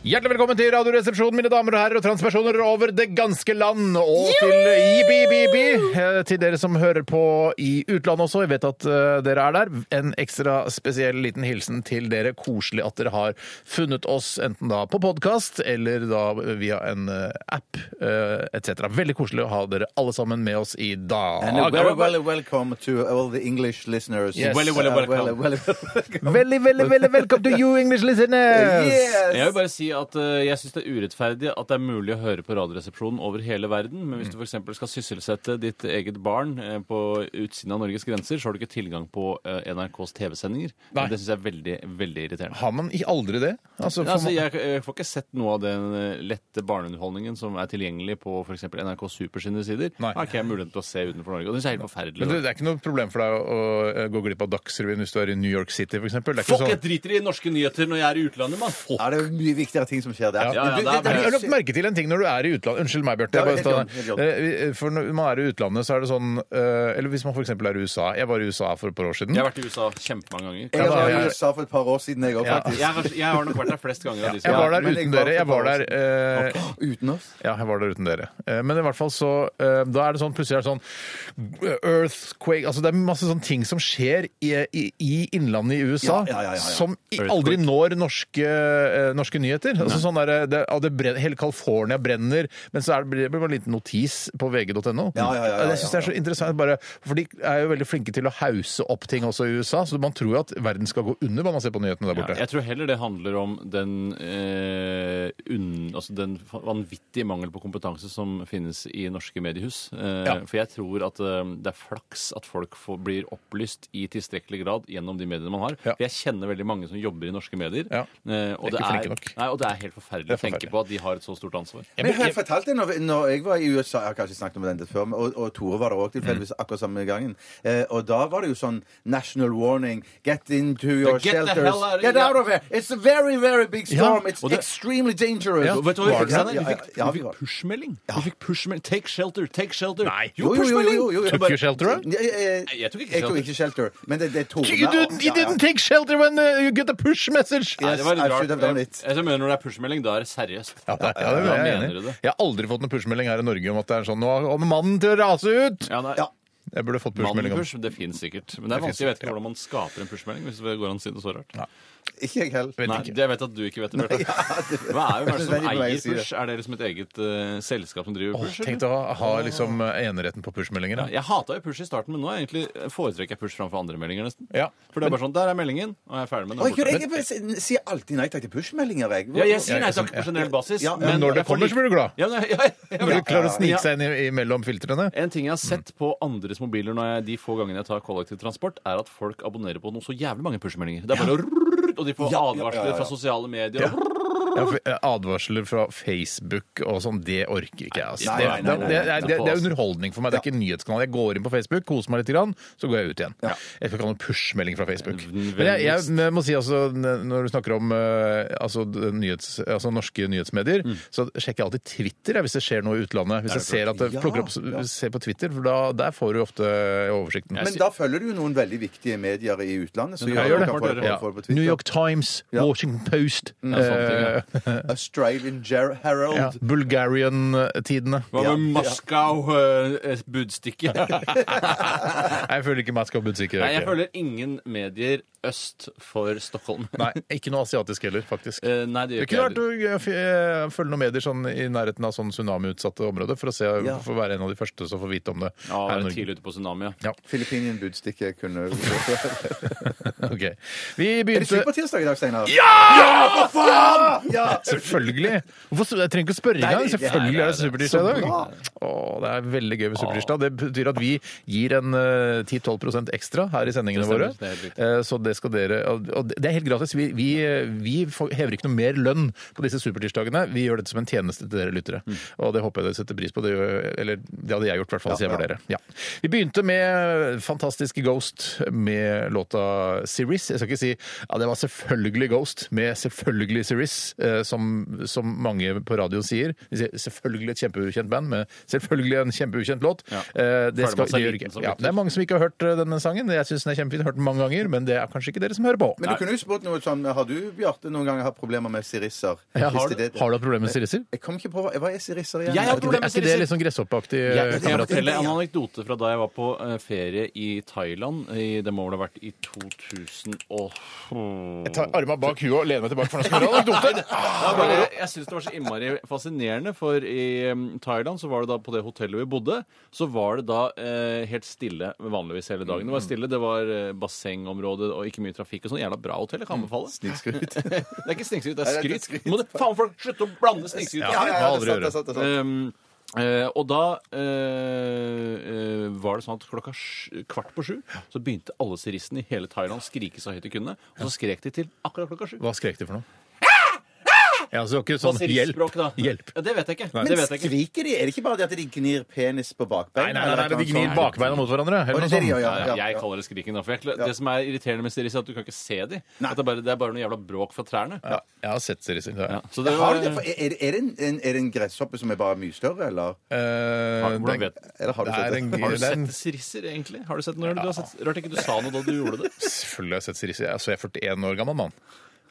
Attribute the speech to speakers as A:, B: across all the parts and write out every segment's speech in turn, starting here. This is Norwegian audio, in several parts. A: Hjertelig velkommen til Radioresepsjonen, mine damer og herrer og transpersoner over det ganske land. Og til IBBB, eh, til dere som hører på i utlandet også. Jeg vet at eh, dere er der. En ekstra spesiell liten hilsen til dere. Koselig at dere har funnet oss, enten da på podkast eller da via en eh, app etc. Veldig koselig å ha dere alle sammen med oss i dag.
B: And
C: Ah,
B: a very well, welcome to all the English listeners.
A: Yes.
C: Welly, welly,
B: Uh,
C: welcome.
B: well, well, welcome.
A: Veldig, veldig, veldig velkommen to you, English listeners!
B: Yes.
C: Jeg vil bare si at eh, jeg syns det er urettferdig at det er mulig å høre på Radioresepsjonen over hele verden, men hvis du f.eks. skal sysselsette ditt eget barn eh, på utsiden av Norges grenser, så har du ikke tilgang på eh, NRKs TV-sendinger.
A: Nei.
C: Det syns jeg er veldig, veldig irriterende.
A: Har man i- aldri det? Altså, får
C: Altså,
A: man-
C: jeg, jeg får ikke sett noe av den eh, lette barneunderholdningen som er tilgjengelig på f.eks. NRK Super sine sider.
A: Nei.
C: Har ikke jeg muligheten til å se utenfor Norge. Og det syns jeg er helt forferdelig.
A: Men det, det er ikke noe problem for deg å, å gå glipp av Dagsrevyen hvis du er i New York City, f.eks.? Det er ikke
C: Fuck,
A: sånn
C: jeg driter i norske nyheter når jeg er i utlandet, mann! Fuck.
B: Ja, det er jo mye viktigere ting som skjer der.
C: Ja, ja,
B: Du-
C: det er
A: jeg har
B: er
A: lagt merke til en ting når du er i utlandet. Unnskyld meg, Bjarte.
B: Ja,
A: jeg bare
B: helt
A: tar-
B: i orden, helt i orden.
A: Eh, vi- For når man er i utlandet, så er det sånn eh, Eller hvis man f.eks. er i USA. Jeg var i USA for et par år siden.
C: Jeg har vært i USA kjempemange ganger.
B: jeg var
A: Ja,
B: i USA for et par år siden, jeg òg,
A: Ja.
B: faktisk.
C: Jeg har, jeg har nok vært der flest ganger av de som
A: Jeg
C: er
A: var der
B: men jeg
A: uten
B: var
A: dere. Jeg
B: for
A: var
B: et par
A: der, eh,
B: Uten oss.
A: ja, jeg var der uten dere. Eh, Men i hvert fall så eh, Da er det sånn plutselig er det sånn earthquake Altså det er masse sånne ting som skjer i, i, i innlandet i USA,
B: Ja, ja, ja, ja, ja.
A: som i- aldri når norske, eh, norske nyheter. Altså sånn der, eh, det, ja, det brenner, Hele California brenner, men så er det, blir det bare en liten notis på vg.no.
B: Ja, ja, ja, ja,
A: Jeg syns det er så interessant, bare, for de er jo veldig flinke til å hause opp ting også i USA, så man tror jo at verden skal gå under når man ser på nyhetene der borte.
C: Ja, jeg tror heller det handler om den, eh, unn- altså den fa- vanvittige mangel på kompetanse som finnes i norske mediehus. Eh,
A: Ja.
C: For jeg tror at eh, det er flaks at folk får, blir opplyst i tilstrekkelig grad gjennom de mediene man har.
A: Ja.
C: For jeg kjenner veldig mange som jobber i norske medier.
A: Ja.
C: eh, og,
A: De er
C: det
A: ikke flinke
C: er,
A: nok.
C: nei, og det er helt forferdelig
A: Det
C: å
A: er
C: tenke
A: forferdelig.
C: på at de har et så stort ansvar.
B: Men jeg har fortalt det når, når jeg var i USA Jeg har kanskje snakket om dette før, men- og, og Tore var der òg
C: Mm.
B: tilfeldigvis akkurat samme gangen. Eh, og da var det jo sånn national warning. Get into your
C: get the
B: shelters.
C: hell out of-
B: Get out of here! It's a very, very big storm.
A: Ja,
B: It's
C: og det-
B: extremely dangerous.
A: Ja,
C: Vet du hva vi
B: Var
C: fikk,
B: det-
C: Steinar?
B: Ja,
C: Vi
B: ja,
C: fikk,
B: ja,
C: vi
B: vi var-
C: fikk pushmelding. Vi fikk pushmelding. Take shelter, take shelter.
A: Nei.
C: Jo, pushmelding!
B: jo.
A: Took you shelter, da?
B: Jeg, jeg,
C: Nei, jeg tok ikke
B: jeg tok
C: shelter.
B: ikke shelter. Men det, det er Tore.
A: You didn't, you didn't take shelter when uh, you get a push message!
C: Nei, det var
B: I
C: litt
B: should have done
C: rart.
B: it.
C: Jeg jeg mener Når det er pushmelding, da er det seriøst.
A: Ja, det, ja, det,
C: Da
A: er jeg,
C: mener
A: enig.
C: du
A: i.
C: det.
A: jeg har aldri fått noen pushmelding her i Norge om at det er sånn Nå kommer mannen til å rase ut!
C: Ja, nei.
B: Ja.
A: Jeg burde fått pushmelding om
C: Mannpush, det fins sikkert. Men det
A: Det
C: er
A: finnes
C: vanskelig. Jeg vet
A: sikkert, ja.
C: ikke hvordan man skaper en pushmelding. hvis det går an å si det så rart.
B: Ikke jeg heller.
A: Vet
C: Nei,
A: ikke.
C: det jeg vet at du ikke vet det, Bjarte.
B: det-
C: Hva er jo hva er det
B: Jeg synes
C: som
B: det er litt på vei å
C: eier
B: si det.
C: push? Er det liksom et eget eh, selskap som driver
A: Åh,
C: push?
A: Tenk å
C: eller?
A: ha, ha liksom eh, eneretten på pushmeldinger.
C: Ja,
A: da.
C: jeg hata jo push i starten, men nå er jeg egentlig foretrekker jeg push framfor andre meldinger. nesten.
A: Ja.
C: For det er bare sånn, Der er meldingen, og jeg er ferdig med
B: Oi, Gud,
C: den.
B: jeg, jeg sier alltid nei takk til push-meldinger, jeg.
C: Ja, jeg sier nei
A: Jeg-
C: takk på generell basis.
B: Ja,
A: Men når det
C: jeg får
A: kommer,
C: like-
A: så blir du glad.
C: Ja, men jeg- jeg- jeg-
A: Når du klarer å
C: Ja.
A: snike seg inn i, i mellom filtrene.
C: En ting jeg har sett på andres mobiler når jeg, de få gangene jeg tar kollektivtransport, er at folk abonnerer på noe så jævlig mange pushmeldinger. Det er bare rrrr, og de får advarsler
B: ja, ja, ja.
C: fra sosiale medier. og rrrr.
A: Ja, for, eh, advarsler fra Facebook og sånn, det orker ikke jeg. Altså.
B: Nei,
A: Det, det,
B: nei, nei, nei,
A: det,
C: nei,
A: er- det, det er underholdning for meg. Det er ikke en nyhetskanal. Jeg går inn på Facebook, koser meg litt, grann, så går jeg ut igjen. Jeg skal ikke ha noen pushmelding fra Facebook. Men jeg, jeg må si altså, n- når du snakker om eh, altså, d- nyhets, altså, norske nyhetsmedier, så sjekker jeg alltid Twitter jeg, hvis det skjer noe i utlandet. Hvis jeg ser at det
B: Mm. Ja,
A: plukker opp,
B: ja.
A: ser på Twitter, for da, der får du ofte eh, oversikten.
B: Men da følger du jo noen veldig viktige medier i utlandet. Så
C: Ja,
B: gjør du
C: gjør det.
B: kan få det på,
A: Ja.
B: få det på Twitter.
A: New York Times, Washington Post, eh,
C: Ja, sånne ting, ja.
B: Australian Ger Herald.
A: ja, Bulgarian-tidene.
C: Hva med Moskau-budstikke?
A: Jeg føler ikke meg skal ha budstikk.
C: Nei, jeg føler ingen medier øst for Stockholm.
A: Nei, ikke noe asiatisk heller, faktisk.
C: Eh, Nei, det
A: Det kunne
C: gjør ikke
A: vært
C: jeg.
A: å eh, f- eh, følge noen medier sånn i nærheten av sånn tsunamiutsatte områder, for å se,
B: Ja.
A: for å være en av de første som får vite om det.
C: Ja,
A: her i
C: være
A: Norge.
C: tidlig ute på tsunami. Ja.
B: Filippinien budstikke kunne
A: Ok. Vi
B: Er det
A: begynte
B: slutt på tirsdag i dag, Steinar?
A: Selvfølgelig! Hvorfor, s- jeg trenger ikke å spørre
B: Nei,
A: engang.
B: det-
A: Selvfølgelig
C: nei,
A: er det
C: det er
A: supertirsdag i dag. Å, det er veldig gøy med supertirsdag. Det betyr at vi gir en eh, 10-12 ekstra her i sendingene
C: Det stemmer,
A: våre.
C: det er helt riktig.
A: Eh, Så det skal dere Og og det er helt gratis. Vi, vi, vi får- hever ikke noe mer lønn på disse supertirsdagene. Vi gjør dette som en tjeneste til dere lyttere.
C: Mm.
A: Og det håper jeg dere setter pris på. Det, gjør- eller det hadde jeg gjort, i hvert fall, hvis jeg var dere. Ja. Vi begynte med fantastiske Ghost med låta Series. Jeg skal ikke si ja, det var selvfølgelig Ghost med selvfølgelig Series. eh, som, som mange på radioen sier. De sier selvfølgelig et kjempeukjent band med selvfølgelig en kjempeukjent låt.
C: Ja.
A: Eh, det,
C: Føler
A: skal,
C: man seg
A: det, gjør
C: liten
A: ikke.
C: som
A: Ja,
C: lytter.
A: det er mange som ikke har hørt eh, denne sangen. Jeg syns den er kjempefin, har hørt den mange ganger, men det er kanskje ikke dere som hører på.
B: Men du kunne jo spurt noe sånn Har du, Bjarte, noen ganger hatt problemer med sirisser?
A: Ja,
B: Hvis
A: har, du,
B: det-
A: har du hatt problemer med sirisser?
B: Jeg kom ikke på hva- Hva er sirisser igjen?
C: Jeg har
B: Er det-
A: Er
C: problemer med
A: ikke det
C: sirisser.
A: litt sånn gresshoppaktig, eh,
C: Jeg kan
A: kamerater?
C: fortelle en anekdote fra da jeg var på eh, ferie i Thailand. I, det må vel ha vært i 2000 og...
A: Jeg tar arma bak huet og lener meg tilbake for nå skal vi ha en anekdote.
C: Ja, bare,
B: Ah.
C: jeg syns det var så innmari fascinerende, for i um, Thailand så var det da på det hotellet vi bodde, så var det da eh, helt stille vanligvis hele dagen.
B: Mm.
C: Det var stille, det var eh, bassengområde og ikke mye trafikk og sånn. Jævla bra hotell, jeg kan anbefale.
B: Mm. Snikskryt.
C: det er ikke snikskryt, det
B: Nei, det er
C: er skryt. Må du faen folk slutte å blande snikskryt og
B: Ja, ja,
C: skryt?
B: ja, det er sant, det er sant, det er sant.
C: Um, eh, og da eh, eh, var det sånn at klokka sj- kvart på sju så begynte alle siristene i hele Thailand å skrike så høyt de kunne. Og så skrek de til akkurat klokka sju.
A: Hva skrek de for noe? Ja, så det var ikke
C: Hva
A: sånn
C: sier
A: hjelp.
C: språk, da?
A: Hjelp.
C: Ja, det vet jeg ikke.
A: Nei.
C: Det
B: Men
C: vet jeg ikke.
B: skriker de? Er det ikke bare det at de gnir penis på
A: Nei,
B: bakbeina?
A: nei, nei,
B: eller
A: nei, de
B: et eller
A: gnir
B: annet sånt?
A: bakbeina mot hverandre. sånn.
B: Å,
A: Eller noe
B: det er det de gjør,
A: sånt.
B: ja, ja,
C: jeg
B: ja.
C: kaller det skriking. da, for jeg, Det som er irriterende med siris, er at du kan ikke se dem.
B: Nei.
C: At det, er bare, det er bare noe jævla bråk fra trærne.
A: Ja, Jeg har sett sirisser. det har
C: Ja,
A: jeg.
C: Så Altså, det
B: Har du
C: var,
B: det? For Er, er, det en, en, er det en gresshoppe som er bare mye større, eller?
A: Eh,
C: Har- hvordan
A: det-
C: vet-
B: eller har du
A: det
B: sett
A: er
B: det?
A: en-
C: har du
A: det er en-
C: sett sirisser, egentlig? Har du sett noe? Du har sett, rart ikke du sa noe da du gjorde det.
A: Selvfølgelig har jeg sett sirisser. Altså, jeg er 41 år gammel mann.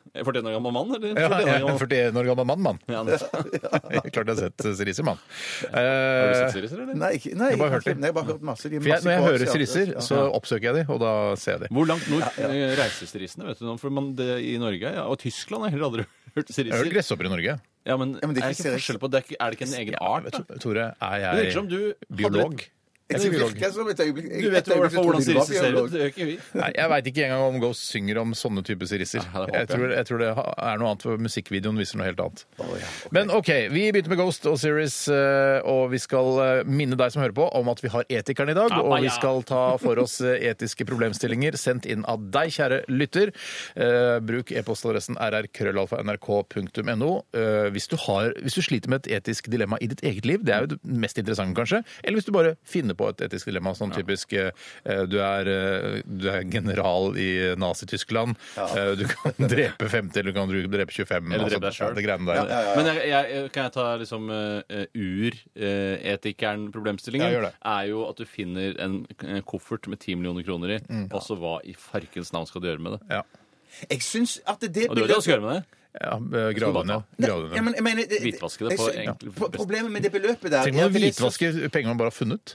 C: Er 41 år gammel mann, eller?
A: Ja, jeg er
C: 41 år
A: 41 år gammel mann, mann.
C: gammel mann.
A: Klart jeg har sett sirisser, mann.
C: Har du sett
A: Eh,
C: sirisser, eller?
B: Nei, ikke, nei,
A: Jeg bare hørte
B: ikke- nei, jeg har bare hørt masse. De er
A: for jeg,
B: masse
A: når jeg
B: på
A: hører
B: Asia.
A: sirisser,
B: Ja.
A: så oppsøker jeg de, og da ser jeg de.
C: Hvor langt nord eh, reiser sirissene? vet du noe? For man, det, I Norge ja, og Tyskland har jeg heller aldri
A: Jeg
C: hørt
A: har hørt
C: sirisser.
A: gresshopper i Norge.
C: Ja, men,
B: Ja, men det er
C: er det
B: ikke
C: ikke
B: sirisser.
C: forskjell på det? Er ikke, er det ikke en egen
A: Ja,
C: art?
A: vet
C: da?
A: du, Tore,
C: Det
A: er
C: virker som
A: jeg
C: du hadde
A: biolog?
C: litt-
A: Jeg er
B: Det
A: ikke biolog.
B: virker som et øyeblikk
C: Du vet jo i hvert fall hvordan sirisser ser ut. Det gjør ikke vi.
A: Nei, jeg veit ikke engang om Ghost synger om sånne type sirisser.
C: Nei, det håper
A: Jeg
C: jeg.
A: tror, jeg tror det ha- er noe annet, for musikkvideoen viser noe helt annet. Men OK, vi begynte med Ghost og Series, eh, og vi skal eh, minne deg som hører på, om at vi har Etikeren i dag,
C: Ja,
A: og vi
C: ja.
A: skal ta for oss eh, etiske problemstillinger sendt inn av deg, kjære lytter. Eh, Bruk e-postadressen rrkrøllalfa.nrk.no eh, hvis, du har- hvis du sliter med et etisk dilemma i ditt eget liv, det er jo det mest interessante, kanskje, eller hvis du bare finner på et etisk dilemma, sånn typisk eh, du er, eh, du er general i Nazi-Tyskland, eh, du kan drepe 50, eller du kan drepe 25,
C: Eller drepe
A: altså,
C: deg selv.
A: det greiene der.
C: Men jeg, jeg, kan jeg ta liksom uretikeren-problemstillingen?
A: Ja, gjør det.
C: er jo at du finner en eh, koffert med 10 millioner kroner i, og så hva i farkens navn skal du gjøre med det?
A: Ja.
B: Jeg syns at det
C: Og du vet hva du skal gjøre med det?
A: Ja, eh, grave ned.
B: Nei,
A: grave ned.
B: ja, men, jeg mener, det-
C: Hvitvaske det
B: jeg
C: på
B: sy-
C: egentlig-
B: Pro- Problemet med det beløpet der
A: Tenk
B: er
A: om man
B: at det er så-
A: hvitvasker penger man bare har funnet.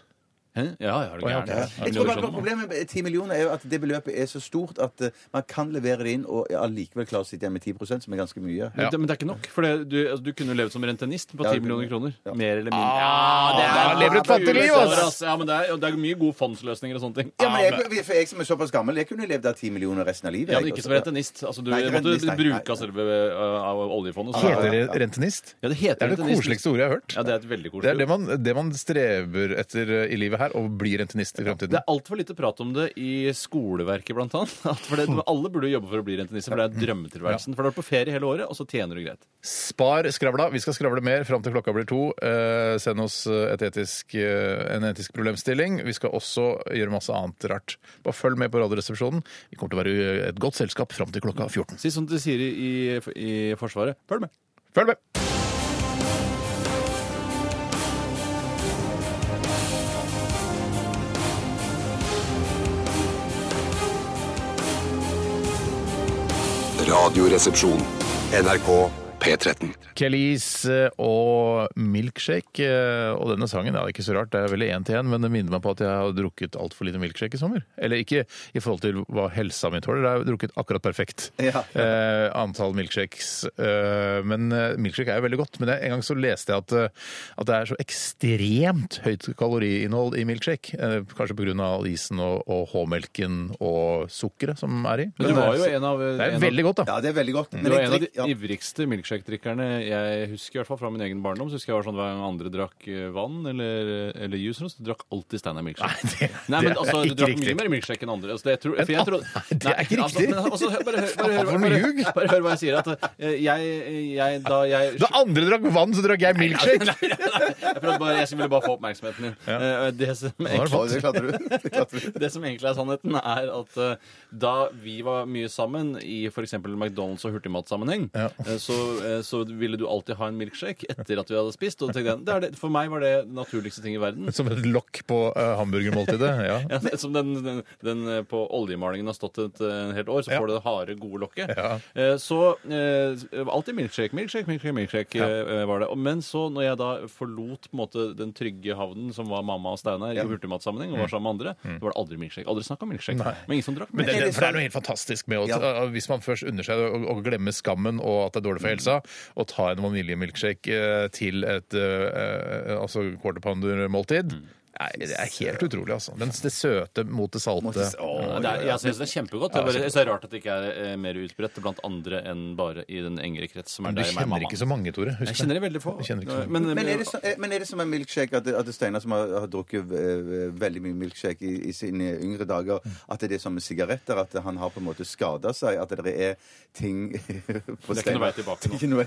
C: Hæ? Ja, ja,
A: Å,
C: er sånn. du
A: ja,
C: gæren?
A: ok.
C: Ja,
B: Jeg tror
C: millioner
B: bare
C: kroner, mann.
B: Problemet med 10 millioner er jo at det beløpet er så stort at eh, man kan levere det inn og allikevel klare å sitte igjen med 10 som er ganske mye.
C: Men det- Men det er ikke nok. For det, du, altså, du kunne jo levd som rentenist på
B: det-
C: 10 millioner kroner.
B: ja.
C: Mer eller mindre. Ja, det
A: da lever du et fattig liv, ass!
C: altså. Ja, men det er, og det er mye gode fondsløsninger og sånne ting.
B: Ja, men jeg, for jeg som er såpass gammel, jeg kunne levd av 10 millioner resten av livet.
C: Ja,
B: jeg,
C: men ikke
B: altså.
C: som rentenist. Altså, du
B: Nei, ikke
C: måtte
B: rentenist, nei.
C: bruke
B: Nei.
C: av selve eh, av oljefondet. så-
A: Heter det rentenist?
C: Ja, det heter
A: Det er det
C: rentenist.
A: koseligste ordet jeg har hørt.
C: Ja, det er et veldig
A: Det
C: koselig
A: er det man, det man strever etter eh, i livet her, å bli rentenist i
C: Det
A: fremtiden.
C: er altfor lite prat om det i skoleverket, blant annet. At For det, alle burde jobbe for å bli rentenisse, for det er drømmetilværelsen. For da er du på ferie hele året, og så tjener du greit.
A: Spar skravla. Vi skal skravle mer fram til klokka blir to. Eh, send oss et etisk, eh, en etisk problemstilling. Vi skal også gjøre masse annet rart. Bare følg med på Radioresepsjonen. Vi kommer til å være et godt selskap fram til klokka 14.
C: Si som de sier i, i Forsvaret følg med!
A: Følg med!
D: Radioresepsjon. NRK P13.
A: Kellys eh, og Milkshake. eh, Og denne sangen ja, det er ikke så rart, det er veldig én til én, men det minner meg på at jeg har drukket altfor lite milkshake i sommer. Eller ikke i forhold til hva helsa mi tåler, jeg har drukket akkurat perfekt
B: Ja.
A: eh, antall milkshakes. Eh, men eh, milkshake er jo veldig godt. Men jeg, en gang så leste jeg at, eh, at det er så ekstremt høyt kaloriinnhold i milkshake. Eh, kanskje pga. isen og, og H-melken og sukkeret som er i.
C: Men
A: det
C: du
A: er-
C: var jo en av,
A: det er
C: en av
A: veldig godt, da.
B: Ja, det er veldig godt.
C: Mm. du
B: Men
C: var
B: jeg
C: en av de
B: drikk- ja.
C: ivrigste milkshake-drikkerne jeg husker, i hvert fall fra min egen barndom. Så husker jeg var sånn hver gang andre drakk eh, vann eller, eller juice, eller noe, så du drakk alltid Steinar milkshake.
A: det- det
C: Nei, men
A: er
C: altså, du
A: ikke
C: drakk
A: riktig.
C: mye mer milkshake enn andre. Altså, det, jeg tror, for jeg
A: Men,
C: trodde-
A: ah, nei, det er ikke
C: Nei,
A: riktig.
C: men altså, hør- bare hør- bare
A: Faen,
C: hør-
A: for noe
C: bare-
A: ljug.
C: bare hør hva jeg sier. At eh, jeg, jeg, da jeg
A: Da andre drakk vann, så drakk jeg milkshake!
C: Jeg prøvde bare, jeg ville bare få oppmerksomheten din. Eh, Det, som
A: har du
C: egentlig,
B: Å, det klarte du. Det klarte du.
C: det som egentlig er sannheten, er at eh, da vi var mye sammen i f.eks. McDonald's og hurtigmatsammenheng,
A: Ja.
C: eh, så eh, så ville du alltid ha en milkshake etter at vi hadde spist. Og da tenkte jeg, det er det, For meg var det naturligste ting i verden.
A: Som et lokk på eh, hamburgermåltidet. Ja.
C: Ja, det- som den, den, den eh, på oljemalingen har stått et eh, helt år, så
A: Ja.
C: får du det harde, gode lokket.
A: Ja.
C: Eh, Så eh, alltid milkshake, milkshake, milkshake, milkshake eh, eh, var det. Og- Men så, når jeg da forlot på en måte, den trygge havnen som var mamma og Steinar i hurtigmatsammenheng, og var sammen med andre, så var det aldri milkshake. Aldri snakk om milkshake. Men ingen som drakk
A: Mm. Men det,
C: milkshake.
A: det, for det er noe helt fantastisk med å,
B: Ja.
A: å- Hvis man først unner seg å, å glemme skammen og at det er dårlig for helsa, og ta en vaniljemilkshake eh, til et eh, eh, altså quarter pounder-måltid
C: Mm.
A: Nei, Det er helt utrolig, altså. Den, det søte mot det salte.
C: Ja, altså, det er, jeg synes det er kjempegodt. Det er bare, jeg synes det er rart at det ikke er eh, mer utbredt blant andre enn bare i den engere krets som er
A: Men du
C: deg, meg,
A: kjenner
C: mamma.
A: ikke så mange, Tore. Husk
C: Jeg kjenner det veldig få.
A: Jeg kjenner ikke så mange.
C: Men,
B: Men er, det så, eh, men er det som en milkshake at, det- at det Steinar, som har, har drukket eh, veldig mye milkshake i, i sine yngre dager, at det er som med sigaretter, at han har på en måte skada seg? At det er ting på
C: noe vei tilbake nå.
B: Det er ikke noe vei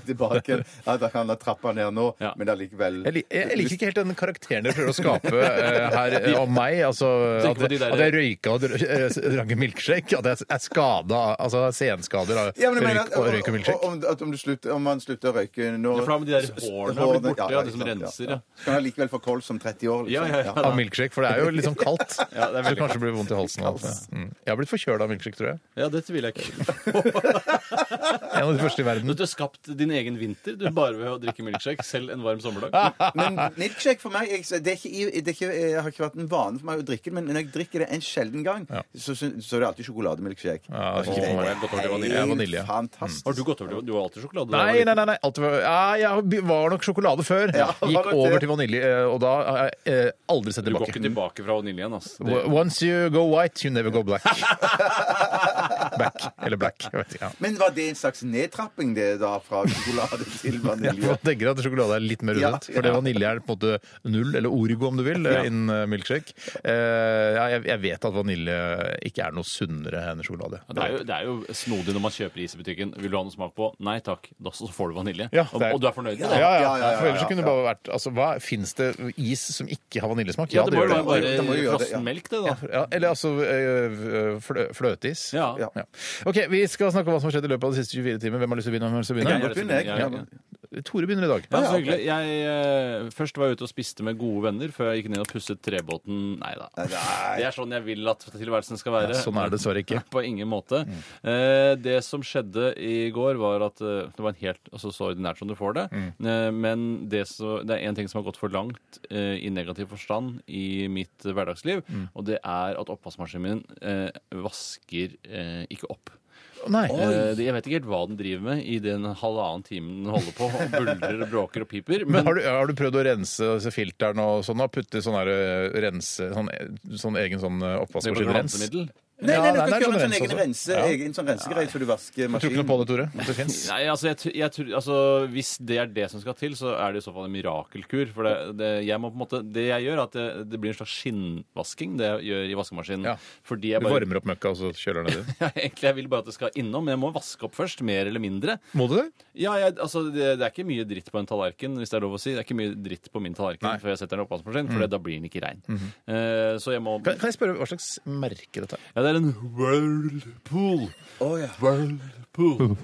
B: tilbake. At han har trappa ned nå,
C: Ja.
B: men allikevel
A: Jeg, li jeg liker ikke helt den karakteren dere prøver å skape eh, her eh, om meg. Altså,
C: Tenk
A: at,
C: på de der-
A: at jeg røyka og dr- eh, drakk en milkshake. At jeg er skada. Altså senskader av
B: Ja, men jeg mener
A: røyk og røyk og
B: at-
A: milkshake.
B: om, at om, du slutter, om man slutter å røyke nå
C: Ja, for da har de der
B: s- s-
C: hårene har blitt borte, ja, de som
B: ikke sant,
C: renser, ja.
B: Så kan han likevel få kols som 30 år, liksom.
C: Ja, ja, ja.
A: Av milkshake, for det er jo litt sånn kaldt.
C: Ja, det er
A: så
C: veldig
A: kanskje det blir vondt i halsen. og alt det. Mm. Jeg har blitt forkjøla av milkshake, tror jeg.
C: ja, det tviler jeg ikke.
A: En av de første i verden.
C: Du har skapt din egen vinter du bare ved å drikke milkshake, selv en varm sommerdag.
B: Men milkshake for meg jeg, det, er ikke, i- det er ikke, jeg har ikke vært en vane for meg å drikke det, men når jeg drikker det en sjelden gang, så, syn- så er det alltid sjokolademilkshake.
A: Ja, det er ikke vanlig.
B: Åh, det
C: Jeg har gått over til vanilje.
B: helt
A: Ja, vanilje. Mm.
B: Fantastisk.
C: Har du gått over til Du har alltid sjokolade. da,
A: Nei,
C: eller?
A: nei, nei. nei. Alt var, ja, jeg var nok sjokolade før.
B: Ja, var
A: Gikk
B: nok
A: over
B: det.
A: til vanilje, eh, og da har jeg eh, aldri sett
C: Du går
A: tilbake.
C: ikke tilbake fra vanilje igjen, ass. Det,
A: Once you go white, you never go black. Back. Eller black. Jeg vet ikke. Ja.
B: Men var det en slags nedtrapping, det da, fra sjokolade til
A: Ja,
B: vanilje?
A: man tenker at sjokolade er litt mer
B: Ja,
A: rundt. For det
B: ja.
A: vanilje er på en måte null, eller origo om du vil, eh, innen eh, milkshake. Eh, ja, jeg, jeg vet at vanilje ikke er noe sunnere enn sjokolade.
C: det, er jo, det er jo snodig når man kjøper is i butikken. Vil du ha noe smak på? Nei takk. Da så får du vanilje.
A: Ja,
C: og,
A: det er-
C: og du er fornøyd med
A: Ja,
C: det?
A: ja,
B: Ja, ja, ja,
A: For ellers så
B: ja,
A: kunne det bare vært altså, hva, Fins det is som ikke har vaniljesmak?
C: Ja, det må
A: gjør
C: jo være
B: det. Det må
C: bare
B: jo gjøre det, ja.
C: frossen melk, det, da.
A: Ja, eller altså eh, flø, fløteis.
C: Ja.
B: Ja.
A: Ja. OK, vi skal snakke om hva som har skett i løpet av de siste 24 timer. Hvem har lyst til å begynne? Hvem har lyst til å
B: Jeg
A: begynne?
B: kan godt begynne, jeg.
C: Ja, ja.
A: Tore begynner i dag.
C: Ja, så hyggelig. Jeg eh, først var jeg ute og spiste med gode venner før jeg gikk ned og pusset trebåten. Nei da. Det er sånn jeg vil at tilværelsen skal være.
A: Ja, sånn er det dessverre ikke. Mm.
C: På ingen måte. Eh, det som skjedde i går, var at eh, Det var en helt altså, så ordinært som du får det.
A: Mm.
C: Eh, men det, så, det er én ting som har gått for langt eh, i negativ forstand i mitt eh, hverdagsliv,
A: Mm.
C: og det er at oppvaskmaskinen min eh, vasker eh, ikke opp.
A: Nei.
C: Eh, det- Jeg vet ikke helt hva den driver med i den halvannen timen den holder på og buldrer og bråker og piper.
A: Men har du, har du prøvd å rense disse filterne og sånn? da? Putte sånn her, eh, rense, sånn, sånn egen sånn eh,
C: Det går
A: oppvaskmaskinrens?
C: glansemiddel?
B: Nei,
A: Ja,
B: nei, du
A: nei,
B: kan
A: det er
B: kjøre en
A: sånn
B: sånn egen,
A: rense
B: rense,
A: også.
B: egen sånn rensegreie så du vasker
A: Tror ikke
B: maskinen.
A: noe på det, Tore. At det fins?
C: Nei, altså, jeg, tr- jeg tror, altså Hvis det er det som skal til, så er det i så fall en mirakelkur. For det, det, jeg må på en måte, det jeg gjør, er at det, det blir en slags skinnvasking det jeg gjør i vaskemaskinen.
A: Ja.
C: Fordi jeg
A: Du
C: bare
A: varmer opp møkka, og så kjøler den ned?
C: ja, Egentlig jeg vil bare at det skal innom, men jeg må vaske opp først. Mer eller mindre.
A: Må du det?
C: Ja, jeg, altså, det, det er ikke mye dritt på en tallerken, hvis det er lov å si. Det er ikke mye dritt på min tallerken
A: Nei. Mm. Mhm.
C: før jeg setter den i oppvaskmaskinen, for da blir den ikke rein. Eh, så jeg må
A: Kan, kan jeg spørre hva slags merke dette er?
C: Ja, det er en whirlpool.
B: Å, ja.
C: Whirlpool.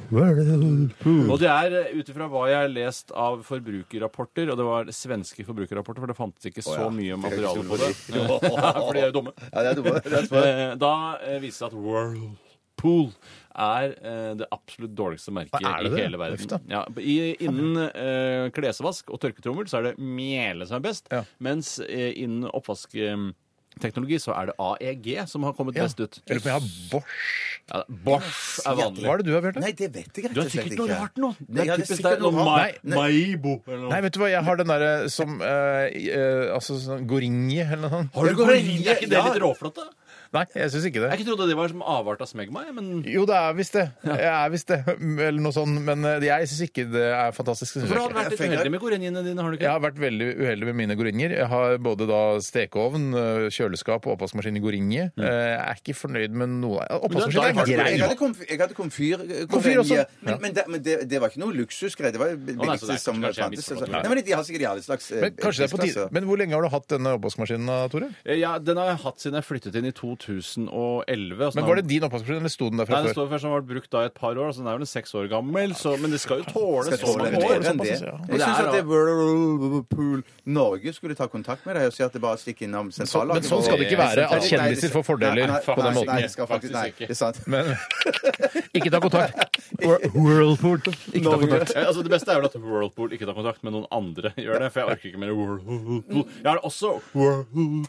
C: Og det er eh, ut ifra hva jeg har lest av forbrukerrapporter, og det var svenske forbrukerrapporter, for det fantes ikke så
B: ja.
C: mye
B: Det kan
C: materiale
B: ikke
C: på det.
B: stole på de.
C: Ja, For de er jo dumme.
B: Ja, det er dumme. Det er smart.
C: Eh, Da eh, viste det seg at Whirlpool er eh, det absolutt dårligste merket
A: Hva er det
C: i
A: det?
C: hele
A: Uff da.
C: verden. Ja, i, innen eh, klesvask og tørketrommel så er det mele som er best,
A: Ja.
C: mens eh, innen oppvaskteknologi så er det AEG som har kommet
A: Ja.
C: best ut.
A: Jeg lurer på om jeg har Bosch.
C: Ja, Bosch er vanlig.
A: Hva er det du har, Bjarte?
B: Nei, det vet jeg rett
C: Du har
B: og slett
C: sikkert
B: ikke.
C: noe rart nå.
B: Nei, ja, det er
C: typisk
B: sikkert
C: deg,
B: noe
C: noe
B: rart.
C: Ma- Maibo eller noe.
A: Nei, vet du hva, jeg har den derre som eh, eh, Altså sånn gorinje eller noe sånt.
C: Har du gorilje? Er ikke det
B: Ja.
C: litt råflott, da?
A: Nei, jeg syns ikke det.
C: Jeg ikke trodde det var som avart av smegma, jeg, men
A: Jo, det er visst det. Jeg er visst det. Eller noe sånt. Men eh, jeg syns ikke det er fantastisk. Synes
C: For du
A: jeg
C: har
A: ikke.
C: vært litt
B: Jeg fikk-
C: uheldig med gorinjene dine, har du
A: Jeg
C: ikke?
A: har vært veldig uheldig med mine gorinjer. Jeg har både da stekeovn, eh, kjøleskap og oppvaskmaskin i gorinje. Eh, Jeg er ikke fornøyd med noe
C: Mm. da
A: Oppvaskmaskin
C: er
A: er
C: det
B: Jeg
A: grei.
B: hadde, komf jeg hadde komfyr, eh,
A: Komfyr også.
B: konvenje, Men, men, det, men det, det var ikke noe luksusgreie. Det var jo
C: nei,
B: billigste
C: så det er
B: som
C: kanskje jeg
B: fantes.
C: misforstår.
B: altså. Nei, men De har sikkert i alle slags eh,
A: Men kanskje det er på
B: prisklasser.
A: tide.
C: Eh,
A: Men hvor lenge har du hatt denne oppvaskmaskinen, da, Tore?
C: Ja, Den har jeg hatt siden jeg flyttet inn i 2000, 2011. altså
A: Men
C: den
A: var
C: har-
A: det din oppvaskmaskin, eller sto den der fra
C: Nei, den
A: før?
C: står først, den har vært brukt da i et par år, så den er vel en seks år gammel. Så, men det skal jo tåle sånn.
B: Jeg
C: så
B: syns
C: mange
A: tåle det.
B: at
C: år.
A: såpass, ja.
B: det
C: er
B: er Whirlpool Norge skulle ta kontakt med deg og si at det bare stikker innom
A: Så-
B: sentrallaget.
A: men sånn skal det ikke være, at
B: Nei, det-
A: kjendiser får fordeler
B: Nei, nei,
A: på den
B: nei,
A: måten.
B: Nei, det skal faktisk, nei,
C: Faktisk ikke.
B: det er sant.
A: Men ikke ta kontakt. Whirlpool. Ikke ta kontakt.
C: Ja, altså det beste er vel at Whirlpool ikke tar kontakt med noen andre. gjør det, For jeg orker ikke mer Whirlpool. Jeg har også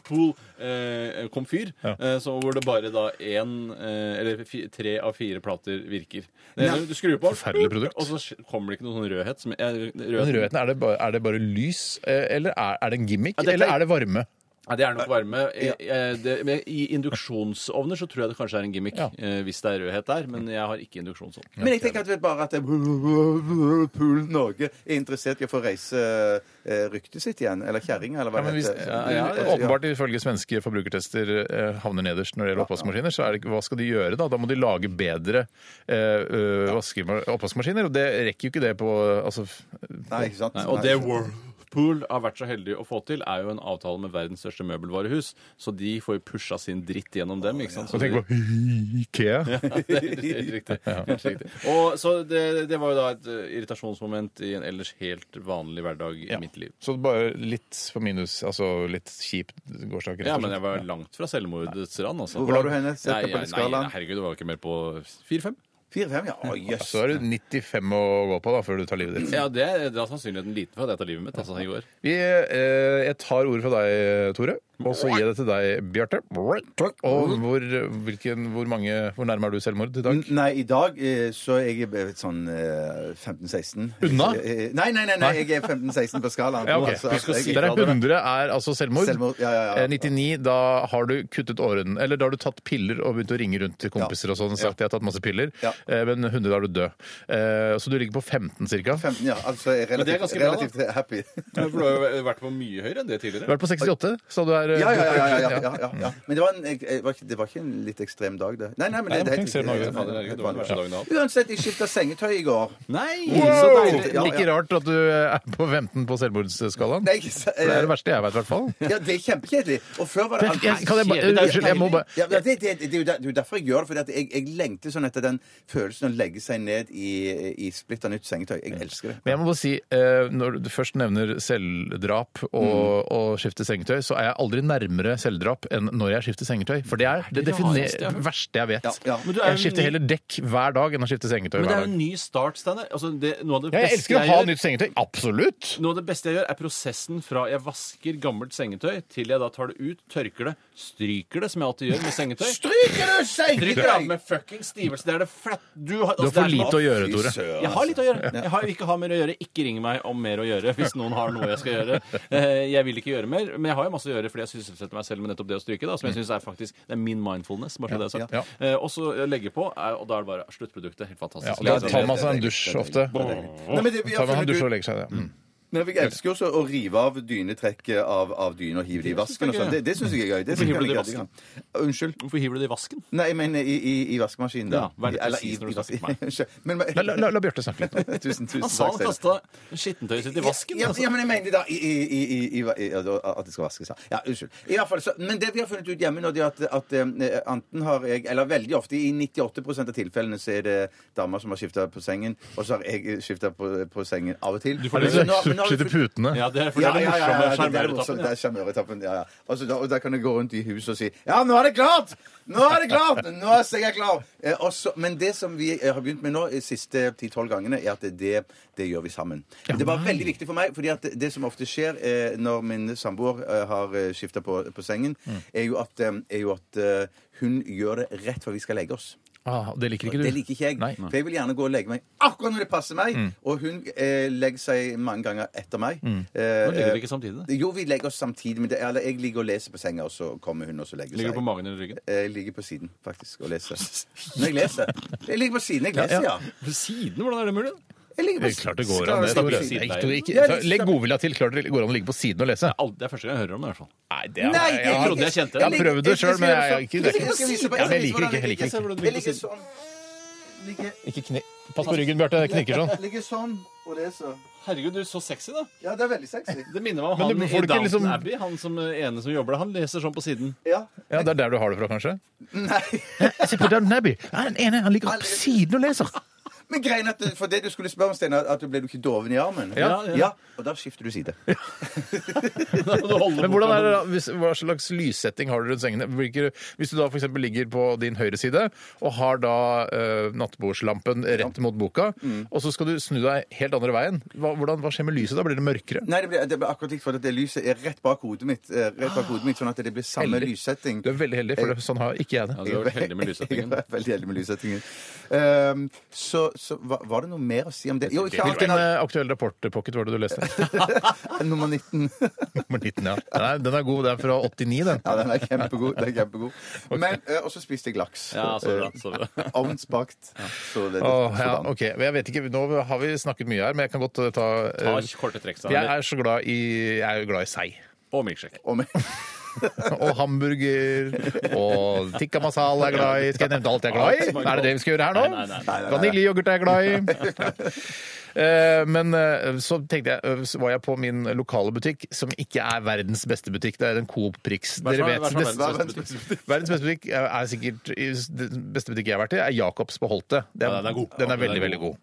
C: eh, Whirlpool-komfyr, hvor det bare da én eh, eller fi- tre av fire plater virker. Det,
B: Nei.
C: du skrur på,
A: Forferdelig produkt. sånn
C: og så sk- kommer det ikke noe sånn rødhet. Som, jeg,
A: Men
C: rødhet
A: rødheten, er det, bare, er det bare lys, eh, eller er, er det en gimmick,
C: Ja, dette er-
A: eller er det varme?
C: Nei, det er nok varme. Jeg- jeg- det, men I induksjonsovner så tror jeg det kanskje er en gimmick,
A: Ja.
C: eh, hvis det er rødhet der. Men jeg har ikke induksjonsovn.
B: Men jeg tenker at det er bare at det er Whirlpool Norge er interessert i å få reise eh, ryktet sitt igjen. Eller kjerringa, eller hva
A: Ja, men
B: det
A: hvis,
B: heter.
C: ja, ja, ja.
A: Åpenbart ifølge svenske forbrukertester eh, havner nederst når det gjelder oppvaskmaskiner. Så er det, ikke- hva skal de gjøre da? Da må de lage bedre eh, ø, vaske- oppvaskmaskiner, og det rekker jo ikke det på altså, f-
B: Nei, ikke sant?
C: Nei, og det
B: ikke sant.
C: Whirlpool har vært så heldig å få til, er jo en avtale med verdens største møbelvarehus. Så de får jo pusha sin dritt gjennom dem. ikke sant? Så
A: Så tenk
C: de-
A: på Ikea.
C: det er helt riktig. Helt riktig. Og så det, det var jo da et eh, irritasjonsmoment i en ellers helt vanlig hverdag i
A: Ja.
C: mitt liv.
A: Så det bare litt på minus, altså litt kjip gårsdag. rett
C: Ja,
A: og
C: men
A: slett.
C: jeg var langt fra selvmordets rand, altså.
B: Hvor var du henne? Sett
C: Nei,
B: det på
C: nei,
B: den
C: nei,
B: skalaen.
C: herregud, det var jo ikke mer på fire-fem.
B: Fire-fem, ja. Å, jøss.
A: Så er du 95 å gå på da, før du tar livet ditt.
C: Ja, det er da sannsynligheten liten for at jeg tar livet mitt altså, i går.
A: Vi, eh, jeg tar ordet fra deg, Tore, og så gir jeg det til deg, Bjarte. Og hvor, hvilken, hvor, mange, hvor nærme er du selvmord i dag?
B: N- Nei, i dag eh, så er jeg eh, sånn eh, 15-16.
A: Unna?
B: Eh, Nei, nei, nei, nei, jeg er 15-16 på skalaen.
A: Ja, ok.
B: Altså,
A: Husk å
B: jeg-
A: si Der er 100 er altså selvmord.
B: Selvmord, ja, ja, ja.
A: Eh, 99, da har du kuttet årene. Eller da har du tatt piller og begynt å ringe rundt til kompiser og sånn og sagt jeg har tatt masse piller.
B: Ja.
A: Eh, Men 100, da er du død. Eh, Så du ligger på 15 cirka.
B: 15, ja, altså jeg er
C: Men det er
B: relativt,
C: ganske bra, da.
B: relativt eh, happy.
C: For du har jo vært på mye høyere enn det
A: Du
C: tidligere.
A: har vært på 68, sa du her. eh,
B: Ja, ja, ja. ja, ja, ja, ja, ja. Men det var, en, jeg- jeg, var ikke, det var ikke en litt ekstrem dag, det. Nei, nei, men det,
A: Nei,
B: det
A: men
B: er
A: tenk, ser du
B: riktig.
A: Norge,
B: Helt
C: faen, det er
B: vanlig,
C: ikke
B: helt
C: den verste dagen jeg har
B: vanlig. Uansett, jeg skifta sengetøy i går.
C: Nei! Så
A: Wow!
C: deilig!
B: Ja, ja.
A: Ikke rart at du er på 15 på selvmordsskalaen.
B: Nei, ikke se-
A: For det er det verste jeg vet, i hvert fall.
B: Ja, det er kjempekjedelig. Og før var det
A: Men, jeg, kan jeg bare,
C: kjedelig, det er
A: unnskyld, jeg må bare
B: ja, men det, det, det, er jo der, det er jo derfor jeg gjør det. For jeg, jeg lengter sånn etter den følelsen å legge seg ned i, i splitter nytt sengetøy. Jeg elsker det.
A: Men jeg må bare si, eh, når du først nevner selvdrap og,
C: Mm.
A: og skifte sengetøy, så er jeg aldri nærmere selvdrap enn når jeg skifter sengetøy. For det er det,
C: det
A: definer-
C: rareste jeg har hørt.
A: verste jeg vet.
B: Ja, ja.
C: Men du er jo
A: Jeg skifter
C: ny-
A: heller dekk hver dag enn å skifte sengetøy
C: Men det
A: hver
C: er jo
A: dag.
C: en ny start, Steinar. Altså, det- noe av det
A: Ja, jeg
C: beste
A: elsker å ha
C: gjør-
A: nytt sengetøy. Absolutt!
C: Noe av det beste jeg gjør, er prosessen fra jeg vasker gammelt sengetøy, til jeg da tar det ut, tørker det, stryker det, som jeg alltid gjør med sengetøy.
B: Stryker du
C: Stryker det av med fucking stivelse. Det er det flatt... Du har,
A: Du har
C: altså,
A: for
C: det er-
A: lite å gjøre, Tore.
C: Jeg har litt å gjøre. Jeg har ikke har mer å gjøre. Ikke ring meg om mer å gjøre hvis noen har noe jeg skal gjøre. Eh, Jeg vil ikke gjøre mer, men jeg har jo masse å gjøre fordi jeg sysselsetter meg selv med nettopp det å stryke, da, som jeg synes er faktisk det er min mindfulness. bare så det er sagt.
A: Mm. Ja.
C: Eh, Og så legge på, er- og da er det bare sluttproduktet. Helt
A: Ja,
C: fantastisk.
A: og da tar man seg en dusj ofte.
B: Nei, men det, jeg,
A: Tar man en
B: føler
A: dusj og
B: du,
A: legger seg. Ja. Mm.
B: men jeg elsker jo også å rive av dynetrekket av, av dyne og hive det i vasken. og sånn. Det, det syns jeg er gøy. Det
C: Hvorfor hiver du det i
B: syns jeg er gøy. Unnskyld.
C: Hvorfor hiver du det i vasken?
B: Nei, jeg mener i, i, i vaskemaskinen. da.
C: Ja, vær litt
B: Eller
C: presis når du snakker til meg.
B: vaskemaskinen. Men, men,
A: La, la, la, la Bjarte snakke litt.
B: tusen, tusen
C: Han sa han
B: takk, Steinar.
C: kasta skittentøyet sitt i vasken.
B: Ja,
C: altså.
B: ja, men jeg mener da i, i, i, i, i, ja, da- At det skal vaskes, ja. ja. Unnskyld. I hvert fall, så, men det vi har funnet ut hjemme nå, det er at, at eh, enten har jeg Eller veldig ofte, i 98 av tilfellene, så er det dama som har skifta på sengen, og så har jeg skifta på, på sengen av og til.
C: får
B: Men
C: det.
B: nå- men nå har vi
A: Slutt i
B: funnet-
A: putene.
C: Ja, det er for det
B: ja,
C: er
B: ja, ja,
C: den
B: ja,
C: morsomme
B: det- det er det morsomme,
C: sjarmøretappen.
B: det er sjarmøretappen. Ja, ja. Og, så da, og da kan jeg gå rundt i huset og si Ja, nå er det klart! Nå er det klart! Nå er jeg klar! Eh, og så- men det som vi eh, har begynt med nå, de siste 10-12 gangene, er at det, det gjør vi sammen. det var veldig viktig for meg, fordi at det som ofte skjer eh, når min samboer eh, har skifta på, på sengen,
C: Mm.
B: er jo at, eh, er jo at eh, hun gjør det rett før vi skal legge oss.
A: Ah, det liker ikke du.
B: Det liker ikke jeg.
A: Nei.
B: For jeg vil gjerne gå og legge meg akkurat når det passer meg. Og hun eh, legger seg mange ganger etter meg. Eh,
C: Mm. Nå ligger dere ikke samtidig? da?
B: jo, vi legger oss samtidig. Men det, eller jeg ligger og leser på senga, og så kommer hun og så legger seg.
C: Ligger
B: Eh,
C: du på magen eller ryggen?
B: Jeg ligger på siden, faktisk, og leser. Når jeg leser. Jeg ligger på siden. Jeg leser,
A: Ja,
B: ja.
C: På siden? Hvordan er det mulig?
B: Jeg ligger på
A: Det er Klart det går
B: Skal
A: an.
B: jeg
A: Det,
B: stå på
A: Tore.
B: siden?
A: Nei, Tore, ikke-
B: Ja,
A: ta- Legg godvilja til. Klart det går an å ligge på siden og lese.
C: Alt- Det er første gang jeg hører om det. i hvert fall.
A: Nei, det er,
B: Nei,
A: jeg, har-
C: trodde jeg kjente det.
A: Jeg har prøvd det sjøl, men jeg,
B: ligger-
A: jeg, ikke, det er
B: Jeg skal vise
A: ikke,
B: på-
A: ja, men jeg liker ikke. Jeg
B: jeg
A: liker
B: skal
A: ikke.
B: vise på- Jeg ligger sånn. Ligger,
A: Ikke kni- Pass på ryggen, Bjarte. Det knikker sånn.
B: ligger sånn og leser.
C: Herregud, du er så sexy, da.
B: Ja, det er veldig sexy.
C: Det minner meg om
A: Men
C: han
A: du
C: i
A: får det ikke
C: Downton
A: liksom-
C: Abbey. Han som eh, ene som jobber der, han leser sånn på siden.
B: Ja.
A: Ja, Det er der du har det fra, kanskje?
B: Nei.
A: Se på Downton Abbey. Nei, Den ene han ligger på siden og leser.
B: Men greien er at du- for det du skulle spørre om, Steinar, at du ble du ikke doven i armen?
C: Ja, ja.
B: Og da skifter du side.
A: Men hvordan er det da, hvis, Hva slags lyssetting har du rundt sengene? Hvilke, hvis du da f.eks. ligger på din høyre side og har da eh, nattbordslampen rett mot boka, og så skal du snu deg helt andre veien, hva, hvordan, hva skjer med lyset da? Blir det mørkere?
B: Nei, det blir, det blir akkurat likt, for at det lyset er rett bak hodet mitt, eh, rett bak hodet mitt sånn at det blir samme
A: Ah. Heldig.
B: lyssetting.
A: Du er veldig heldig, for det, sånn har ikke jeg det.
C: Ja, du har vært heldig med
B: Jeg
C: lyssettingen.
B: er veldig heldig med lyssettingen. Ehm, så så hva, var det noe mer å si om det? Jo, ikke alt
A: Hvilken
B: den
A: eh, aktuell rapport-pocket var det du leste?
B: Nummer 19.
A: Nummer 19, ja. Nei, den er god. Den er fra 89, den.
B: Ja, den er kjempegod. Den er kjempegod. Men, eh, og så spiste jeg laks.
C: Ja, så bra. Så bra.
B: Eh, Ovnsbakt. Så det,
A: Åh, ja,
B: sådan.
A: ok. Men Jeg vet ikke, Nå har vi snakket mye her, men jeg kan godt eh, ta
C: Ta
A: eh,
C: korte
A: Jeg
C: trekkstjerner
A: er så glad i Jeg er jo glad i seig.
C: og milkshake.
B: Og med,
A: og hamburger og tikka masala er jeg glad i. Skal jeg nevne alt jeg er glad i? Er det det vi skal gjøre her nå?
C: Nei, nei, nei, nei,
B: nei.
A: Vaniljeyoghurt er jeg glad i. Eh, Men eh, så tenkte jeg, eh, så var jeg på min lokale butikk, som ikke er verdens beste butikk. Det er en Coop Prix.
C: Hva er
A: Dere
C: som- hva
A: vet.
C: er som
A: Best,
C: verdens beste butikk?
A: verdens beste butikk er er sikkert Den beste butikk jeg har vært i, er Jacobs på Holte. Det
C: Ja, den er god.
A: Den er
C: Ja, den
A: veldig,
C: er
A: veldig
C: god.
A: god.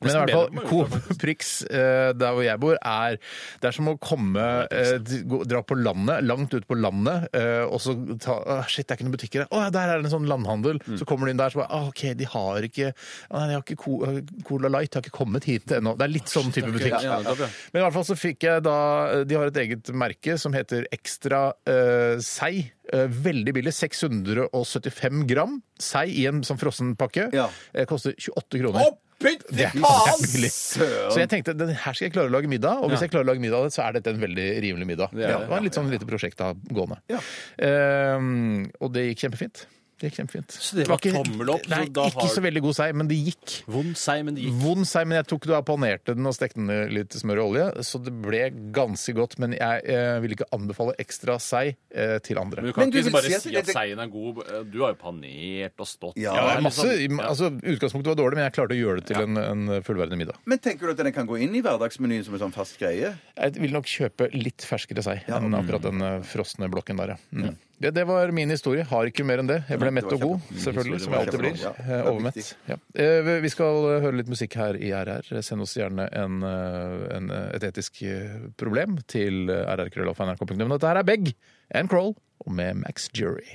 A: Men i hvert
C: Nesten bedre
A: fall,
C: på mange måter,
A: Coop Prix eh, der hvor jeg bor, er Det er som å komme eh, d- gå- Dra på landet, langt ut på landet, eh, og så ta «Åh, Shit, det er ikke noen butikker der. Å, ja, der er det en sånn landhandel.
C: Mm.
A: Så kommer du inn der, så bare «Åh, OK, de har ikke «Å, Nei, de har ikke Co- Cola Light har ikke kommet hit ennå. Det er litt sånn type butikk.
C: Ja, ja, ja.
A: Men i hvert fall så fikk jeg da eh, De har et eget merke som heter Ekstra eh, Sei. Eh, veldig billig. 675 gram sei i en sånn frossenpakke.
B: Ja.
A: Eh, koster 28 kroner.
B: Å, pytti
A: Det er
B: faen!
A: billig.
B: Søren!
A: Så jeg tenkte den her skal jeg klare å lage middag, og hvis
C: Ja.
A: jeg klarer å lage middag av det, så er dette en veldig rimelig middag.
C: Det er
A: Ja,
C: det.
A: det var en litt sånn lite prosjekt da gående.
B: Ja.
A: Ehm, og det gikk kjempefint. Det gikk kjempefint.
C: Så det var tommel opp, så
A: Nei,
C: da
A: ikke
C: har-
A: så veldig god sei, men det gikk.
C: Vond seig, men det gikk.
A: Vond sei, men jeg tok da panerte den og stekte den i litt smør og olje, så det ble ganske godt. Men jeg eh, vil ikke anbefale ekstra sei eh, til andre.
B: Men
C: Men du kan
B: du vil
C: ikke bare
B: si
C: si
B: at
C: at,
B: det-
C: seien er god. eh, Du har jo panert og stått
A: Ja,
B: Ja,
A: det er
C: det er
A: masse,
C: liksom- ja.
A: altså, utgangspunktet var dårlig, men jeg klarte å gjøre det til en, en fullverdig middag.
B: Men tenker du at den kan gå inn i hverdagsmenyen som en sånn fast greie?
A: Jeg vil nok kjøpe litt ferskere sei
B: Ja,
A: enn akkurat den eh, frosne blokken der, ja. Mm. Det, det var min historie. Har ikke mer enn det. Jeg ble
B: Nei,
A: mett
B: det
A: og
B: var
A: god, selvfølgelig, som jeg
B: var
A: alltid blir.
B: kjempebra. Ja,
A: Eh,
B: det er
A: Overmett.
B: viktig.
A: Ja. Eh, vi- Vi skal eh, høre litt musikk her i RR. Send oss gjerne en, eh, en, eh, et etisk eh, problem til eh, rrkrøllalfa.nrk.no. Men dette her er Begg and Crawl og med Max Jury.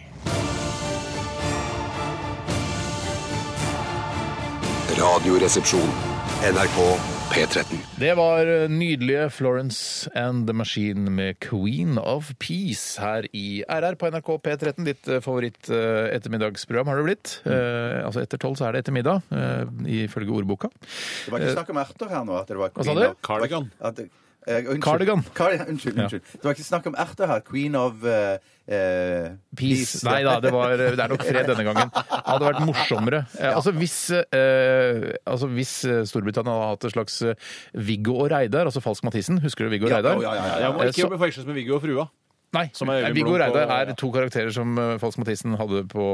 D: Radioresepsjon. NRK P13.
A: Det var eh, nydelige Florence and the Machine med Queen of Peace her i RR på NRK P13. Ditt eh, favoritt eh, ettermiddagsprogram har det blitt.
B: Mm.
A: Eh, altså etter tolv så er det ettermiddag, eh, ifølge ordboka.
B: Det var ikke snakk om erter her nå. At det var
A: Eh, sa
B: queen
A: du?
B: of-
C: Cardigan.
B: At, det- eh, unnskyld.
A: Cardigan.
B: Cardi- unnskyld. unnskyld. Det var ikke snakk om erter her. Queen of eh, eh,
A: Peace. Nei da, det, var, eh, det er nok fred denne gangen. Det hadde vært morsommere. Eh, altså hvis, eh, altså hvis eh, Storbritannia hadde hatt et slags eh, Viggo og Reidar, altså Falsk Mathisen, husker du Viggo og
B: Ja,
A: Reidar?
B: ja, ja, ja,
C: Jeg må
A: Eh,
C: ikke
A: så-
C: forveksles med Viggo og frua.
A: Nei,
C: Som er
A: nei,
C: Øyvind
A: Viggo
C: Blom
A: Reidar
C: på-
A: er to karakterer som eh, Falsk Mathisen hadde på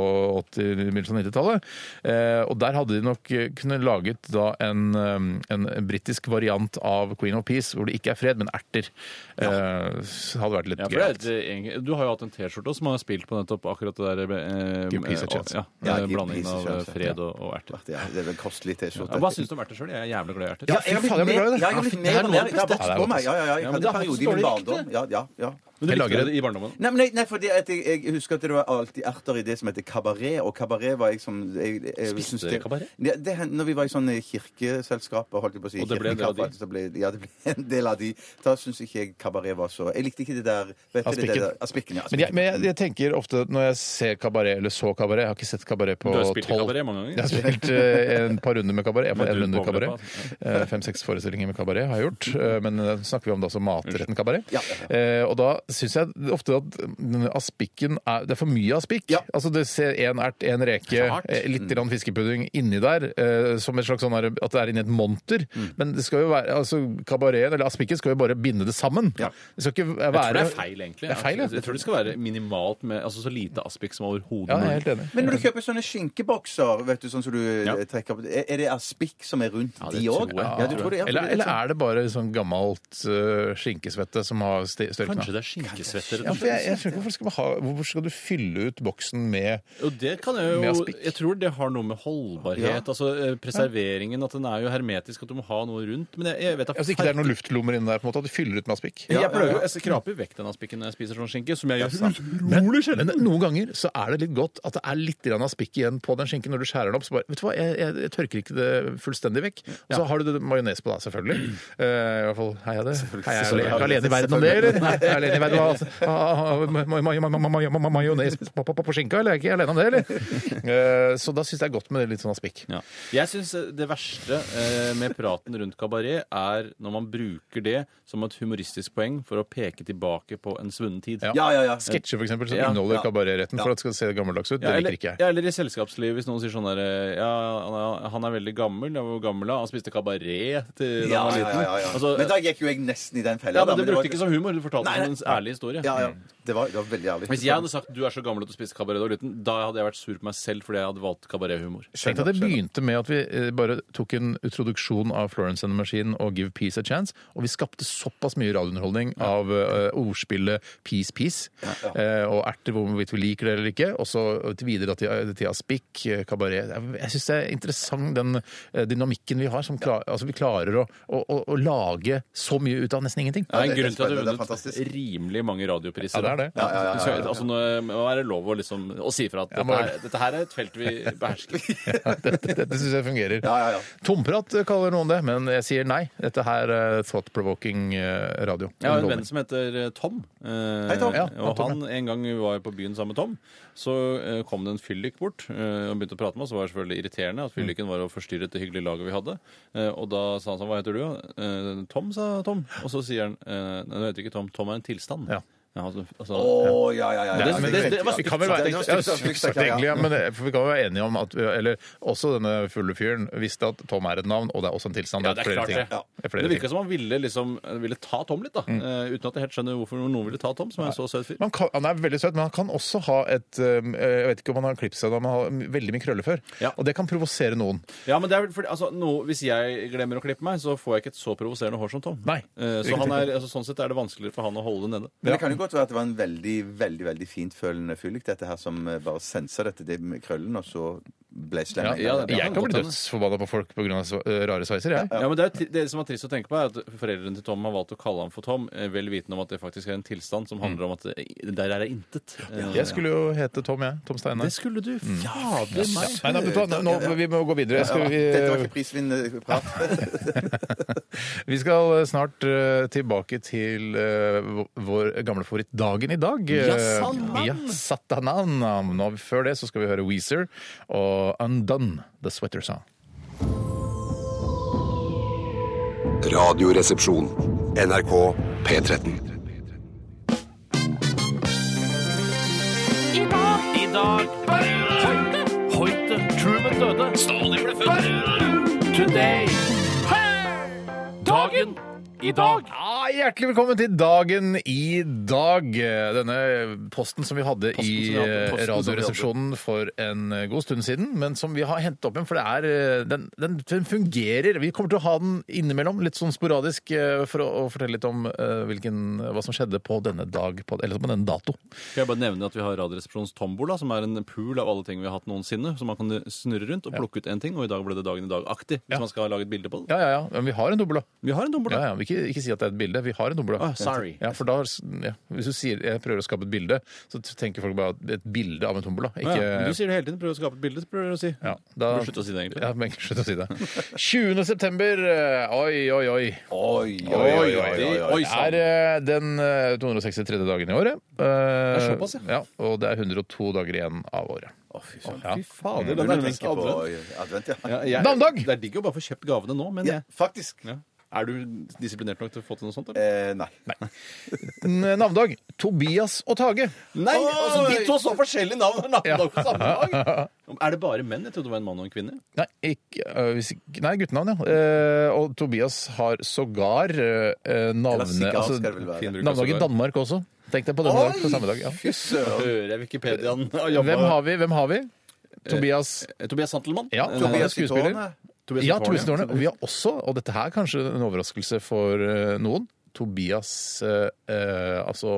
A: 80, begynnelsen av 90-tallet. Eh, og der hadde de nok eh, kunne laget da en, eh, en britisk variant av Queen of Peace, hvor det ikke er fred, men erter. Eh, så hadde det vært litt
C: Ja, for
A: gøyalt.
C: det, er et- egentlig- du har jo hatt en T-skjorte også som har spilt på nettopp akkurat det der eh,
A: Give peace a
C: eh,
A: chance.
C: Ja,
B: Ja,
C: eh,
B: give
C: Blandingen
B: peace a
C: av eh,
B: chance, ja.
C: fred og, og erter.
B: Ja, det er en kostelig T-skjorte.
C: Ja, hva syns du om erter sjøl? Jeg er jævlig glad i erter.
B: Ja,
A: fy
B: jeg har blitt
A: faen, jeg blir
B: mer-
A: glad i det.
B: jeg har
C: Ja,
B: blitt mer
C: fy, det er
B: og
C: noe
B: mer.
C: av det
B: Det har
C: beste.
B: vokst på meg. Ja, ja, ja. Jeg
C: Ja, men
B: hadde
C: det
B: en
C: har
B: periode
C: jo
B: i
C: så
B: min
C: dårlig
B: barndom.
C: rykte.
B: Ja, ja, ja.
C: Men du
A: Jeg
C: likte
A: lager
C: det i barndommen?
B: Nei, men jeg, nei, fordi at jeg, jeg husker at det var alltid erter i det som heter kabaret, og kabaret var jeg som jeg, jeg, jeg,
C: Spiste
B: syns det-
C: kabaret?
B: Ja, det hendte når vi var i sånne kirkeselskaper, holdt jeg på å si.
C: Og det ble en del av de?
B: kirkekaffe, så ble- Ja, det ble en del av de. Da syns ikke jeg kabaret var så Jeg likte ikke det der vet du, det
A: Aspikken.
B: der- Aspikken, ja.
A: Men jeg,
B: Aspikken.
A: men jeg, jeg tenker ofte når jeg ser kabaret, eller så kabaret Jeg har ikke sett kabaret på
C: Du
A: tolv
C: har spilt i kabaret mange ganger.
A: Jeg har spilt eh, en par runder med kabaret. Jeg
C: Men
A: får en
C: du
A: runde
C: overlever,
A: kabaret. Eh, Fem-seks forestillinger med kabaret har jeg gjort. Eh, Men eh, snakker vi om det altså matretten kabaret.
B: Ja.
A: Eh, Og da syns jeg ofte at mm, aspikken er Det er for mye aspikk.
B: Ja.
A: Altså du ser én ert, én reke,
C: Klart.
A: eh, litt grann fiskepudding inni der, eh, som et slags sånn her, at det er inni et monter.
C: Mm.
A: Men det skal jo være altså kabareten, eller aspikken, skal jo bare binde det sammen.
B: Ja.
A: Det skal ikke være
C: Jeg tror det er feil, egentlig.
A: Det er feil, ja.
C: Jeg tror det skal være minimalt med altså, så lite aspik som overhodet
A: Ja, jeg er helt
C: mulig.
A: enig.
B: Men når du kjøper sånne skinkebokser, vet du, sånn som du
C: Ja.
B: eh, trekker opp, er er det aspikk som er rundt
C: det
B: de
C: tror
B: òg?
C: jeg.
B: Ja, du tror det, ja, for
A: eller,
B: det er
A: eller
B: sånn-
A: er det bare sånn gammelt eh, skinkesvette som har sti- større
C: Kanskje
A: knapp?
C: det er skinkesvetter,
A: Ja,
C: rett og
A: for jeg,
C: slett.
A: jeg skjønner ikke hvorfor skal, man ha, hvorfor skal du fylle ut boksen med
C: Og det kan jeg
A: Med
C: jo
A: aspik.
C: Jeg tror det har noe med holdbarhet
B: Ja.
C: Altså eh, preserveringen, at den er jo hermetisk, at du må ha noe rundt. Men jeg, jeg vet at
A: Altså ikke det er noen luftlommer inni der, på en måte, at du fyller ut med aspikk?
C: Jeg prøver jo, jeg skraper jo vekk den aspikken når jeg spiser sånn skinke, som jeg gjør
A: Men, men noen ganger så er det litt godt at det er litt grann aspikk igjen på den skinken når du skjærer den opp. Så bare, vet du hva, jeg, jeg, jeg tørker ikke det fullstendig vekk. Og så har du det- majones på da, selvfølgelig. Eh, I hvert fall, hei, jeg det. Hei, jeg er jeg er ikke alene i verden om det, eller? Nei, Jeg er alene i verden om altså, ah, ma- ma- ma- ma- ma- ma- ma- majones på, på, på, på skinka, eller? Jeg er ikke alene om det, eller? Eh, Så da syns jeg det er godt med det litt sånn aspikk.
C: Ja. Jeg syns det verste eh, med praten rundt kabaret er når man bruker det som et humoristisk poeng for å peke tilbake på en svunnen tid.
A: Ja.
B: Ja, ja, ja.
A: Sketsjer, for eksempel, som
C: Ja,
A: inneholder
B: ja.
A: kabaretretten for at det skal se gammeldags ut.
C: Ja,
A: Det
C: eller,
A: liker ikke jeg.
C: ja, eller i selskapslivet, hvis noen sier sånn der eh, Ja, han er- han er veldig gammel. Ja, hvor gammel er han? Han spiste kabaret til da
B: Ja,
C: han var
B: ja,
C: liten.
B: ja, ja.
C: Altså,
B: men da gikk jo jeg nesten i den fella.
C: ja,
B: da,
C: men Du
B: det var-
C: brukte ikke som humor, du fortalte
B: Nei, nei.
C: som en ærlig historie.
B: Ja, ja. Det var, det var veldig ærlig.
C: Hvis jeg hadde sagt du er så gammel at du spiste kabaret da du var liten, da hadde jeg vært sur på meg selv fordi jeg hadde valgt kabarethumor.
A: Tenk at det begynte med at vi eh, bare tok en introduksjon av Florence and the Machine og Give Peace a Chance, og vi skapte såpass mye radiounderholdning av eh, ordspillet Peace Peace eh, og erter hvorvidt vi liker det eller ikke, og så til videre til, til aspikk, eh, kabaret. Jeg, jeg syns det er interessant den eh, dynamikken vi har, som klar, altså vi klarer å, å, å, å lage så mye ut av nesten ingenting.
C: Det er en
B: det er
C: grunn til at du
B: spennende,
C: har
B: det er
C: vunnet
B: fantastisk.
C: rimelig mange radiopriser.
A: Ja, det er det.
C: da. Så, Altså, nå må det være lov å, liksom, å si fra at
A: må
C: dette her, dette her er et felt vi behersker.
A: Dette, dette syns jeg fungerer.
B: Ja, ja, ja.
A: Tomprat eh, kaller noen det, men jeg sier nei. Dette her er thought-provoking eh, radio.
C: Jeg har en venn som heter eh, Tom. eh,
B: Hei, Tom.
A: Ja,
C: og
A: Tom,
C: han En gang vi var på byen sammen med Tom, så eh, kom det en fyllik bort eh, og begynte å prate med oss. Det var selvfølgelig irriterende at fylliken var og forstyrret det hyggelige laget vi hadde. Eh, og da sa han sånn Hva heter du? Eh, Tom, sa Tom. Og så sier han eh, Nei, du heter ikke Tom. Tom er en tilstand.
A: Ja.
C: altså, altså,
B: Å, ja, ja, ja. ja.
C: Det- men det- det var
A: Vi kan vel være,
B: Det var stygt sagt,
A: Ja, stygt
B: stygt
A: sagt,
B: sagt, ja, ja.
A: egentlig, ja, men det- for vi kan være enige om at eller, også denne fulle fyren visste at Tom er et navn, og det er også en tilstand.
C: Ja, det er
A: flere
C: klart
A: ting.
C: det.
A: Ja, det er flere
C: Men det virka
A: ting.
C: som han ville, liksom, ville ta Tom litt, da. Eh, uten at jeg helt skjønner hvorfor noen ville ta Tom, som er en så søt fyr.
A: Man kan, han er veldig søt, men han kan også ha et um, Jeg vet ikke om han har klippet seg da, men han har veldig mye krøller før.
C: Ja.
A: Og det kan provosere noen.
C: Ja, men det er vel fordi, altså, noe- Hvis jeg glemmer å klippe meg, så får jeg ikke et så provoserende hår som Tom.
A: Nei.
C: Eh, så han er, altså, sånn sett er det vanskeligere for han å holde det nede.
B: Men det kan jo godt være at det var en veldig veldig, veldig fintfølende fyllik, dette her, som eh, bare sensa dette det med krøllen, og så ble slem.
C: Ja, ja, det-
A: Jeg
C: kan
A: kan
C: godt
A: bli
C: hende.
A: dødsforbanna på folk pga. rare sveiser, jeg.
C: Ja, men det, er, jo ti- det som er trist å tenke på, er at foreldrene til Tom har valgt å kalle ham for Tom, eh, vel vitende om at det faktisk er en tilstand som handler om at det, der er Mm. Mm. det intet. Eh,
A: Jeg skulle jo hete Tom, jeg. Tom Steinar.
C: Det skulle du. Fader
A: Ja.
C: meg.
A: Nei, nei, vet du hva, nå, nå- vi må gå videre. Skal
B: Dette var
A: vi,
B: ikke prisvinnende prat.
A: Vi skal eh, snart eh, tilbake til eh, vå- vår gamle favoritt Dagen i dag. Eh,
C: Ja, satan!
A: Ja, satanan. Nå, før det så skal vi høre Weezer og Undone, The Sweater Song.
D: Radioresepsjon. NRK P13.
E: I dag Hoite Truman døde Stalin ble født Today Dagen I dag
A: Ja, hjertelig velkommen til Dagen i dag. Denne posten som vi hadde
C: Posten som
A: i
C: vi hadde,
A: eh,
C: posten som vi
A: Radioresepsjonen for en eh, god stund siden, men som vi har hentet opp igjen, for det er, eh, den, den, den fungerer. Vi kommer til å ha den innimellom, litt sånn sporadisk, eh, for å, å fortelle litt om eh, hvilken, hva som skjedde på denne dag, på, eller på denne dato.
C: Skal jeg bare nevne at vi har Radioresepsjonens tombola, som er en pool av alle ting vi har hatt noensinne, så man kan snurre rundt og plukke ut en ting, og i dag ble det Dagen i dag-aktig, hvis man skal lage et bilde på det.
A: Ja, ja, ja. Men vi har en dobbel, da.
C: Vi har en tombola.
A: Ja, ja. men Ikke, ikke si at det er et bilde. Vi har en dobbel.
C: Ah, sorry.
A: Ja, for da, ja, hvis du sier jeg prøver å skape et bilde, så tenker folk bare at et bilde av en tombola. Ikke,
C: Ja, men Du sier det hele tiden. Prøver å skape et bilde. så prøver du å si.
A: Ja, da-
C: Burde slutte å si det, egentlig.
A: Ja, men slutt å si det. 20. september. eh, Oi, oi, oi.
B: Oi,
A: Det er eh, den eh, 263. dagen i året. Det er
C: såpass,
A: ja. Og det er 102 dager igjen av året.
B: Å, fy søren.
A: Ja. Mm.
C: Fy fader,
B: Du
C: det er nærmest
B: tenker på
C: advent.
B: advent, ja.
C: Ja, jeg-
A: Navnedag!
C: Det er digg å bare få kjøpt gavene nå, men
B: Ja,
C: jeg
B: faktisk.
C: Ja. Er du disiplinert nok til å få til noe sånt?
B: Eh,
C: Eller?
B: nei.
A: N- Navnedag eh, Tobias og Tage.
C: Nei! Altså, de to så forskjellige navn har
A: Ja.
C: navnedag på samme dag! Er det bare menn? Jeg trodde det var en mann og en kvinne.
A: Nei, ikke, øh, hvis ikke, nei guttenavn, ja. Eh, og Tobias har sågar eh, navne...
B: Eller sikkert
A: altså,
B: skal det vel være.
C: Fin bruk av
A: navnedag i
C: sågar.
A: Danmark også. Tenk deg på denne dag, på samme dag. Ja.
B: Fy søren.
C: Hører jeg Wikipediaen og jobber
A: Hvem har vi? Hvem har vi?
B: Eh,
A: Tobias
C: Tobias Santelmann?
A: Ja,
C: Eh,
A: Tobias-
B: Tobias i
A: skuespiller.
B: tårnet.
C: Tobias
A: Ja,
C: Santelmann,
A: Tobias Norne. Og vi har også, og dette her er kanskje en overraskelse for eh, noen, Tobias eh, eh, Altså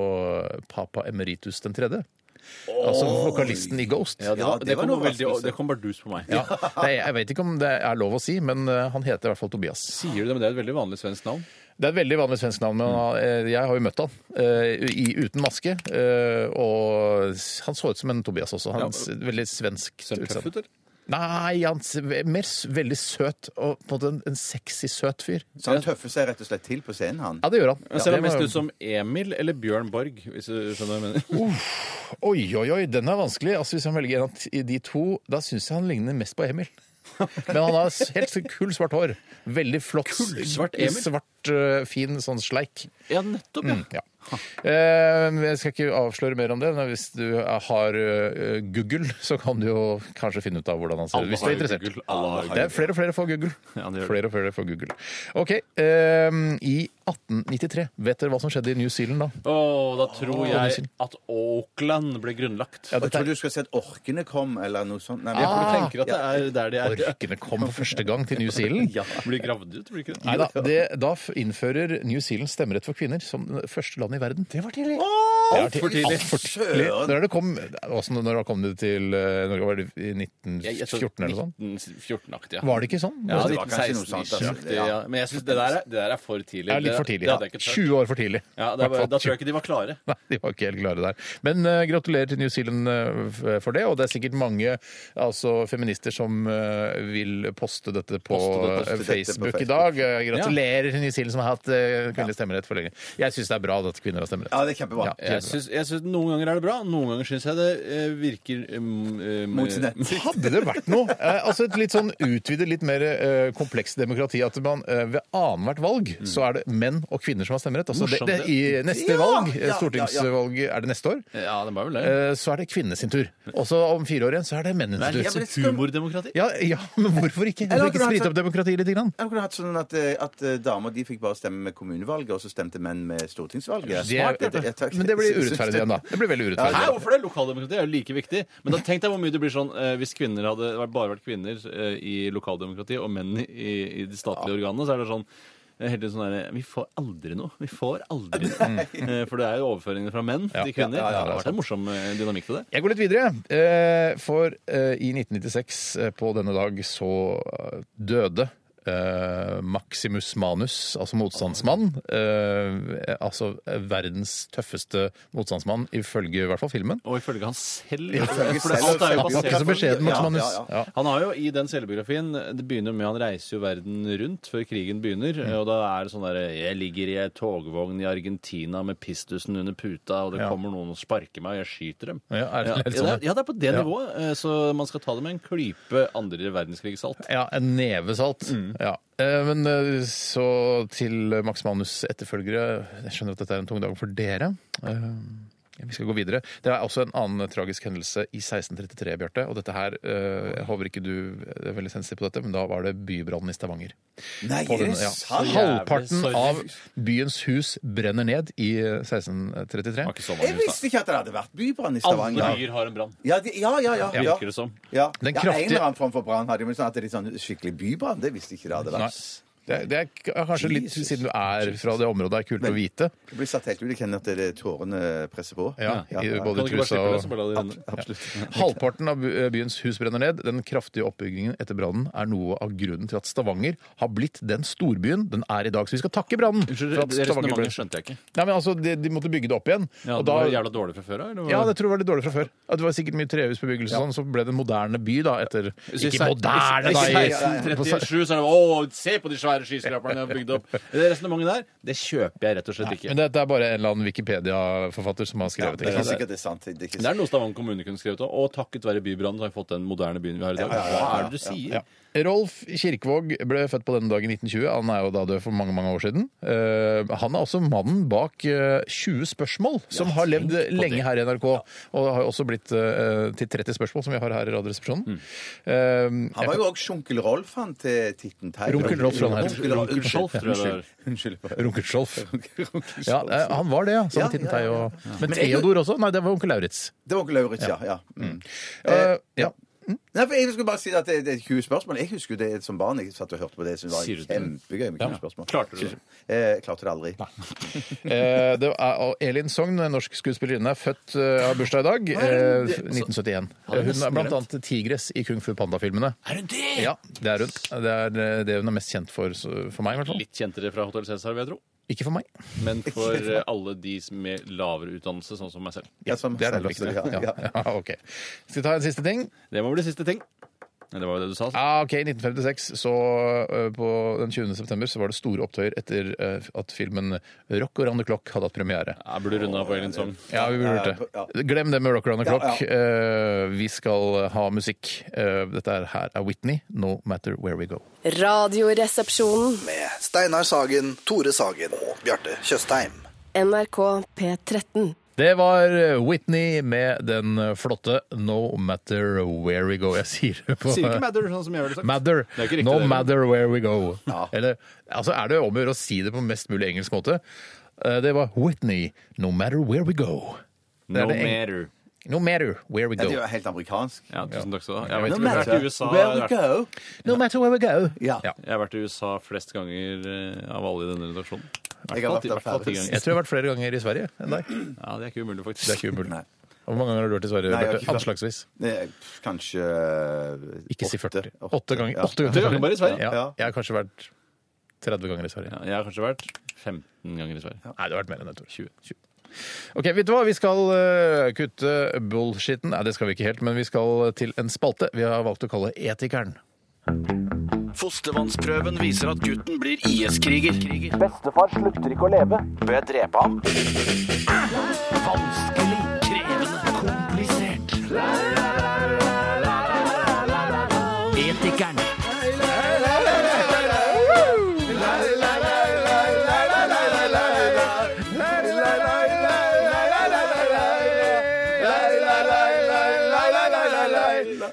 A: Papa Emeritus den tredje. Altså vokalisten i Ghost.
C: Ja, det,
B: Ja,
C: var,
B: det
C: det,
B: var
C: kom
B: en
C: veldig,
B: overraskelse.
C: det kom bardus på meg.
A: Ja. Det er, jeg vet ikke om det er lov å si, men eh, han heter i hvert fall Tobias.
C: Sier du det, men det er et veldig vanlig svensk navn.
A: Det er et veldig vanlig svensk navn, men
C: Mm.
A: han- eh, jeg har jo møtt han eh, i, uten maske. eh, Og han så ut som en Tobias også. Han s- veldig svensk
C: Ser han tøff ut,
A: utseende.
C: eller?
A: Nei, han s- mer s- veldig søt og på en måte en, en sexy, søt fyr.
B: Så han tøffer seg rett og slett til på scenen, han.
A: Ja, det gjør han.
C: Han ser
A: Det
C: han mest
A: var-
C: ut som Emil eller Bjørn Borg, hvis du skjønner hva jeg mener.
A: Oi, oi, oi, den er vanskelig. Altså, hvis han velger en av t- de to, da syns jeg han ligner mest på Emil. Men han har s- helt kull svart hår. Veldig flott.
C: Kullsvart Emil?
A: Svart, øh, fin sånn sleik.
C: Ja, nettopp, ja.
A: Ja. Eh, jeg skal ikke avsløre mer om det, men hvis du har øh, Google, så kan du jo kanskje finne ut av hvordan han ser ut.
C: Alle
A: Hvis du er
C: har jo
A: interessert.
C: Google, alle har jo
A: Det er flere og flere får Google.
C: Ja, det gjør det.
A: flere og flere får Google. OK. eh, I 1893, vet dere hva som skjedde i New Zealand da?
C: Å, da tror jeg at Auckland ble grunnlagt.
A: Ja,
B: Jeg
A: dette er-
B: tror du skal si at orkene kom, eller noe sånt. Nei,
C: Ja,
A: Ah.
C: for du tenker at det er der de er.
A: Orkene kom for første gang til New Zealand.
C: Ja, Blir gravd ut, blir ikke det?
A: Nei da, det, da f- innfører New Zealand stemmerett for kvinner som det første land i verden. Det var tidlig!
C: altfor tidlig.
A: Altfor tidlig. Når det kom, altså når det kom det til eh, Norge, var det i 1914 eller sånn?
C: 1914-aktig, ja.
A: Var det ikke sånn?
C: Ja,
B: det var kanskje noe sånt,
C: 1916-ish.
B: altså. Ja.
C: Ja. Men jeg synes det, der er- det der er for tidlig.
A: Det er litt for
C: Det-
A: tidlig.
C: Det hadde jeg ikke tørt.
A: 20 år for tidlig.
C: Ja, det var,
A: Hvertfall
C: da tror jeg ikke de var klare.
A: Nei, de var ikke helt klare der. Men eh, gratulerer til New Zealand eh, f- for det, og det er sikkert mange altså, feminister som eh, vil poste dette på,
C: Poste det,
A: eh,
B: dette på
A: Facebook
B: Facebook.
A: i dag. Eh, gratulerer til New Zealand som har hatt eh, kvinnelig stemmerett for lenge. Jeg syns det er bra at kvinner har stemmerett.
B: Ja, det er kjempebra.
A: Ja.
C: Jeg synes, jeg synes Noen ganger er det bra, noen ganger syns jeg det eh, virker um, um,
B: Mot sin rett.
A: eh, Hadde det vært noe eh, Altså et litt sånn utvidet, litt mer eh, komplekst demokrati at man eh, ved annethvert valg så er det menn og kvinner som har stemmerett. Altså, det,
C: Morsomt,
A: det, I neste
B: Mm. Ja,
A: valg,
B: ja, ja, ja.
A: stortingsvalget, er det neste år,
C: Ja, det var vel det.
A: eh, så er det kvinne sin tur. Og så om fire år igjen så er det mennene sin tur.
C: det er
B: men det
C: litt
B: skal-
C: humordemokrati.
A: Ja, ja, men hvorfor ikke?
B: Eller
A: Hvorfor
B: at
A: ikke
B: du har
A: sprite
B: sånn-
A: opp demokratiet litt? Grann?
B: Jeg kunne hatt sånn at, eh, at eh, damer de fikk bare stemme med kommunevalget, og så stemte menn med stortingsvalget. Smart,
A: Det-
B: dette. Ja, takk.
A: men det blir urettferdig igjen, da. Det blir veldig
C: Hæ,
A: urettferdig.
C: hvorfor det? Lokaldemokrati er jo like viktig. Men da tenk deg hvor mye det blir sånn eh, hvis kvinner hadde vært- bare vært kvinner eh, i lokaldemokrati og menn i, i de statlige organene, så er det sånn eh, Helt sånn der, Vi får aldri noe. Vi får aldri noe. Eh, For det er jo overføringene fra menn til kvinner.
A: Ja, ja, ja, det er
C: det har vært en morsom eh, dynamikk til det.
A: Jeg går litt videre, eh, for eh, i 1996 eh, på denne dag så eh, døde eh, Maximus Manus, altså motstandsmann. eh, altså verdens tøffeste motstandsmann, ifølge i hvert fall filmen.
C: Og ifølge han selv.
B: Ifølge
C: For det,
B: selv,
C: alt er jo
A: Han
B: ja,
A: var
C: basert
A: ikke så
C: på
A: beskjeden, Max
B: Ja, ja,
A: Manus.
B: ja.
A: Ja.
C: Han har jo i den selvbiografien Det begynner jo med han reiser jo verden rundt før krigen begynner.
A: Mm.
C: Og da er det sånn derre Jeg ligger i ei togvogn i Argentina med pistusen under puta, og det
A: Ja.
C: kommer noen og sparker meg, og jeg skyter dem.
A: Ja, er det-
C: ja,
A: er det
C: ja,
A: sånn?
C: det er, ja, det er på det
A: Ja.
C: nivået. eh, Så man skal ta det med en klype andre verdenskrigssalt.
A: Ja, en neve salt.
C: Mm.
A: Ja. Eh, Men eh, så til Max Manus' etterfølgere. Jeg skjønner at dette er en tung dag for dere. Eh, Vi skal gå videre. Det er også en annen tragisk hendelse i 1633, Bjarte. Og dette her, eh, jeg håper ikke du er veldig sensitiv på dette, men da var det bybrannen i Stavanger.
B: Nei,
A: På
B: er det
A: denne- ja.
B: sant?
A: Halvparten
C: Sorry.
A: av byens hus brenner ned i 1633.
C: Det var ikke så
B: Jeg
C: mange hus,
B: visste ikke at det hadde vært bybrann i
C: da. Alle
B: Stavanger.
C: byer har en brann,
B: Ja, de, ja, ja, ja, ja.
C: virker det som.
B: Ja,
A: Den
B: ja,
A: kraftige-
B: en eller annen form for brann hadde jo, men sånn at det er litt sånn skikkelig bybrann, det visste ikke det hadde
A: Nei.
B: vært.
A: Det er, det er k- kanskje litt
B: Jesus.
A: siden du er fra det området, det er kult å vite.
B: Det blir satt helt ut, jeg kjenner at det er tårene presser på.
A: Ja, i
C: Kan du
A: både trusa
C: ikke bare slippe
A: og
C: løs og bare la det renne?
B: Absolutt.
A: Halvparten av by- byens hus brenner ned. Den kraftige oppbyggingen etter brannen er noe av grunnen til at Stavanger har blitt den storbyen den er i dag. Så vi skal takke brannen.
C: Unnskyld,
A: for at
C: det
A: Stavanger ble-
C: resonnementet skjønte jeg ikke.
A: Nei, men altså, de, de måtte bygge det opp igjen.
C: Ja,
A: og
C: det
A: da,
C: var jævla dårlig fra før av? eller hva?
A: ja, det tror jeg var litt dårlig fra før. At det var sikkert mye trehusbebyggelse og sånn, så ble det en moderne by da etter
C: Så i
A: Ikke
C: se-
A: moderne,
C: i-
A: da!
C: i
A: i-
C: 1637 så er det Å, se på de svære skyskraperne jeg har bygd opp! Det resonnementet der, det kjøper jeg rett og slett ikke.
A: Men dette er bare en eller annen Wikipedia-forfatter som har skrevet
B: Det er
A: det.
B: sikkert det er sant. Det er ikke
C: Det er noe Stavanger kommune kunne skrevet om. Og takket være bybrannen så har vi fått den moderne byen vi har i dag.
B: Ja, ja, ja, ja,
C: Hva er det du sier?
A: Ja. Rolf Kirkevåg ble født på denne dagen i 1920. Han er jo da død for mange mange år siden. Eh, han er også mannen bak eh, 20 spørsmål, som har levd lenge her i NRK. Og har jo også blitt eh, til 30 spørsmål, som vi har her i Radioresepsjonen. Eh,
B: Mm. Han var jo også Sjunkel Rolf, han til Titten Tei.
A: Runkel Rolf, tror jeg han het.
B: Runkel Rolf,
C: Runkel Rolf, tror jeg det er.
B: Unnskyld. Unnskyld.
A: Runkelsjolf.
B: Runkel
A: Ja,
B: Rolf.
A: eh, han var det, ja. Sammen
B: Ja,
A: med Titten
B: ja,
A: Tei
B: ja, ja.
A: og Men
B: Men jeg-
A: Theodor også? Nei, det var onkel Lauritz.
B: Det var onkel Lauritz, ja. ja. Mm.
A: Eh, ja.
B: Nei, for jeg skulle bare si at det, det er 20 spørsmål. Jeg husker jo det som barn. Jeg satt og hørte på det. Jeg synes
C: Sier du
B: det var
C: det?
B: kjempegøy med 20 spørsmål.
C: Klarte du det?
B: Eh, klarte det aldri.
A: Eh, det er og Elin Sogn, en norsk skuespillerinne, er født eh, har bursdag i dag. Eh, 1971.
C: jeg
A: Eh, Hun
C: nesten
A: er blant annet Tigress i Kung Fu Panda-filmene.
C: Er hun det?
A: Ja, det er hun. Det er eh, det hun er mest kjent for, så- for meg i hvert fall.
C: Litt kjentere fra Hotel Cæsar, vil jeg tro.
A: Ikke for meg.
C: Men for eh, alle de som med lavere utdannelse, sånn som meg selv.
B: Ja, som
A: Det er det
B: selveste,
A: viktige. Ja,
B: ja,
A: ja, ok. Skal vi ta en siste ting?
C: Det må bli siste ting. Nei, Det var jo det du sa. altså.
A: Ja, ok, I 1956, så eh, på den 20. september, så var det store opptøyer etter eh, at filmen 'Rock around the Clock' hadde hatt premiere.
C: Jeg burde runde av på Elin Sogn.
A: Ja, vi burde gjort
B: Eh, Ja,
A: det. Glem det med Rock around the
B: Ja,
A: Clock. Eh, Vi skal ha musikk. Eh, Dette er- her er Whitney, 'No Matter Where We Go'.
F: Radioresepsjonen.
G: med Steinar Sagen, Tore Sagen og Bjarte Tjøstheim.
F: NRK P13.
A: Det var eh, Whitney med den flotte 'No Matter Where We Go'. Jeg sier det på
C: Sier ikke matter, sånn som jeg ville sagt.
A: Matter.
C: Det er ikke riktig,
A: no
C: det.
A: matter where we go. Eller, altså er det om å gjøre å si det på mest mulig engelsk måte. Eh, Det var Whitney, no matter where we go. Det er
C: No
A: det en-
C: matter.
A: No matter where we
B: Ja,
A: go.
B: det er jo helt amerikansk.
C: Ja, tusen takk skal du ha. Jeg
A: Jeg
C: har
A: vet
C: vært-
A: ikke
C: jeg
A: om
C: har vært i USA.
B: Where
C: jeg
B: we
C: har vært-
B: go.
A: No matter where we go.
B: Ja.
C: Jeg har vært i USA flest ganger eh, av alle i denne redaksjonen. I
B: Jeg har
C: hvert fall
B: vært
C: ti-
B: der
C: hvert fall ti
B: færrest.
C: ganger.
A: Jeg tror jeg har vært flere ganger i Sverige enn deg.
C: Ja, det er ikke umulig, faktisk.
A: Det er ikke umulig.
B: Nei.
A: Hvor mange ganger har du vært i Sverige?
B: Nei, jeg har
A: Bjarte?
B: ikke-
A: Anslagsvis.
B: Eh, pff, Kanskje eh,
A: Ikke si
B: åtte.
A: 40.
B: Åtte,
A: Åtte ganger.
B: ja.
A: Åtte
C: Åtte ganger bare i Sverige?
A: Ja.
B: Ja.
A: Jeg har kanskje vært 30 ganger i Sverige.
C: Ja, jeg har kanskje vært 15 ganger i Sverige.
A: Nei, det har vært mer enn det, Tor. 20. 20. Ok, vet du hva? Vi skal eh, kutte bullshitten. Nei, det skal vi ikke helt, men vi skal til en spalte vi har valgt å kalle Etikeren.
E: Fostervannsprøven viser at gutten blir IS-kriger.
H: Bestefar slutter ikke å leve. Bør jeg drepe ham?
E: Vanskelig, krevende, komplisert. Etikeren.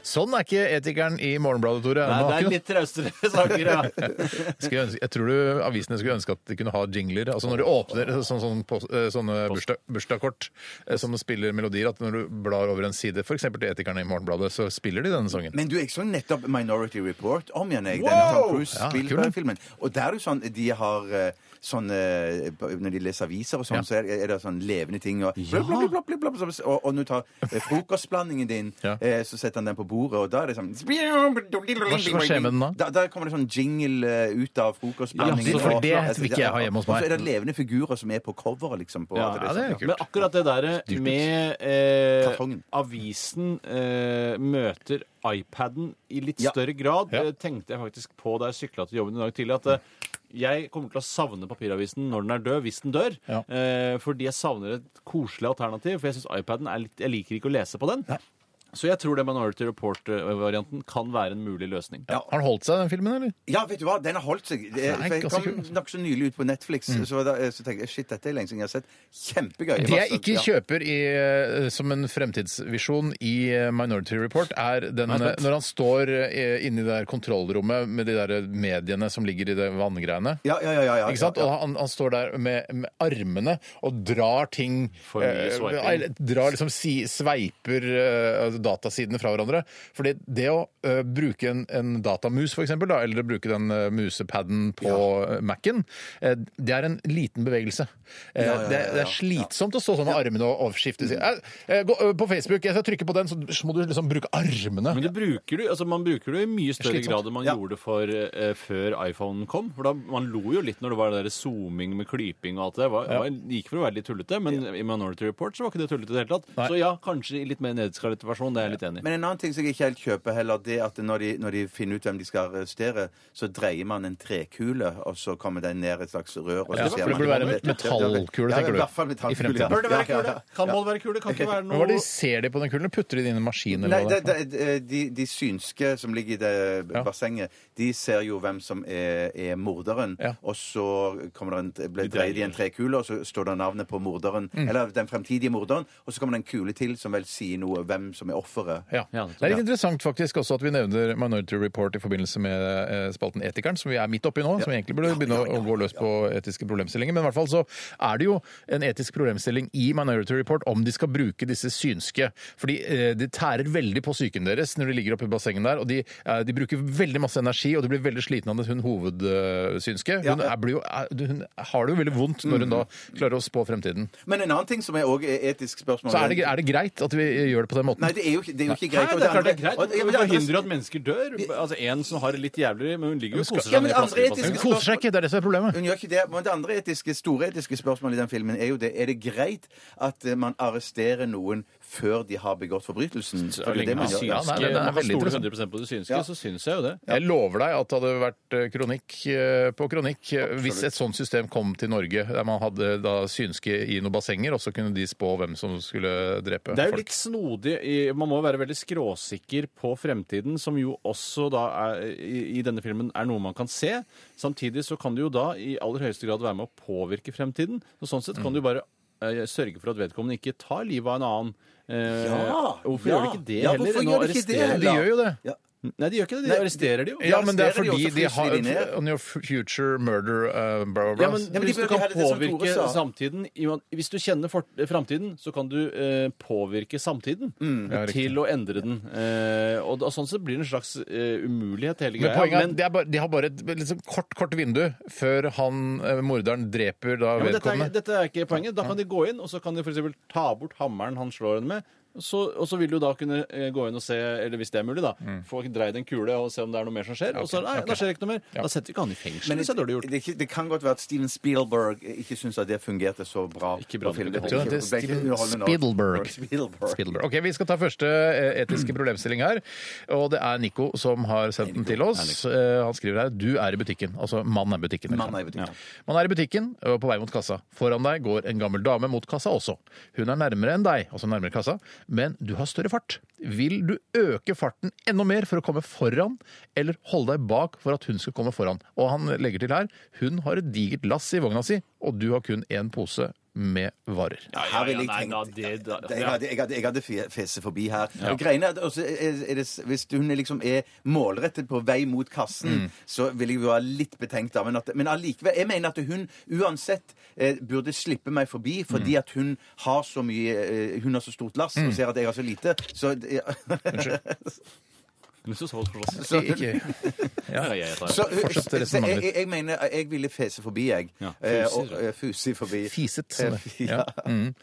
A: Sånn er ikke Etikeren i Morgenbladet, Tore.
C: Nei,
A: Nå har
C: det er
A: ikke
C: litt traustere saker, ja.
A: noe- Skulle ønske, jeg tror du avisene skulle ønske at de kunne ha jingler. Altså Når du åpner sånn, sånn, post- eh, sånne bursdag, bursdagskort eh, som spiller melodier, at når du blar over en side, f.eks. til Etikeren i Morgenbladet, så spiller de denne sangen.
B: Men du, jeg så nettopp Minority Report om igjen, jeg. Denne Tom
A: Ja,
B: Cruise-filmen. Og der er jo sånn De har eh, sånn eh, Når de leser aviser og sånn,
A: Ja.
B: så er det- er det sånn levende ting og blub, blub, blub, blub, blub, blub, Og, og når du tar eh, frokostblandingen din,
A: Ja.
B: eh, så setter han den på bordet, og da er det sånn
A: hva skjer med den da?
B: Da, da kommer det sånn jingle eh, ut av frokostblandingen.
A: Ja, så for
B: og- altså,
A: det vil ikke jeg ha hjemme hos meg.
B: Og så er det levende figurer som er på coveret, liksom. På,
C: Ja,
A: Ja,
B: at
A: det er
B: sånn,
A: kult.
C: Men akkurat det der med eh,
B: Kartongen.
C: avisen eh, møter iPaden i litt
B: Ja.
C: større grad,
A: Ja.
C: eh, tenkte jeg faktisk på da jeg sykla til jobben i dag tidlig. at eh, jeg kommer til å savne papiravisen når den er død, hvis den dør.
A: Ja.
C: Eh, fordi jeg savner et koselig alternativ. For jeg syns iPaden er litt Jeg liker ikke å lese på den. Så jeg tror det Minority Report-varianten kan være en mulig løsning.
A: Ja. Har han holdt seg, den filmen, eller?
B: Ja, vet du hva, den har holdt seg. Det,
A: Nei,
B: for jeg
A: ganske
B: kom
A: kult.
B: nokså nylig ut på Netflix, så, da, eh, så tenkte jeg shit, dette er lenge siden jeg har sett. Kjempegøy.
A: Det jeg ikke
B: Ja.
A: kjøper i, eh, som en fremtidsvisjon i eh, Minority Report, er den, eh, når han står eh, inne i det der kontrollrommet med de der mediene som ligger i det vanngreiene.
B: Ja, ja, ja, ja, ja,
A: Ikke sant?
B: ja,
A: Og han, han står der med, med armene og drar ting
C: For mye
A: eh,
C: swiping.
A: eller drar liksom si, Sveiper eh, altså datasidene fra hverandre. Fordi det å eh, bruke en, en datamus, for eksempel, da, eller bruke den eh, musepadden på eh, Mac-en, eh, det er en liten bevegelse. Eh,
B: Ja, ja, ja,
A: det, er- det
B: ja, ja.
A: er slitsomt å stå sånn med armene og overskifte. Si, eh, eh, gå, eh, på Facebook, jeg skal trykke på den, så, så må du liksom bruke armene.
C: Men det bruker du, altså man bruker det i mye større
A: Slitsomt.
C: grad enn man
B: Ja.
C: gjorde det for eh, før iPhone kom. For da, Man lo jo litt når det var det der zooming med klyping og alt det der. Var- var- Det gikk for å være litt tullete, men i Minority Report så var ikke det tullete i det hele tatt.
A: Nei.
C: Så ja, kanskje i litt mer nedskalert versjon. informasjon. Det er jeg litt enig i.
B: Men en annen ting som jeg ikke helt kjøper heller, det er at når de, når de finner ut hvem de skal arrestere, så dreier man en trekule, og så kommer den ned et slags rør. Og så
A: Ja,
B: ser
A: for det
B: man-
A: burde være en metallkule,
B: Ja,
A: tenker du?
B: i hvert fall metallkule.
A: I fremtiden.
B: ja.
A: Burde
B: Ja, ja, ja.
C: Kan mål være kule? Kan ikke være
A: Men Hva er det de ser de på den kulen? Putter de det inn i en maskin?
B: Nei,
A: Eller hva
B: det,
A: det, er?
B: det, eh, de, de synske som ligger i det
A: Ja.
B: bassenget, de ser jo hvem som er, er morderen.
A: Ja.
B: Og så kommer det en, ble dreier de en trekule, og så står det navnet på morderen.
A: Mm.
B: Eller den fremtidige morderen. Og så kommer det en kule til som vel sier noe hvem som er offeret.
A: Ja.
C: Ja,
A: Det er litt interessant faktisk også at vi nevner Minority Report i forbindelse med eh, spalten Etikeren, som vi er midt oppi nå, som egentlig burde begynne å- å gå løs på etiske problemstillinger. Men i hvert fall så er det jo en etisk problemstilling i Minority Report om de skal bruke disse synske. Fordi eh, det tærer veldig på psyken deres når de ligger oppi bassenget der, og de, eh, de bruker veldig masse energi, og de blir veldig slitne av det, hun hovedsynske. Hun, er, blir jo, er, hun har det jo veldig vondt når hun da
B: Mm.
A: klarer å spå fremtiden.
B: Men en annen ting som er også er etisk spørsmål
A: Så er det, er det greit at vi eh, gjør det på den måten?
B: Nei, det er jo, ikke- det er jo ikke
C: Nei,
B: greit. og
C: det er klart det er
B: andre-
C: greit.
B: og-
C: men
B: ja, men
C: Vi
B: det andre-
C: forhindrer at mennesker dør. Altså, En som har det litt jævlig, men hun ligger jo og koser
B: Ja,
C: seg
B: men
C: ned
B: andre
C: flasker i
B: etiske
C: bassenget.
A: Hun koser seg ikke, det er det som er problemet.
B: Hun gjør ikke det, men det andre etiske, store etiske spørsmålet i den filmen er jo det Er det greit at eh, man arresterer noen før de har begått forbrytelsen? For
C: Så
B: det er
C: lenge
B: det man
C: man
B: gjør.
C: synske,
A: Ja, nei, det er
C: man kan
A: veldig
C: stole
A: interessant.
C: 100 på det synske,
B: Ja.
C: så syns jeg jo det.
A: Jeg lover deg at det hadde vært eh, kronikk eh, på kronikk eh, hvis et sånt system kom til Norge, der man hadde da synske i noen bassenger, og så kunne de spå hvem som skulle drepe
C: Det er jo
A: folk.
C: litt snodig. i- Man må være veldig skråsikker på fremtiden, som jo også da er, i, i denne filmen er noe man kan se. Samtidig så kan du jo da i aller høyeste grad være med å påvirke fremtiden. Så sånn sett kan du jo bare eh, sørge for at vedkommende ikke tar livet av en annen. Eh,
B: Ja,
C: hvorfor
B: ja.
C: gjør de ikke det
B: Ja,
C: heller?
B: hvorfor
C: Nå
B: gjør de ikke det
C: arresterer
A: De gjør jo det.
B: Ja.
C: Nei, de gjør ikke det. De
B: Nei,
C: arresterer de jo.
A: Ja, men det er
B: arresterer de, og
A: fordi
B: så
A: de
B: fryser
A: har
B: de ned.
A: On your future murder uh, blah, blah, blah.
C: Ja, men,
B: men de
C: hvis du
B: burde
C: kan
B: ha det som Tore
C: påvirke
B: sa.
C: samtiden i og- Hvis du kjenner for, framtiden, så kan du eh, påvirke samtiden
B: Mm.
A: Ja, riktig.
C: til å endre den. Eh, og da, sånn sett blir det en slags eh, umulighet, hele
A: Men
C: greia.
A: poenget er at
C: men,
A: de, er bare, de har bare et liksom, kort kort vindu før han, eh, morderen dreper da
C: ja, men dette, er,
A: vedkommende.
C: dette er ikke poenget. Da kan de gå inn, og så kan de for eksempel ta bort hammeren han slår henne med. Så, og så vil du da kunne eh, gå inn og se, eller hvis det er mulig, da,
A: Mm.
C: få dreid en kule og se om det er noe mer som skjer. og så nei, da skjer det ikke noe mer. Da setter vi ikke han i fengsel.
B: Men
C: hvis det er dårlig gjort.
B: det, er ikke- det kan godt være at Steven Spielberg ikke syns at det fungerte så bra.
C: Ikke bra
B: på filmen.
C: nok.
B: Det
A: Så det er
B: ble ikke- ble ikke
A: Steven
B: underholdende nok.
A: Spielberg.
B: Spielberg.
A: Spielberg. Ok, Vi skal ta første eh, etiske problemstilling her. Og det er Nico som har sendt den til oss. Eh, Han skriver her du er i butikken. Altså mann er i butikken.
B: Mann er i butikken.
A: Man er i butikken og på vei mot kassa. Foran deg går en gammel dame mot kassa også. Hun er nærmere enn deg, altså nærmere kassa, men du har større fart. Vil du øke farten enda mer for å komme foran, eller holde deg bak for at hun skal komme foran? Og han legger til her hun har et digert lass i vogna si, og du har kun én pose med varer.
B: Her ville jeg
C: nei,
B: tenkt
C: da, det- da-
B: Jeg hadde, jeg hadde, jeg hadde fe- fese forbi her. Og greiene er, at også er, er det, s- Hvis hun er liksom er målrettet på vei mot kassen, så vil jeg jo være litt betenkt. da, Men, at, men allikevel Jeg mener at hun uansett eh, burde slippe meg forbi, fordi at hun har så mye eh, Hun har så stort lass og ser at jeg har så lite. Så, det-
C: Men så så så-
B: så hun-
A: Ikke,
C: Ja, ja, jeg tar det.
B: så,
A: Fortsett
B: så, så
A: resonnementet
B: jeg,
A: ditt.
B: jeg, jeg mener at jeg ville fese forbi, jeg.
C: Ja,
B: Eh,
C: fuser,
B: og-
C: da.
B: eh, Fusi forbi.
A: Fiset, som det-
B: Eh, Ja.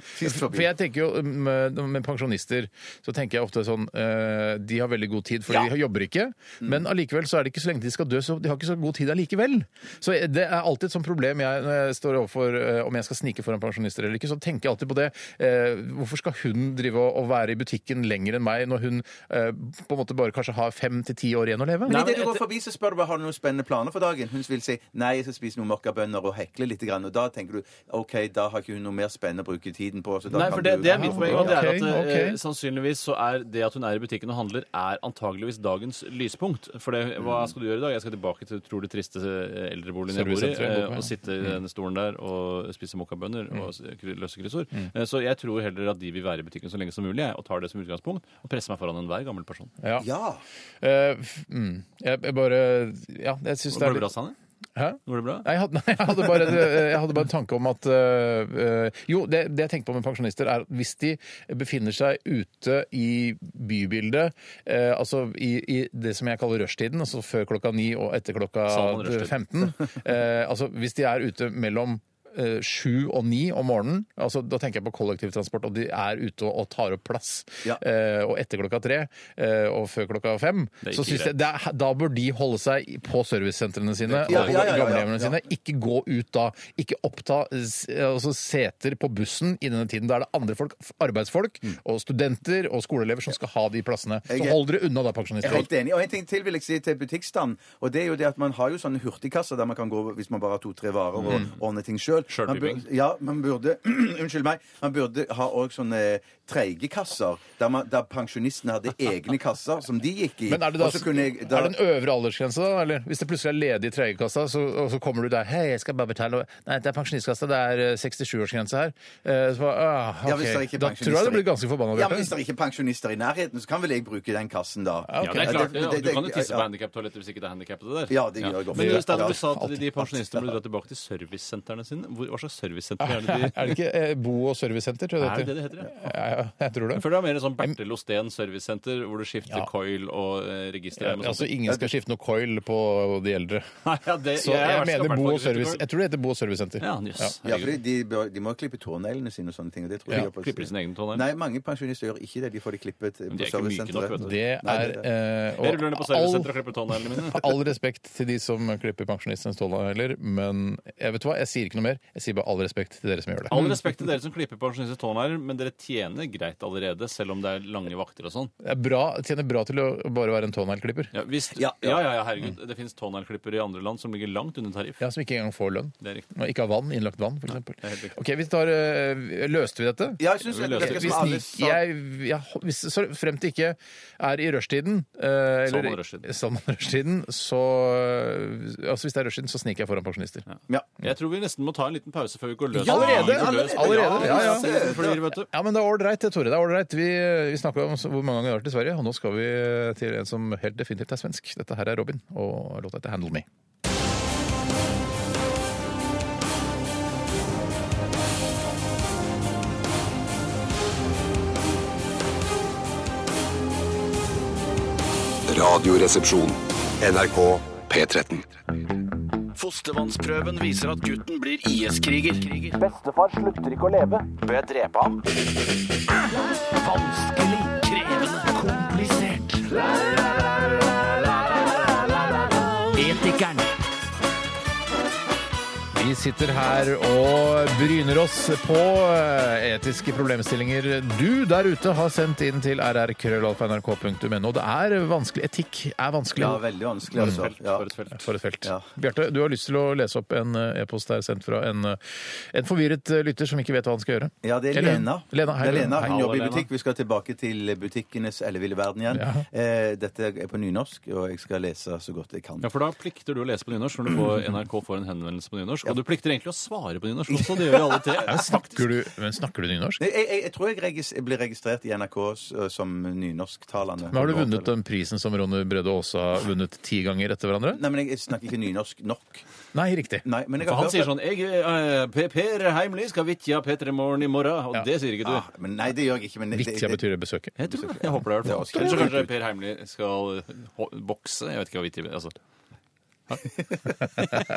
B: Fis
A: For
B: forbi.
A: jeg tenker jo, um, med, med pensjonister så tenker jeg ofte sånn eh, De har veldig god tid, for de jobber ikke. Men allikevel så er det ikke så lenge de skal dø, så de har ikke så god tid allikevel. Så det er alltid et sånt problem jeg, når jeg står overfor eh, om jeg skal snike foran pensjonister eller ikke. Så tenker jeg alltid på det. Eh, hvorfor skal hun drive og, og være i butikken lenger enn meg, når hun eh, på en måte bare kanskje har fem til ti år igjen å leve?
B: Men
C: Nei,
B: idet
C: men
B: du går
C: etter-
B: forbi, så spør du bare har du noen spennende planer for dagen. Hun vil si nei, jeg skal spise noen mokkabønner og hekle litt. Grann. Og da tenker du OK, da har ikke hun noe mer spennende å bruke tiden på. Så da
C: Nei,
B: kan
C: for det,
B: du...
C: det er mitt poeng. Og det er at
A: Ok, ok.
C: eh, Sannsynligvis så er det at hun er i butikken og handler, er antageligvis dagens lyspunkt. For det, hva skal du gjøre i dag? Jeg skal tilbake til utrolig triste eh, eldreboligen jeg bor i.
A: Servicesenteret,
C: eh, Og sitte i den stolen der og spise mokkabønner og s- k- løse kryssord. Eh, Så jeg tror heller at de vil være i butikken så lenge som mulig, jeg, og tar det som utgangspunkt. Og presser meg foran enhver gammel person.
A: Ja.
B: Ja.
A: Eh, f- mm. jeg, jeg bare Ja, jeg syns det
C: Går
A: er
C: det bra,
A: litt
C: Sanne?
A: Hæ?
C: Går det bra?
A: Nei, jeg hadde, nei, jeg hadde, bare, eh, jeg hadde bare en tanke om at øh, øh, Jo, det, det jeg tenker på med pensjonister, er at hvis de befinner seg ute i bybildet, øh, altså i, i det som jeg kaller rushtiden, altså før klokka eh, ni og etter klokka
C: Salman rushtid.
A: 15 øh, Altså hvis de er ute mellom øh, eh, sju og ni om morgenen, altså da tenker jeg på kollektivtransport, og de er ute og, og tar opp plass,
B: Ja.
A: eh, og etter klokka tre eh, og før klokka fem,
C: Det er
A: så
C: ikke
A: synes jeg
C: greit.
A: det er, da bør de holde seg på servicesentrene sine
B: Ja,
A: og på
B: ja, ja, ja, ja.
A: gamlehjemmene sine.
B: Ja.
A: Ikke gå ut da. Ikke oppta s- altså seter på bussen i denne tiden. Da er det andre folk, f- arbeidsfolk og studenter og skoleelever som skal ha de plassene. Så
B: Mm. Jeg er-
A: hold dere unna da,
B: Jeg
A: pensjonister.
B: er helt enig. Og en ting til vil jeg si til butikkstand. Og det er jo det at man har jo sånne hurtigkasser der man kan gå hvis man bare har to-tre varer og
C: Mm.
B: ordne ting sjøl.
C: Sjølbygging.
B: Ja, man burde Unnskyld meg. Man burde ha òg sånne treige kasser der, man, der pensjonistene hadde egne kasser som de gikk i.
A: Men er det, da,
B: Og så kunne jeg,
A: er det en øvre aldersgrense, da? Eller hvis det plutselig er ledig i tregekassa, så, og så kommer du der Hei, jeg skal bare betale Nei, det er pensjonistkassa, det er eh, 67-årsgrense her. Eh, Så bare, ah,
B: Ja,
A: ok.
B: hvis det er ikke
A: Da tror jeg
B: pensjonister
A: du blir
B: i-
A: ganske forbanna.
B: Ja, men
A: Bjarte.
B: Hvis det er ikke er pensjonister i nærheten, så kan vel jeg bruke den kassen da.
C: Ja, det er klart.
B: Ja,
C: det,
B: det-
C: du kan jo tisse
B: ja,
C: på
B: ja.
C: handikaptoaletter hvis ikke det er handikappede der.
B: Ja, det gjør jeg godt.
C: Men
B: Ja.
C: Stein,
B: Ja.
C: du sa at de
A: Alltid.
C: pensjonistene ble dratt tilbake til servicesentrene sine. Hvor, hva slags servicesenter er det de
A: Er det ikke eh, bo- og servicesenter, tror jeg
C: Er det det
A: det heter?
C: det heter? Ja.
A: Ja, ja, jeg tror det.
C: Jeg føler det er mer sånn Bertil Osten servicesenter, hvor du skifter
A: Ja.
C: coil og eh, register. og
A: Altså,
C: sånt.
A: ingen skal skifte noe coil på de eldre.
C: Nei, ja, det-
A: Så
C: jeg har
A: jeg
C: vært-
A: mener
C: vært
A: bo- og
C: faktisk
A: service...
C: ute i
A: Jeg tror det heter bo- og servicesenter.
C: Ja, jøss.
B: Ja, fordi
C: Herregud.
B: de, bør, de må klippe tåneglene sine og sånne ting. og Det tror jeg
A: Ja,
B: de gjør på-
C: klipper de sine egne tånegler?
B: Nei, mange pensjonister gjør ikke det. De får de klippet på
C: de er ikke myke nok,
B: servicesenteret.
C: vet du.
A: Det
B: Nei,
A: er
B: det-
A: eh,
C: Jeg ruller ned på
A: og all-
C: servicesenteret og klipper tåneglene mine.
A: All respekt til de som klipper pensjonistenes tånegler, men jeg vet hva, jeg sier ikke noe mer. Jeg sier bare all respekt til dere som gjør det.
C: All respekt til dere som klipper pensjonisters tånegler, men dere tjener greit allerede, selv om det er lange vakter og sånn.
A: Det er bra, tjener bra til å bare være en tåneglklipper.
C: Ja, hvis, ja,
B: Ja,
C: ja.
B: ja.
C: ja, herregud. Det finnes tåneglklippere i andre land som ligger langt under tariff.
A: Ja, som ikke engang får lønn.
C: Det er riktig.
A: Og ikke har vann, innlagt vann, f.eks.
C: riktig.
A: Ok, vi tar, eh, Løste vi dette?
B: Ja, jeg synes det
C: Vi løser
B: virker
C: det.
B: som
A: Vi
B: alle
A: snik,
B: sa-
A: jeg, ja, hvis, så frem til ikke er i rushtiden eh, eller,
C: Salman rushtiden.
A: Salman rushtiden, så eh, Altså, hvis det er rushtiden, så sniker jeg foran pensjonister.
B: Ja.
C: Jeg tror vi nesten må ta en liten pause før vi går løs.
B: Ja,
A: Allerede?
C: Vi går løs på-
A: Allerede? Ja, ja.
C: Det flyr, vet du.
A: Ja, men det er ålreit, det, Tore. Det er all right. Vi, eh, vi snakka om så- hvor mange ganger vi har vært i Sverige, og nå skal vi eh, til en som helt definitivt er svensk. Dette her er Robin, og låta heter 'Handle Me'.
D: Radioresepsjon. NRK P13.
E: Fostervannsprøven viser at gutten blir IS-kriger.
H: Bestefar slutter ikke å leve. Bør jeg drepe ham?
E: Vanskelig, krevende, komplisert. Etikeren.
A: Vi sitter her og bryner oss på eh, etiske problemstillinger du der ute har sendt inn til rrkrøllalfa.nrk.no. Det er vanskelig. Etikk er vanskelig.
B: ja, veldig vanskelig, altså. Ja.
C: For et felt.
A: For et felt.
B: Ja.
A: Bjarte, du har lyst til å lese opp en eh, e-post der sendt fra en, eh, en forvirret eh, lytter som ikke vet hva han skal gjøre.
B: Ja, det er
A: Eller-
B: Lena.
A: Lena, hei,
B: det er Lena. Hun
C: Hallo,
B: jobber i
C: Lena.
B: butikk. Vi skal tilbake til butikkenes elleville verden igjen. Eh, dette er på nynorsk, og jeg skal lese så godt jeg kan.
C: Ja, for da plikter du å lese på nynorsk når du får NRK får en henvendelse på nynorsk. Og du plikter egentlig å svare på nynorsk også, det gjør jo alle tre.
A: Snakker du, men snakker du nynorsk?
B: Nei, Jeg, jeg, jeg tror jeg regis, jeg blir registrert i NRK s- som nynorsktalende.
A: Men har du vunnet den prisen som Ronny Brede Aase har vunnet ti ganger etter hverandre?
B: Nei, men jeg, jeg snakker ikke nynorsk nok.
A: Nei, riktig.
B: Nei, men jeg
C: For
B: har
C: han
B: hørt
C: sier
B: at-
C: sånn jeg, eh, P- Per Heimly skal vitja P3 Morgen i morgen. Og det sier ikke du.
B: Ja, Ah, men nei, det gjør jeg ikke. Men det,
A: Vitja
B: det,
A: betyr det besøket.
C: Jeg tror det. Jeg håper det. i hvert
B: Ja,
C: fall.
B: også-
C: Eller så kanskje Per Heimly skal eh, ho- bokse. Jeg vet ikke hva vitja altså.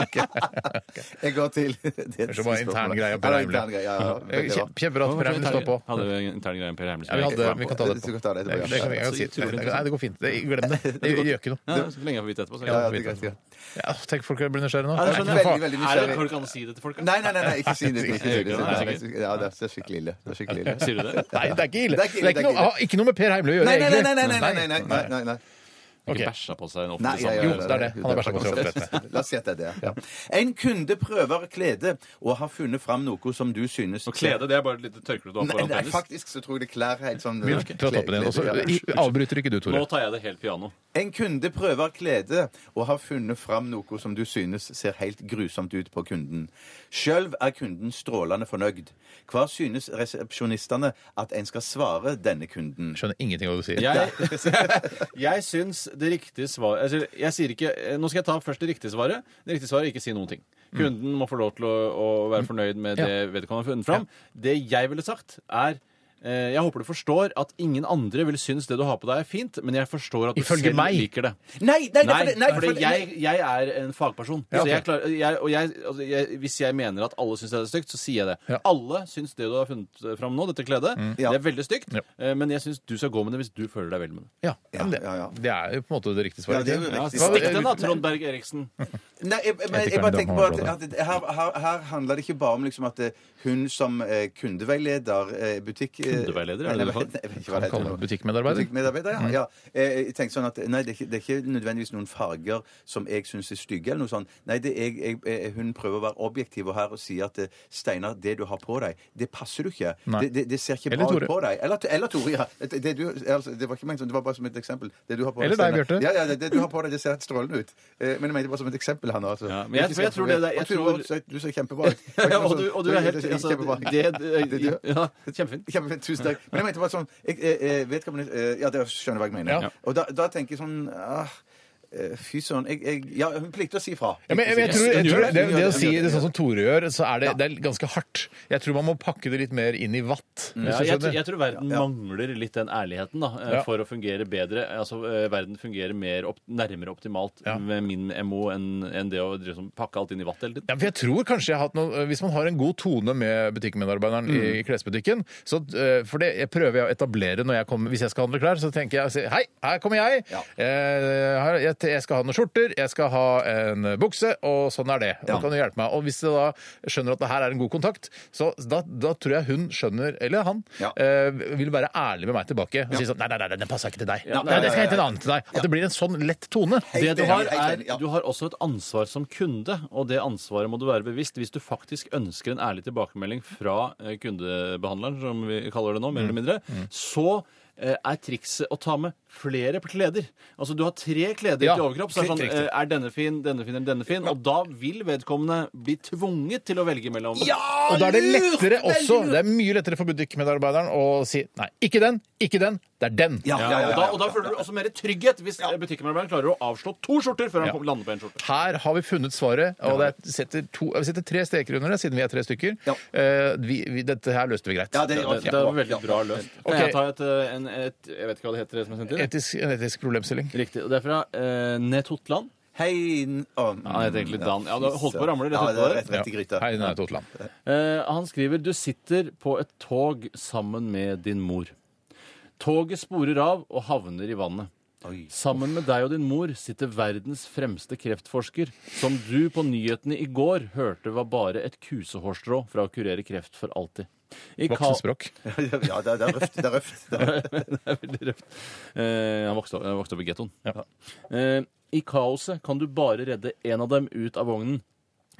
B: jeg går til Det
A: Så bare intern greie på
B: Ja,
A: Reimle.
B: intern greie, ja, ja, veldig bra.
A: Kjempe- Kjempebra Eh, at Preben står på.
C: Hadde vi en intern greie om Per Heimly?
A: Ja, vi, hadde, vi kan ta det
B: Vi skal
A: etterpå.
B: ta det etterpå, ja.
A: Det, det kan vi jeg kan si.
C: Så utrolig
A: Nei, det går fint. Det, glem det. Det gjør ikke noe.
C: Ja, så lenge jeg får vite etterpå. Så
A: Ja,
B: Ja,
C: er det
B: det er
C: greit.
B: greit, ja.
A: Ja, tenk folk blir nysgjerrige nå.
C: Ja, det
A: Nei,
C: skjønner
A: ikke noe
B: Veldig,
C: jeg.
B: veldig
C: Er det
B: nysgjerrig.
C: Går det an å si det til folk? da?
B: Nei, nei, nei, nei, ikke si det. Ikke si det.
C: Nei, sikkert.
B: Ja, det er skikkelig ille. Det er skikkelig ille.
C: Sier du det?
A: Nei, det er ikke ille. Det er
B: Det er ikke ille, det er
A: ikke
B: ikke
A: noe, har ikke noe med Per Heimly å gjøre,
B: Nei, nei, nei,
A: egentlig.
B: nei, nei, nei, nei, nei, nei, nei.
A: Ok.
C: Ikke bæsja på seg
B: Nei,
C: en offentlig
B: ja, ja,
C: sammenheng.
A: Jo, det er det. Han har bæsja på seg oppdrettene.
B: La oss si at det er det. ja. En kunde prøver klede og har funnet fram noe som du synes
C: Og klede, det er bare et lite tørkle du har
B: Nei,
C: foran
B: nei,
C: penis.
B: faktisk så tror jeg det klær helt sånn
A: Vi tar toppen igjen. Og
C: altså.
A: så i- avbryter ikke du,
C: Nå
A: Tore.
C: tar jeg det helt piano.
B: En kunde prøver klede og har funnet fram noe som du synes ser helt grusomt ut på kunden. Sjøl er kunden strålende fornøyd. Hva synes resepsjonistene at en skal svare denne kunden?
A: Skjønner ingenting av hva du sier.
C: Jeg, jeg syns det riktige svaret altså, jeg sier ikke, Nå skal jeg ta først det riktige svaret. Det riktige svaret er ikke si noen ting. Kunden må få lov til å, å være fornøyd med
A: Mm. Ja.
C: det vedkommende har funnet fram. Det jeg ville sagt, er Eh, Jeg håper du forstår at ingen andre vil synes det du har på deg er fint, men jeg forstår at du
A: Ifølge
C: selv
A: meg.
C: liker det.
B: Nei, nei, nei,
C: Nei,
B: fordi- nei,
C: fordi
B: fordi-
C: jeg, jeg er en fagperson.
A: Ja,
C: Så jeg
A: ok.
C: klarer, jeg, og jeg, altså jeg, hvis jeg mener at alle syns det er stygt, så sier jeg det.
A: Ja. Mm.
C: Alle syns det du har funnet fram nå, dette kledet,
B: Ja.
C: det er veldig stygt,
A: Ja.
C: eh, men jeg syns du skal gå med det hvis du føler deg vel med det.
A: Ja, men det,
B: ja, ja.
A: det er jo på en måte det riktige
B: Ja,
A: svaret.
B: det er jo
C: Ja,
B: riktig.
A: Hva-
C: Stikk den da, Trond Berg Eriksen.
B: Nei, jeg, jeg, jeg, jeg bare tenker på at, at det- her, her, her handler det ikke bare om liksom at eh, hun som eh, kundeveileder, eh, butikk... eh,
C: Kundeveileder, er det det du
B: nei,
C: kaller-
B: jeg vet ikke hva
A: Kan kalle
B: det heter
A: det
B: nå.
A: Butikkmedarbeider.
B: Butikkmedarbeider, ja. ja.
A: Mm.
B: Eh, Jeg tenkte sånn at nei, det er, ikke, det er ikke nødvendigvis noen farger som jeg syns er stygge, eller noe sånt. Nei, det er, jeg, jeg, hun prøver å være objektiv og her og si at eh, Steinar, det du har på deg, det passer du ikke.
A: Nei.
B: Det, det, det ser ikke
A: Eller
B: bra
A: Tore.
B: ut på deg. Eller, eller Tore, ja. Det, det, du, altså, det var ikke ment sånn, det var bare som et eksempel. Det du har på
A: Eller
B: deg,
A: deg,
B: Steinar.
A: Bjarte.
B: Ja, ja, det, det du har på deg, det ser helt strålende ut. Eh, Men jeg mente bare som et eksempel her nå. Altså.
C: Ja, men jeg- for jeg tror det- det- jeg
B: Og Tore,
C: tror-
B: du ser- du sånn- ser kjempebra ut.
C: og, du, og du er helt
B: Det ser
C: altså,
B: kjempebra ut.
C: det, det,
B: Det-
C: ja, Kjempefint.
B: Kjempefint, tusen takk. Men jeg mente bare sånn jeg, eh, eh, vet hva man, eh, Ja, dere skjønner hva jeg mener.
A: Ja.
B: Og da, da tenker jeg sånn ah, eh, Fy søren. Jeg, jeg, ja, hun plikter å si fra.
A: Ja, men jeg, jeg
B: Plikter
A: tror,
B: å si fra.
A: jeg tror
B: Hun
A: det,
B: gjør
A: det å
B: hun
A: si
B: gjør
A: det sånn som Tore gjør, så er det,
B: Ja.
A: det er ganske hardt. Jeg tror man må pakke det litt mer inn i vatt. hvis
C: Ja,
A: du
C: jeg,
A: skjønner.
C: tror- jeg tror verden mangler litt den ærligheten da, eh,
A: Ja.
C: for å fungere bedre. Altså, eh, Verden fungerer mer opp, nærmere optimalt
A: Ja.
C: med min MO enn enn det å drive som- pakke alt inn i vatt hele tiden.
A: Ja, for jeg tror kanskje jeg har hatt noe, eh, Hvis man har en god tone med butikkmedarbeideren
B: Mm.
A: i klesbutikken så, eh, For det jeg prøver jeg å etablere når jeg kommer, hvis jeg skal handle klær. Så tenker jeg si, Hei, her kommer jeg!
B: Ja.
A: Eh, her, jeg! Jeg skal ha noen skjorter, jeg skal ha en bukse, og sånn er det. Da
B: Ja.
A: kan du hjelpe meg. Og hvis jeg da skjønner at det her er en god kontakt, så da, da tror jeg hun skjønner, eller han,
B: Ja.
A: eh, vil være ærlig med meg tilbake og si sånn Nei, nei, nei, den passer ikke til deg.
C: Ja,
A: nei,
C: nei,
A: det skal hente en annen til deg. At det blir en sånn lett tone.
C: Det du
B: enig,
C: har,
B: helt
C: er,
B: enig, ja.
C: du har også et ansvar som kunde, og det ansvaret må du være bevisst hvis du faktisk ønsker en ærlig tilbakemelding fra eh, kundebehandleren, som vi kaller det nå, mer eller
B: Mm.
C: mindre. Så eh, er trikset å ta med flere kleder. Altså du har tre kleder
A: Ja,
C: til overkropp, så er, det sånn,
A: riktig.
C: eh, er denne fin, denne fin eller denne fin, og da vil vedkommende bli tvunget til å velge mellom
A: Og da er det lettere også, det er mye lettere for butikkmedarbeideren å si nei, ikke den, ikke den, det er den.
B: Ja, ja, ja,
C: og,
B: ja,
C: da,
B: ja.
C: og da føler du også mer trygghet hvis eh, butikkmedarbeideren klarer å avslå to skjorter før han
A: Ja.
C: kom- lander på en skjorte.
A: Her har vi funnet svaret, og det er- setter, to, vi setter tre streker under det, siden vi er tre stykker.
B: Ja.
A: Eh, vi, vi, dette her løste vi greit.
B: Ja, det er
C: Det,
B: ok.
C: det var veldig bra løst. Kan
A: Ok.
C: jeg ta et, eh, en, et Jeg vet ikke hva det heter, det som er sendt inn?
A: Etisk, en etisk problemstilling.
C: Riktig. Og det er fra eh, Nett Hotland.
B: Hei n- å,
C: Han heter egentlig Dan. Ja, du har holdt på å ramle rett
B: Ja, det
C: etterpå
B: er
C: der.
B: rett, rett i gryta.
A: Hei, Nei, Totland.
C: Eh, han skriver Du sitter på et tog sammen med din mor. Toget sporer av og havner i vannet. Sammen med deg og din mor sitter verdens fremste kreftforsker, som du på nyhetene i går hørte var bare et kusehårstrå fra å kurere kreft for alltid. I ka-
A: Voksenspråk.
B: Ja, det er, det er røft. Det er røft. Det er-
C: det er veldig røft. Eh, han vokste opp, han vokste opp i gettoen. Eh, I kaoset kan du bare redde én av dem ut av vognen.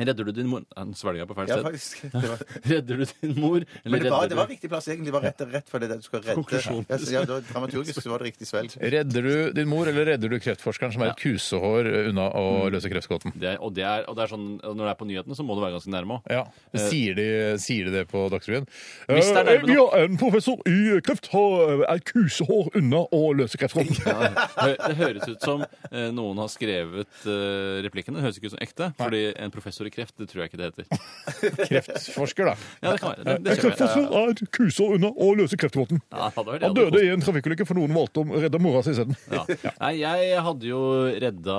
C: Redder du din mor Han svelga på feil
B: Ja,
C: sted.
B: faktisk. Det var,
C: Redder du din mor, eller
B: men det var, det var
C: redder du
B: riktig plass, egentlig. Det var rett, rett for det der du skal redde.
C: Konklusjon.
B: Ja, så- ja, det var dramaturgisk så var det riktig svelg.
A: Redder du din mor, eller redder du kreftforskeren som er et kusehår eh, unna
B: Mm.
A: å løse kreftgåten?
C: det er, og, det er, og det er sånn, og Når det er på nyhetene, så må det være ganske nærme òg.
A: Ja, Eh, Sier de, sier de det på Dagsrevyen?
C: Hvis det er
A: Eh,
C: nærme
A: vi har en professor i kreft har eh, er kusehår unna å løse kreftgåten.
C: Det høres ut som eh, noen har skrevet eh, replikkene. Det høres ikke ut som ekte. Fordi en professor i kreft, det tror jeg ikke det heter.
A: Kreftforsker, da.
C: Ja, det kan være. Det, det kjøper jeg.
A: er et kusår unna å løse kreftgåten.
C: Ja, det hadde vært-
A: Han døde i en trafikkulykke, for noen valgte å redde mora si isteden.
C: Ja. Nei, jeg hadde jo redda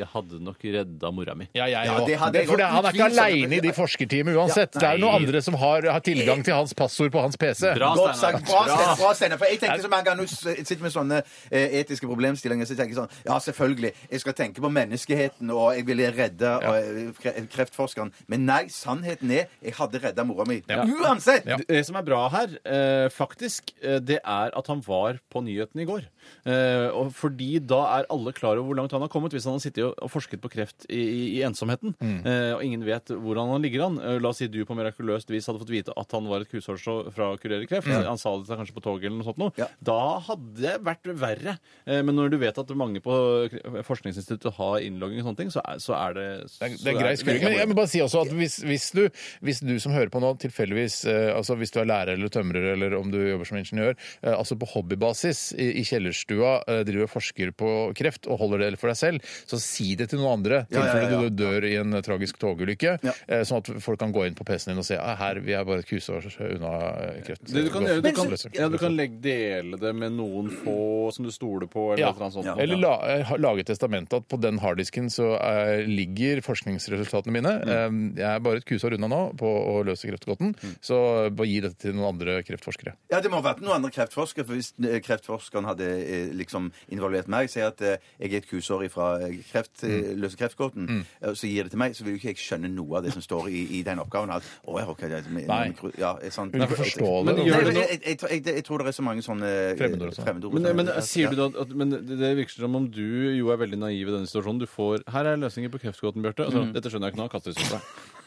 C: Jeg hadde nok redda mora mi.
A: Ja, jeg
B: Ja,
A: òg.
B: det hadde jeg
A: For det-
B: gått
A: han er ikke
B: utvilsomt.
A: aleine i de forskerteamene uansett. det er jo
C: nei.
A: noen andre som har, har tilgang til hans passord på hans PC.
C: Bra,
B: Godt
C: Steinar.
B: sagt. Bra, Steinar. Bra, Steinar. For jeg tenker så mange ganger når jeg sitter med sånne eh, etiske problemstillinger, så tenker jeg sånn Ja, selvfølgelig. Jeg skal tenke på menneskeheten, og jeg ville redde og, eh, kre- kreftforskeren. Men nei, sannheten er jeg hadde redda mora mi. Uansett!
A: Ja.
C: Det som er bra her, eh, faktisk, eh, det er at han var på nyhetene i går. Eh, og fordi da er alle klar over hvor langt han har kommet, hvis han har sittet og- og forsket på kreft i, i, i ensomheten.
A: Mm.
C: Eh, og ingen vet hvordan han ligger an. Eh, la oss si du på mirakuløst vis hadde fått vite at han var et kushårstrå fra å kurere kreft. Han sa det til deg kanskje på toget eller noe sånt noe.
B: Ja.
C: Da hadde det vært verre. Eh, men når du vet at mange på forskningsinstituttet har innlogging og sånne ting, så er, så er det
A: Det er, det det er grei skuring. Men jeg må bare si også at hvis, hvis, du, hvis du som hører på nå, tilfeldigvis eh, altså Hvis du er lærer eller tømrer eller om du jobber som ingeniør, eh, altså på hobbybasis i, i kjellerstua eh, driver og forsker på kreft og holder det for deg selv, så si det til noen andre.
B: Ja, ja,
A: Tilfelle
B: ja, ja.
A: du dør i en eh, tragisk togulykke.
B: Ja.
A: eh, Sånn at folk kan gå inn på PC-en din og se ah, her, vi er bare et kusår unna eh, kreft.
C: Det du kan gjøre, du
A: Men-
C: kan, ja, du kan legge, dele det med noen få som du stoler på, eller
A: Ja.
C: et eller annet sånt.
A: Eller la, eh, ha- lage testamentet at på den harddisken så eh, ligger forskningsresultatene mine. Eh, jeg er bare et kusår unna nå på å løse kreftgåten, så bare gi dette til noen andre kreftforskere.
B: Ja, det må ha vært noen andre kreftforskere, for hvis eh, kreftforskeren hadde eh, liksom involvert meg, sier at eh, jeg er et kusår fra kreft,
A: Mm.
B: eh, løse kreftgåten, eh, så gir det til meg, så vil jo ikke jeg skjønne noe av det som står i, i den oppgaven. At, å, ja, ok, det, er med,
A: Nei.
B: med- Ja, er sant.
A: Vil du ikke forstå
C: men
A: det?
C: gjør
B: Nei,
C: det
B: men
C: nå?
B: jeg, jeg, jeg, jeg, jeg tror det er så mange sånne eh,
A: Fremmedord og sånn.
B: fremmedord
C: Men,
B: som-
C: men eh,
B: Ja.
C: sier du da at men det- Det virker som om du jo er veldig naiv i denne situasjonen. Du får Her er løsningen på kreftgåten, Bjarte. Altså,
A: Mm.
C: Dette skjønner jeg ikke nå. Kaster det søpla.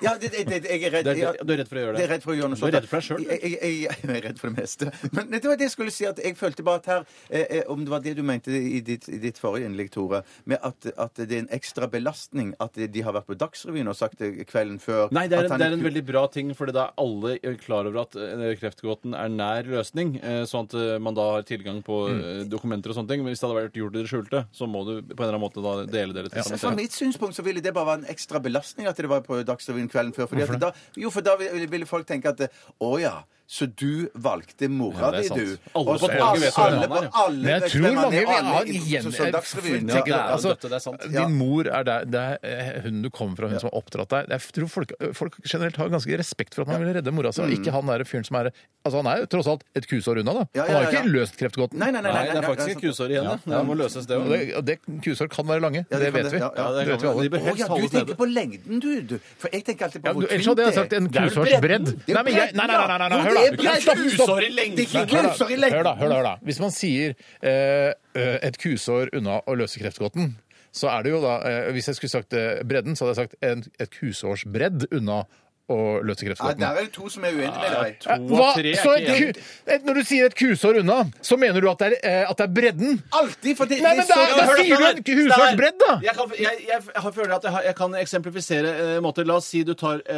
B: Ja, det, det, det, jeg er redd.
C: Det
B: ja.
C: er- du er redd for å gjøre det?
B: Jeg er redd for å gjøre noe
C: Du er
B: sånt.
C: redd for deg selv, du?
B: Jeg, jeg, jeg, jeg er redd for det meste. Men det var det jeg skulle si, at jeg følte bare at her eh, eh, Om det var det du mente i ditt, i ditt forrige innlegg, Tore, med at, at det er en ekstra belastning at de har vært på Dagsrevyen og sagt det kvelden før
C: Nei, det
B: at
C: er, en,
B: han
C: det er en
B: ikke-
C: veldig bra ting, for da er alle klar over at eh, kreftgåten er nær løsning, eh, sånn at eh, man da har tilgang på
A: Mm.
C: eh, dokumenter og sånne ting. Men hvis det hadde vært gjort i det skjulte, så må du på en eller annen måte da dele dere til
B: Så Fra
C: sammen.
B: mitt synspunkt så ville det bare være en ekstra belastning at det var på Dagsrevyen kvelden før. Fordi at da, jo, for da ville, ville folk tenke at Å ja, så du valgte mora
C: Ja, det er
B: di,
C: sant.
B: du.
C: Alle
B: Og
C: på
B: så-
C: toget vet hvem
B: alle
C: han er,
B: på- alle
A: Men jeg
B: vet
A: tror
B: hvem han
A: mange
B: er,
A: vil
B: alle
A: ha
B: i-
A: igjen...
B: så- så Dagsrevyen,
A: tenker,
C: det er jo
A: altså,
C: dette, det er sant.
B: Ja.
A: Din mor er der, det er eh, hun du kommer fra, hun som har oppdratt deg. Jeg tror folk, eh, folk generelt har ganske respekt for at man vil redde mora
B: Mm.
A: si, og ikke han der fyren som er Altså, han er jo tross alt et kusår unna, da.
B: Ja, ja,
A: Han har jo
B: ja,
A: ikke
B: ja.
A: løst kreftgåten.
B: Nei, nei, nei,
C: Nei,
B: nei,
C: det er
B: nei,
C: faktisk
B: nei, altså-
C: et kusår igjen, da. Det må løses, det
A: Og
C: òg.
A: det, og det kusår kan være lange.
B: Ja,
A: det,
B: de kan
A: vet
B: det.
A: vi.
B: Ja, ja.
A: Det vet vi alle.
C: De bør
B: Å
C: helst
B: ja, du
C: holdes
B: tenker
C: nede.
B: på lengden, du. du. For jeg tenker alltid på
A: Ja,
B: hvor
A: du, ellers
B: tynt
A: hadde
B: det
A: jeg
B: er.
A: sagt en
B: Det er vel
A: kursårsbredd.
B: bredden. Det er
A: Nei, men jeg,
B: bredden,
A: nei, nei, nei, nei, nei,
B: da.
A: hør
B: Jo,
A: da.
B: det er bredden.
A: Stopp, stopp.
B: Kusår i lengden. Det er ikke
A: Hør da,
B: kusår i lengden.
A: Hør da, hør da, hør da. Hvis man sier eh, eh, et kusår unna å løse kreftgåten, så er det jo da eh, Hvis jeg skulle sagt eh, bredden, så hadde jeg sagt en, et kusårsbredd unna å løse
B: Ja,
A: kreftgåten.
B: der er det to som er uenige med deg.
A: Eh,
C: To
A: Hva?
C: av tre er
A: Så
C: ikke
A: et, ku, et, når du sier et kusår unna, så mener du at det er, eh, at det er bredden?
B: Alltid, for det
A: Nei, men
B: det er så-
A: da- da sier du en husårsbredd, da!
C: Jeg, kan, jeg, jeg har- føler at jeg, har, jeg kan eksemplifisere eh, måter. La oss si du tar eh,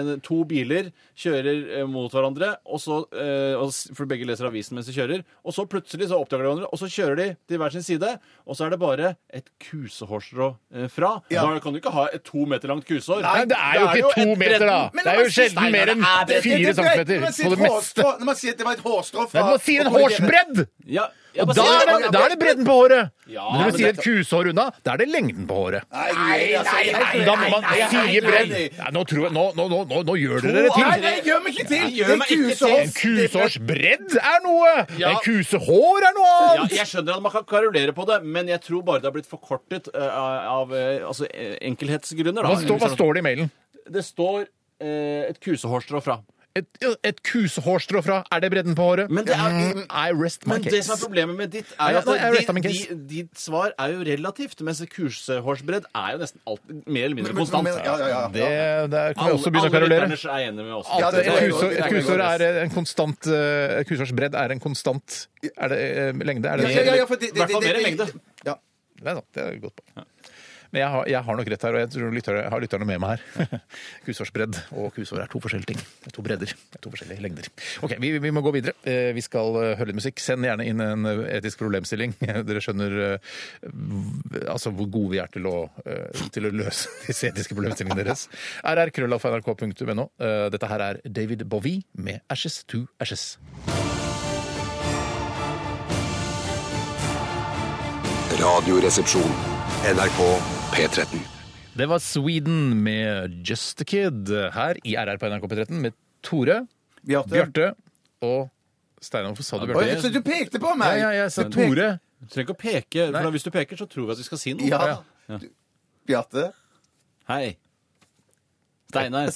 C: en, to biler, kjører eh, mot hverandre, og så, eh, og, s- for begge leser avisen mens de kjører, og så plutselig så oppdager de hverandre, og så kjører de til hver sin side, og så er det bare et kusehårstrå eh, fra. Da kan du ikke ha et to meter langt kusehår.
A: Nei, det er jo
C: Da
A: ikke to
C: et
A: meter, da!
C: bredden.
B: Men
A: Det
B: la
A: er jo
B: meg si,
A: sjelden
B: Steinar,
A: mer enn
B: er det- det-
A: fire
B: det-
A: centimeter
B: Når man sier
A: på
B: et
A: det meste.
B: hårstrå- Når man sier at det var et hårstrå fra
A: Nei, man sier en
B: og konkluderer-
A: hårsbredd!
C: Ja, ja,
A: Og
C: bare
A: da
C: si-
A: er, det, da er det bredden på håret.
C: Ja,
A: men når
C: men
A: du sier
C: det-
A: et kusehår unna, da er det lengden på håret.
B: Nei, nei, altså, jeg-
A: da må man
B: nei, nei,
A: si bredd.
B: nei.
A: Nei, nå, tror jeg, nå, nå, nå, nå, nå gjør dere det
B: Nei,
A: til.
B: nei, gjør meg ikke til!
C: Gjør
B: Det er
C: meg ikke til.
B: kusehår.
A: En kusårsbredd er noe!
C: Ja.
A: En kusehår er noe
C: Ja,
A: annet!
C: jeg skjønner at man kan karolere på det, men jeg tror bare det har blitt forkortet eh, av eh, altså, eh, enkelhetsgrunner. Da.
A: Hva står, hva står det i mailen?
C: Det står eh, et kusehårstrå fra.
A: Et, et kusehårstrå fra. Er det bredden på håret?
C: Men det er-
A: Mm, I rest my
C: Men det som er
A: case.
C: problemet med ditt,
A: Nei,
C: er at
A: nei, jeg retta min
C: di-
A: case.
C: di- ditt svar er jo relativt, mens kusehårsbredd er jo nesten alt, mer eller mindre konstant.
B: Men- men- ja, ja, ja.
A: Det, der kan vi også
C: Alle-
A: begynne å karolere.
C: Alle lytterne er enige med oss.
B: Ja,
A: At
B: det
A: et
B: tror jeg går-
A: kusår-
B: det
A: et
B: kan gå
A: kusår
B: greit.
A: er en konstant eh, Et kusårsbredd er en konstant Er det eh, lengde? Er det
B: Ja, ja, ja, ja, for det-
C: I
B: det-
C: hvert fall
B: det-
C: mer enn
B: det-
C: lengde.
B: Ja.
A: Det er sant. Det er jeg godt på. Men jeg har, jeg har nok rett her, og jeg tror lytter, har lytterne med meg her. Kusårsbredd og kusår er to forskjellige ting. Det er to bredder. Det er to forskjellige lengder. Ok, vi, vi må gå videre. Eh, Vi skal eh, høre litt musikk. Send gjerne inn en eh, etisk problemstilling. Dere skjønner eh, v- altså hvor gode vi er til å, eh, til å løse disse etiske problemstillingene deres. rrkrøllalfa.nrk.no. Eh, Dette her er David Bowie med Ashes to Ashes.
D: Radioresepsjon. NRK P13.
A: Det var Sweden med Just a Kid eh, her i RR på NRK P13 med Tore,
B: Bjarte.
A: Bjarte og Steinar. Hvorfor sa du
B: Oi,
A: Bjarte?
B: Så du pekte på
A: Ja,
B: meg!
A: ja, jeg sa Tore.
C: Du trenger ikke å peke,
A: Nei.
C: for da, hvis du peker, så tror vi at vi skal si noe.
B: Ja. Du- Bjarte.
C: Hei. Steinar.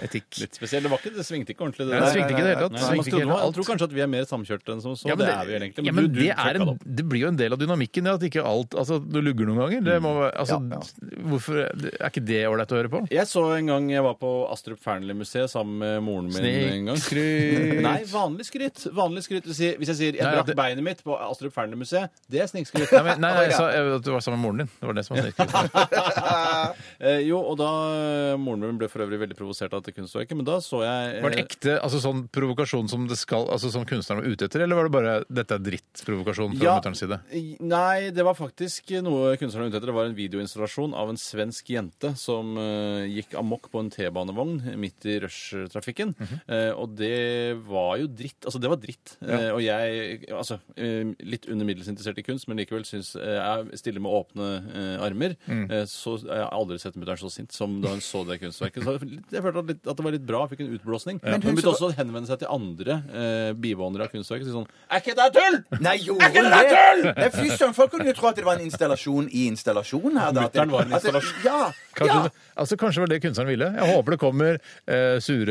A: Etikk.
C: Litt spesiell. Det var ikke, det svingte ikke ordentlig.
A: Nei, det svingte ikke i det hele tatt.
C: Nei,
A: Det
C: man
A: svingte ikke i
C: trodde-
A: det hele
C: alle
A: tatt.
C: tror kanskje at vi er mer samkjørte enn som så.
A: Ja,
C: det, er vi vel egentlig.
A: ja, men
C: du- du
A: det, er
C: fucka
A: en,
C: det opp.
A: det blir jo en del av dynamikken det at ikke alt altså, det lugger noen ganger. Det
C: Mm.
A: må, være- altså,
B: Ja,
A: Hvorfor, er ikke det ålreit å høre på?
C: Jeg så en gang jeg var på Astrup Fearnley-museet sammen med moren min. en gang.
A: Snikskryt.
C: Nei, vanlig skryt. Vanlig skryt. Hvis jeg- Hvis jeg sier 'jeg
A: Nei,
C: brakk
A: det-
C: beinet mitt' på Astrup Fearnley-museet, det er snikskryt.
A: Nei, men, nei, jeg sa jeg, at du var sammen med moren din. Det var det som var snikskryt.
C: Eh, jo, og da eh, Moren min ble for øvrig veldig provosert av dette kunstverket, men da så jeg eh,
A: Var det ekte altså, sånn provokasjon som, det skal, altså, som kunstneren var ute etter, eller var det bare 'dette er dritt'-provokasjon fra mutterens side?
C: i- Nei, det var faktisk noe kunstneren var ute etter. Det var en videoinstallasjon av en svensk jente som eh, gikk amok på en T-banevogn midt i rushtrafikken.
A: Mhm.
C: Eh, og det var jo dritt. Altså, det var dritt. Eh, og jeg, altså, eh, litt under middels interessert i kunst, men likevel syns eh, jeg stiller med åpne eh, armer.
A: Mm.
C: Eh, så jeg har aldri sett mutter'n så sint som da hun så det kunstverket. Så jeg følte at, litt, at det var litt bra. Jeg fikk en utblåsning. Men hun begynte også å henvende seg til andre eh, bivånere av kunstverket. Si sånn Er ikke det tull?!
B: Nei, gjorde hun det? Nei, Fy søren, folk kunne jo tro at det var en installasjon i installasjonen her. da. At det-
C: Mutteren var en
B: at det-
C: installasjon.
B: Ja,
A: Kanskje, altså, kanskje det var det kunstneren ville. Jeg håper det kommer eh, sure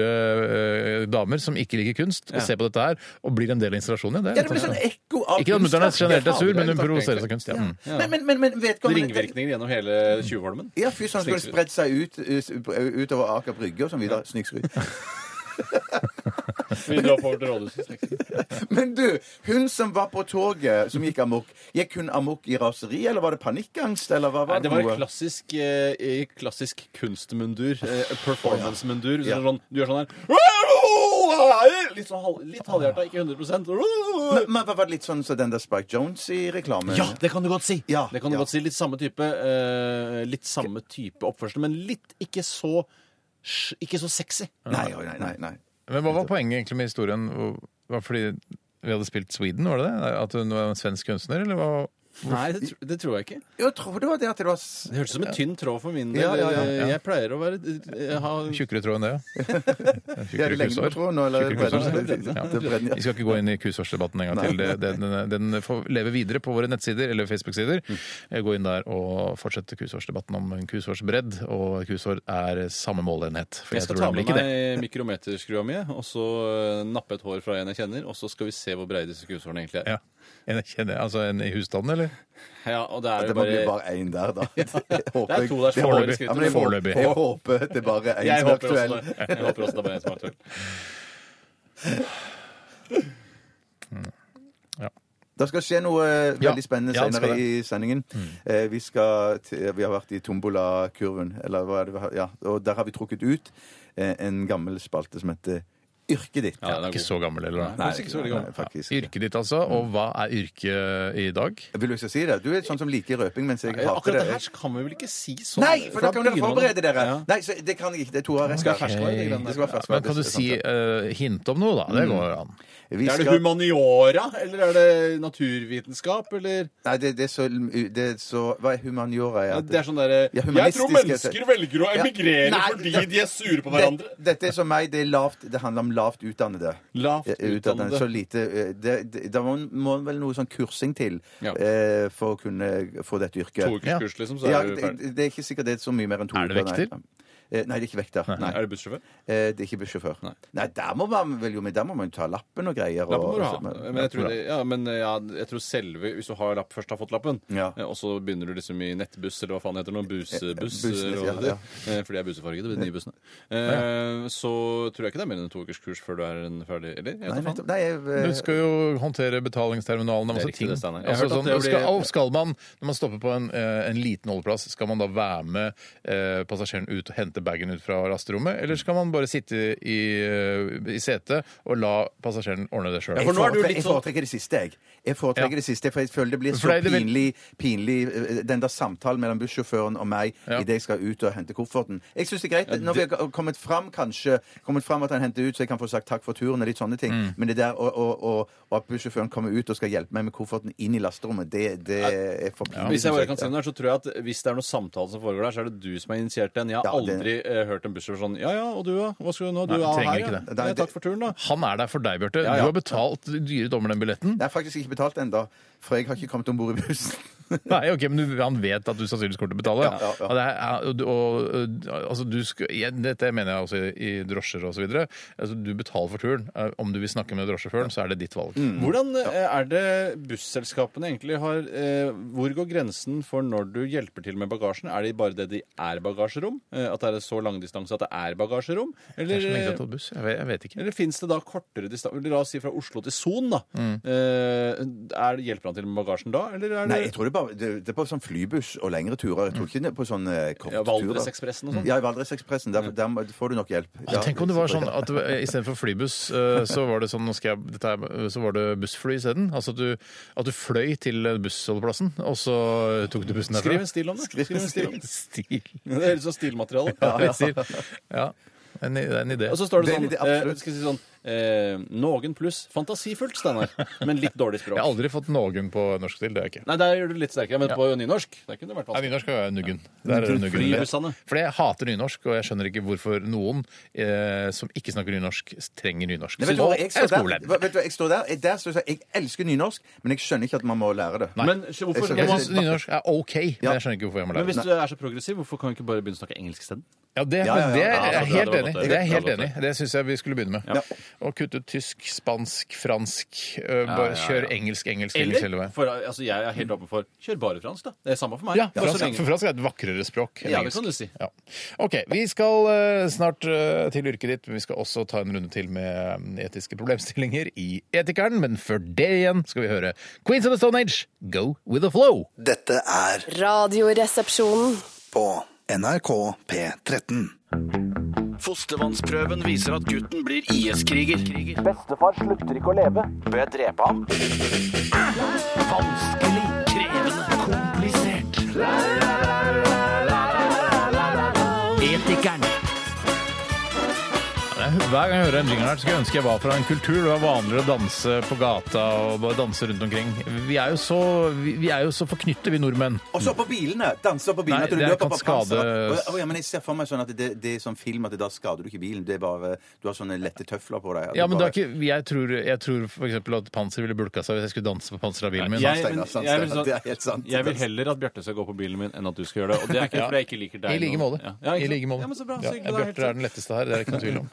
A: eh, damer som ikke liker kunst, og ser på dette her og blir en del av installasjonen. Ja,
B: ja, det blir sånn ekko av
A: Ikke at mutter'n er
B: kunstverk.
A: generelt er sur,
C: det er
A: men hun
C: litt artig,
A: provoseres av kunst. Ja. Mm.
B: Men, men, men, men vedkommende
C: Ringvirkninger gjennom hele Tjuvholmen.
B: Ja, fy søren, skulle spredt seg ut, eh, utover Aker Brygge og sånn videre. Snikskryt.
C: Vi drar over til rådhuset.
B: Men du, hun som var på toget, som gikk amok, gikk hun amok i raseri, eller var det panikkangst, eller hva var
C: Nei,
B: det?
C: det var
B: for noe?
C: klassisk, eh, i klassisk kunstmundur. Eh, Performance-mundur. Så
B: Ja.
C: det er Sånn, du gjør sånn her Litt, sånn halv, litt halvhjerta, ikke 100
B: Men, men var det litt sånn som den der Spike Jones i reklamen?
C: Ja, det kan du godt si!
B: Ja,
C: det kan du
B: ja.
C: godt si. Litt samme type, eh, litt samme type oppførsel, men litt ikke så ikke så sexy.
B: Nei, oi, nei, nei, nei.
A: Men hva var poenget egentlig med historien? Hvor- Var det fordi vi hadde spilt Sweden, var det det? At hun var en svensk kunstner, eller hva?
C: Nei, det, tr- det tror jeg ikke.
B: Jeg tror det var det at det var s-
C: Det hørtes som en tynn tråd for min del.
B: Ja, ja, ja.
C: Eh, Jeg pleier å være eh, ha
A: Tjukkere tråd enn det, ja.
B: Ja, er det lengden på tråden nå, eller er det
A: Tjukkere kursår.
B: bredden? Det er bredden, ja.
A: Vi skal ikke gå inn i kusårsdebatten en gang til. Det- Den, den, den får leve videre på våre nettsider eller Facebook-sider. Eh, Gå inn der og fortsette kusårsdebatten om en kusårsbredd, og kusår er samme måleenhet. For
C: Jeg
A: jeg,
C: skal
A: tror
C: ta
A: nemlig
C: med
A: ikke det.
C: meg mikrometerskrua mi og så eh, nappe et hår fra en jeg kjenner, og så skal vi se hvor breie disse kushårene egentlig er.
A: Ja. En, kjenner, altså en i husstanden, eller?
C: Ja. og det er
B: Det
C: jo
B: må bli
C: bare...
B: bare én der, da. Det håper
C: Det
B: jeg.
C: er to der som
B: Det håper
C: får
B: jeg.
C: skritt.
B: Ja, men jeg håper-
A: Foreløpig.
B: Jeg håper det er bare én
C: Jeg
B: som er
C: håper, også,
B: aktuell.
C: det. jeg håper også det er bare en som er aktuell.
B: Det skal skje noe eh,
A: Ja.
B: veldig spennende
A: Ja, det skal
B: senere i sendingen.
C: Mm.
B: Eh, vi, skal til, eh, vi har vært i Tombola-kurven, eller hva er det vi har? Ja, og der har vi trukket ut eh, en gammel spalte som heter Yrket ditt.
C: Ja, den er
A: Ikke
C: god.
A: så gammel, eller?
C: Nei, ikke så veldig gammel.
B: nei, faktisk. ikke.
A: Yrket ditt, altså. Og hva er yrket i dag?
B: Vil du ikke si det? Du er sånn som liker røping, mens jeg hater
C: Akkurat det
B: det.
C: her kan vi vel ikke si sånn?
B: Nei, for da kan dere
C: begynner man-
B: forberede dere.
C: Ja.
B: Nei, så det kan jeg ikke. Det er to av rett.
C: Skal jeg ferske meg i det
B: Det
C: grann der?
B: skal være fersk.
A: Men kan du si eh, hint om noe, da? Det
C: Mm.
A: går jo an.
B: Vi
C: Er det
B: skal-
C: humaniora, eller er det naturvitenskap, eller?
B: Nei, det, det er så, det er så Hva er humaniora? Ja,
C: Det er sånn derre
B: Ja,
C: Jeg tror
B: humanistisk,
C: mennesker velger å
B: Ja.
C: emigrere
B: Nei,
C: fordi
B: det-
C: de er sure på hverandre.
B: Det, dette er som meg. Det, er lavt, det handler om lavt utdannede.
C: Lavt
B: Eh, utdannede. Så
C: utdannede.
B: lite eh, det, det, Da må må vel noe sånn kursing til
C: Ja.
B: eh, for å kunne få dette
C: To
B: yrket.
C: ukers kurs, liksom, så
B: Ja,
C: er du
B: det,
C: ferdig.
B: det er ikke sikkert det er så mye mer enn to
A: Er det
B: uker,
A: vekter?
B: Nei. Eh, nei, det er ikke vekter. Nei.
C: Er du bussjåfør?
B: Eh, Det er ikke bussjåfør.
C: Nei.
B: Nei. der må man vel jo men der må man jo ta lappen og greier.
C: Lappen må
B: og- og-
C: du ha. Men jeg tror, det, ja, men ja, jeg tror selve Hvis du har lapp, først har fått lappen,
B: Ja.
C: eh, og så begynner du liksom i nettbuss eller hva faen det heter nå, busebuss,
B: Eh, bussene,
C: eller
B: ja,
C: hva det heter, eh, for de er busefargede, de nye bussene, Eh, så tror jeg ikke det er mer enn to ukers kurs før du er en ferdig Eller? Jeg vet
B: Nei,
C: da faen.
B: nettopp. Nei, jeg, eh,
A: Du skal jo håndtere betalingsterminalen og
C: Det er
A: masse
C: riktig
A: ting.
C: det, Steinar. Jeg har
A: Altså,
C: hørt at
A: sånn,
C: det blir-
A: skal, og skal man, når man stopper på en, eh, en liten holdeplass, skal man da være med eh, passasjeren ut og hente bagen ut fra lasterommet, eller skal man bare sitte i, eh, i setet og la passasjeren ordne det sjøl?
B: Jeg
C: for nå er du
B: foretrekker,
C: litt
B: jeg
C: sånn-
B: foretrekker det siste, jeg. Jeg
A: Ja.
B: foretrekker det siste, for jeg føler det blir
A: For
B: så
A: det er det vel-
B: pinlig, pinlig eh, den der samtalen mellom bussjåføren og meg
A: Ja.
B: idet jeg skal ut og hente kofferten. Jeg syns det er greit. Når vi har kommet fram, kanskje, kommet fram at han henter ut, så jeg kan få sagt takk for turen og litt sånne ting.
C: Mm.
B: Men det der å- å- å- og at bussjåføren kommer ut og skal hjelpe meg med kofferten inn i lasterommet, det, det er for pinlig.
C: Hvis jeg
B: synes
C: bare kan si noe der, så tror jeg at hvis det er noen samtale som foregår der, så er det du som har initiert den. Jeg har
B: Ja, det-
C: aldri eh, hørt en bussjåfør sånn Ja ja, og du, ja? Hva skal du nå? Du
A: Nei,
C: er
A: trenger
C: her,
A: ikke
C: ja.
A: det.
B: Nei,
C: ja?
B: det-
C: Takk for turen, da.
A: Han er der for deg, Bjarte.
C: Ja, ja.
A: Du har betalt dyre dommer den billetten.
B: Jeg har faktisk ikke betalt ennå, for jeg har ikke kommet om bord i bussen.
A: Nei, ok, men du, han vet at du sannsynligvis kommer til å betale.
B: Ja, ja, ja.
A: Og det er, eh, og, og, altså, du skal, ja, dette mener jeg også i drosjer osv. Altså, du betaler for turen. Eh, Om du vil snakke med drosjesjåføren, så er det ditt valg.
C: Hvordan eh, er det busselskapene egentlig har eh, Hvor går grensen for når du hjelper til med bagasjen? Er det bare det de er bagasjerom? Eh, at det er så lang distanse at det er bagasjerom?
A: Det er så lenge siden jeg har
C: Eller,
A: tatt buss. Jeg vet, jeg vet ikke.
C: eller fins det da kortere distanse? La oss si fra Oslo til Son, da. Eh, er, hjelper han til med bagasjen da, eller er det
B: Nei, jeg tror det, bare, det, det er på sånn flybuss og lengre turer. Jeg tror ikke det er på sånn eh, korte
C: ja,
B: turer.
C: Valdresekspressen og sånn?
B: Ja, i Valdresekspressen. Der, der må- får du nok hjelp. Ja,
A: Tenk om det var sånn at eh, istedenfor flybuss, eh, så var det sånn nå skal jeg, dette er, så var det bussfly isteden. Altså at du, at du fløy til bussholdeplassen, og så tok du bussen
C: Skriv
A: derfra.
C: en stil om det. Skriv en stil om det.
A: Stil.
C: Det er litt sånn stilmateriale.
A: Ja, litt stil. Ja, en, det er en idé.
C: Og så står
B: Det
C: det
B: er
C: sånn,
B: litt
C: eh,
B: absolutt.
C: skal jeg si sånn eh, Noen pluss fantasifullt, Steinar, men litt dårlig
A: Jeg
C: språk.
A: har aldri fått noen på norsk stil, det har jeg ikke.
C: Nei, der gjør du det litt sterkere, men på nynorsk Der kunne det vært
A: Nei,
C: vanskelig.
A: nynorsk er nuggen. Der er det nuggen.
C: Flybussene.
A: Fordi jeg hater nynorsk, og jeg skjønner ikke hvorfor noen eh, som ikke snakker nynorsk, trenger nynorsk.
B: Nei, vet, du, hva, jeg
A: Så nå
B: står
A: er
B: der,
A: skolen.
B: vet du hva, jeg står der, jeg, der står jeg, jeg elsker nynorsk, men jeg skjønner ikke at man må lære det.
C: Men så hvorfor,
B: Jeg skjønner-
A: Jeg
C: hvorfor-
A: syns nynorsk er OK, men jeg skjønner ikke hvorfor jeg må
C: men
A: lære det.
C: hvis du er så progressiv, hvorfor kan du ikke bare begynne å snakke engelsk isteden?
A: Ja, det,
B: Ja, ja, ja.
A: det er
B: Ja,
A: jeg
C: det- det
A: helt
C: hadde
A: enig
C: vært
A: i.
C: det.
A: Det er jeg helt
C: Det hadde
A: enig i. Det syns jeg vi skulle begynne med. Å kutte ut tysk, spansk, fransk. øh, Bare kjør engelsk, engelsk, engelsk hele veien.
C: for, altså, jeg er helt åpen for Kjør bare fransk, da. Det er samme for meg.
A: Ja,
C: Bare så
A: fransk,
C: lenge-
A: for fransk er et vakrere språk enn
C: Ja, det
A: engelsk.
C: kan du si.
A: Ja. OK, vi skal eh, snart eh, til yrket ditt, men vi skal også ta en runde til med eh, etiske problemstillinger i Etikeren. Men før det igjen skal vi høre Queens of the Stone Age, Go with the flow.
G: Dette er
F: Radioresepsjonen.
G: på NRK P13.
E: Fostervannsprøven viser at gutten blir IS-kriger.
H: Bestefar slutter ikke å leve. Bør jeg drepe ham?
E: Vanskelig, krevende, komplisert. Etikeren.
A: Nei, Hver gang jeg hører en jingle her, så skulle jeg ønske jeg var fra en kultur det var vanligere å danse på gata og bare danse rundt omkring. Vi er jo så, vi, vi er jo så forknyttet, vi nordmenn.
B: Og så på bilene! Danse på bilene.
A: Nei,
B: at du
A: det
B: løper
A: kan
B: på panser.
A: skade-
B: Å, ja, men jeg ser for meg sånn at det, det er sånn film at da skader du ikke bilen. Det er bare, du har sånne lette tøfler på deg. at
A: Ja, men det er
B: bare-
A: ikke, jeg tror, jeg tror for eksempel at panser ville bulka seg hvis jeg skulle danse på panseret av bilen min.
C: Jeg,
B: Sant,
C: men,
B: Steinar,
C: jeg, vil,
B: sant, Steinar, det er helt sant.
C: sånn- jeg vil heller at Bjarte skal gå på bilen min enn at du skal gjøre det. Og det er ikke
A: Ja.
C: fordi jeg ikke liker deg.
A: I like
C: nå.
A: måte.
C: Ja. Ja, ikke
A: I
C: sant?
A: like måte.
C: Ja, men så bra, så
A: Ja,
C: hyggelig, det er helt
A: Bjarte er den letteste her, det er det ikke noe tvil om.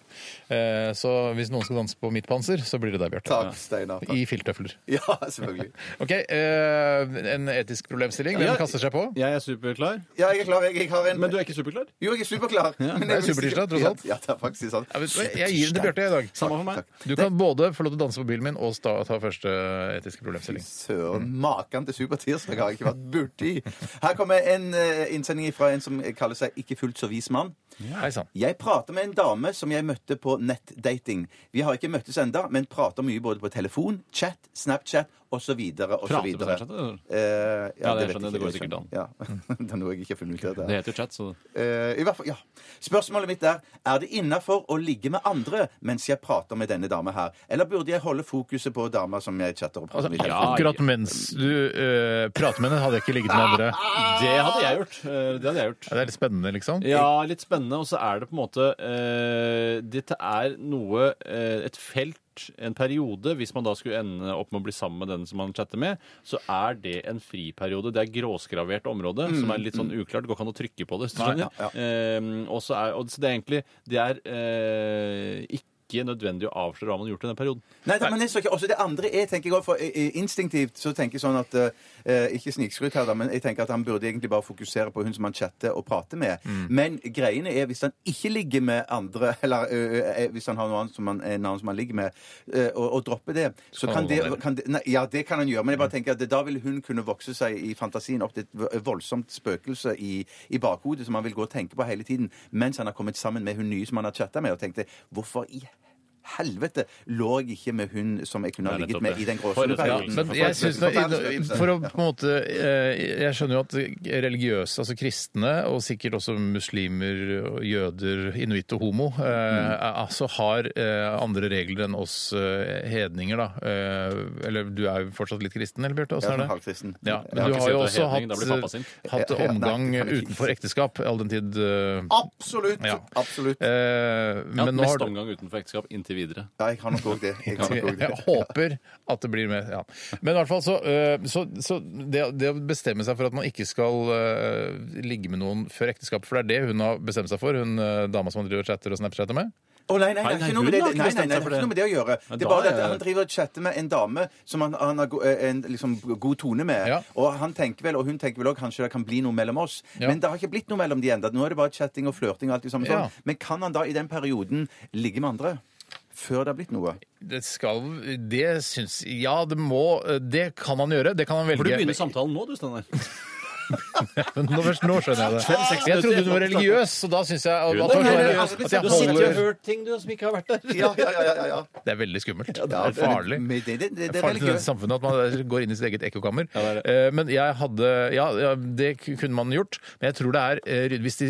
A: Eh, Så hvis noen skal danse på mitt panser, så blir det deg, Bjarte.
B: Takk, Steinar. takk.
A: I filttøfler.
B: Ja, selvfølgelig.
A: Ok, eh, en etisk problemstilling.
C: Ja.
A: Hvem kaster seg på?
C: sånn. Jeg er superklar.
B: Ja, jeg er klar. Jeg, jeg har en
C: Men du er ikke superklar?
B: Jo, jeg er superklar. Men jeg
A: det er
B: vil
A: supertirsdag,
B: sikkert-
A: tross alt.
B: Ja, ja, det er faktisk sant.
A: Jeg, vet, jeg gir den til Bjarte i dag.
C: Samme for meg.
A: Du kan både få lov til å danse på bilen min og sta- ta første etiske problemstilling.
B: Søren, maken til supertirsdag har jeg ikke vært borti. Her kommer en eh, innsending fra en som kaller seg Ikke fullt så vis mann.
A: Hei sann.
B: Jeg prater med en dame som jeg møtte på nettdating. Vi har ikke møttes enda, men prater mye både på telefon, chat, Snapchat osv.
C: Prater på Snapchat, eller?
B: Eh, ja,
C: Ja, det
B: vet
C: skjønner jeg,
B: ikke,
C: det går
B: jeg
C: sikkert an.
B: skjønner. Ja. det er noe jeg ikke har funnet ut av.
C: Det heter jo chat, så
B: Eh, I hvert fall, ja. Spørsmålet mitt er er det innafor å ligge med andre mens jeg prater med denne dama her, eller burde jeg holde fokuset på dama som jeg chatter og prater med? i telefonen?
A: Akkurat mens du eh, prater med henne, hadde jeg ikke ligget med andre.
C: Det hadde jeg gjort. Eh, Det hadde jeg gjort.
A: Ja, Det er litt spennende, liksom.
C: Ja, litt spennende. Og så er det på en måte eh, Dette er noe eh, Et felt, en periode, hvis man da skulle ende opp med å bli sammen med den som man chatter med, så er det en friperiode. Det er gråskravert område som er litt sånn uklart. Går ikke an å trykke på det, hvis du skjønner. Eh, og så er, og så det er egentlig Det er eh, ikke nødvendig å avsløre hva man har gjort i den perioden.
B: Nei, da, men jeg så ikke. Også det andre er, tenker jeg også, for eh, instinktivt så tenker jeg sånn at eh, Ikke snikskryt her, da, men jeg tenker at han burde egentlig bare fokusere på hun som han chatter og prater med. Men greiene er, hvis han ikke ligger med andre, eller eh, eh, hvis han har noe annet som han, en annen som han ligger med, eh, og, og dropper det, så
A: kan
B: kan
A: han
B: det,
A: holde det.
B: kan det nei, Ja, det kan han gjøre, men jeg bare tenker at det, da vil hun kunne vokse seg i fantasien opp til et vo- voldsomt spøkelse i, i bakhodet som han vil gå og tenke på hele tiden mens han har kommet sammen med hun nye som han har chatta med, og tenkte hvorfor i helvete lå jeg ikke med hun som jeg kunne ha
C: Nei,
B: ligget
C: nettopp
B: med i
C: det.
B: den
C: Forrest- ja,
B: gråsoneperioden.
A: Men jeg synes nå, i-
B: Forrest-
A: for å på en måte eh, Jeg skjønner jo at religiøse, altså kristne, og sikkert også muslimer, og jøder, inuitt og homo, eh, er- altså har eh, andre regler enn oss eh, hedninger, da. Eh, Eller du er jo fortsatt litt kristen, eller Bjørte?
B: Jeg er
A: Åssen er
B: sånn
A: det?
B: halvkristen.
A: Ja, men
B: Jeg
A: du
C: ikke
A: har jo
C: sett
A: også
C: det hedning, da blir pappa
A: hatt, eh,
C: sin.
A: hatt
B: Ja, ja, nei,
A: omgang
B: det kan jeg ikke.
A: utenfor ekteskap, all den tid eh,
B: Absolutt!
A: Ja.
B: Absolutt.
A: eh,
C: Ja,
A: Men nå
C: mest
A: har du
C: omgang utenfor ekteskap inntil inntil videre.
B: Ja, jeg har nok òg det. Jeg har nok også det.
A: Jeg håper at det blir mer. Ja. Men i hvert fall så, øh, så, så det, det å bestemme seg for at man ikke skal øh, ligge med noen før ekteskap, for det er det hun har bestemt seg for, hun øh, dama som driver og chatter og snapchatter med.
B: Å nei, nei, det
C: Nei,
B: er
C: nei,
B: ikke noe
C: hun
B: med det,
C: har ikke
B: nei, nei,
C: bestemt
B: nei,
C: seg
B: det
C: for
B: er ikke
C: det.
B: noe med det å gjøre.
C: Men
B: Det er
C: da
B: bare det
C: er-
B: at han driver og chatter med en dame som han, han har go- en liksom god tone med.
A: Ja.
B: Og han tenker vel, og hun tenker vel òg kanskje det kan bli noe mellom oss.
A: Ja.
B: Men det har ikke blitt noe mellom de ennå. Nå er det bare chatting og flørting og alt det samme.
A: Ja.
B: sånn. Men kan han da i den perioden ligge med andre? Før det har blitt noe?
A: Det skal Det syns Ja, det må Det kan han gjøre. Det kan han velge.
C: For du begynner samtalen nå, du, Steinar.
A: Men nå, nå skjønner jeg det. Jeg trodde hun var religiøs, og da syns jeg at, at,
C: altså,
A: at jeg holder
C: hørt ting du som ikke har vært der.
B: Ja, ja, ja. ja, ja.
A: Det er veldig skummelt. Det er farlig.
B: Men det, det, det, det er
A: farlig til
B: veldig
A: dette samfunnet at man går inn i sitt eget ekkokammer.
C: Ja, det er
A: Eh, Men jeg hadde Ja, ja, det k- kunne man gjort, men jeg tror det er eh, ryd- Hvis de,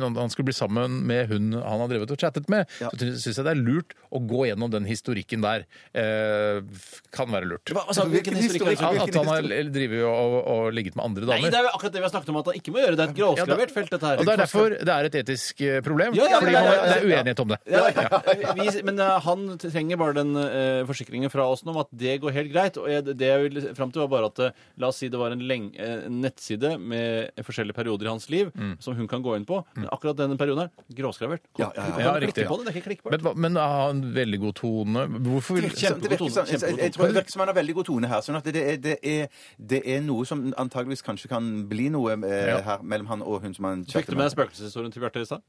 A: hun, han skulle bli sammen med hun han har drevet og chattet med,
B: Ja.
A: så syns jeg det er lurt å gå gjennom den historikken der. Eh, f- Kan være lurt.
C: Hva, altså, hvilken historikk?
B: historikk?
A: Han, at han har
B: historie?
A: drevet og, og ligget med andre
C: Nei,
A: damer.
C: det er jo akkurat det vi har snakket om at han ikke må gjøre. Det er
A: Ja,
C: et
A: da-
C: grovskravert felt, dette her.
A: Og det er derfor det er et etisk eh, problem.
C: Ja, ja, ja,
A: fordi
C: ja, ja,
A: man-
C: ja,
A: det
C: ja.
A: er uenighet om det.
C: Ja, vi, men eh, han trenger bare den eh, forsikringen fra oss nå om at det går helt greit. Og jeg, det jeg ville fram til, var bare at eh, la oss si det var en, leng, eh, en nettside med forskjellige perioder i hans liv som hun kan gå inn på. Men akkurat denne perioden her, gråskravert.
B: Ja, ja, ja.
C: Du kan
A: Mm. Ja,
C: klikke
A: riktig.
C: på det, det er ikke klikkbart.
A: Men, hva- men har han veldig god tone? Hvorfor vil
B: Så det virker
C: Kjempegod
B: som-
C: tone, kjempegod
B: jeg- Jeg tror det virker som han har veldig god tone her. Sånn at det er, det er, det er noe som antageligvis kanskje kan bli noe eh,
A: Ja.
B: her mellom han og hun som han
C: Fikk
B: chatter
C: du med deg spøkelseshistorien til Bjarte i stad?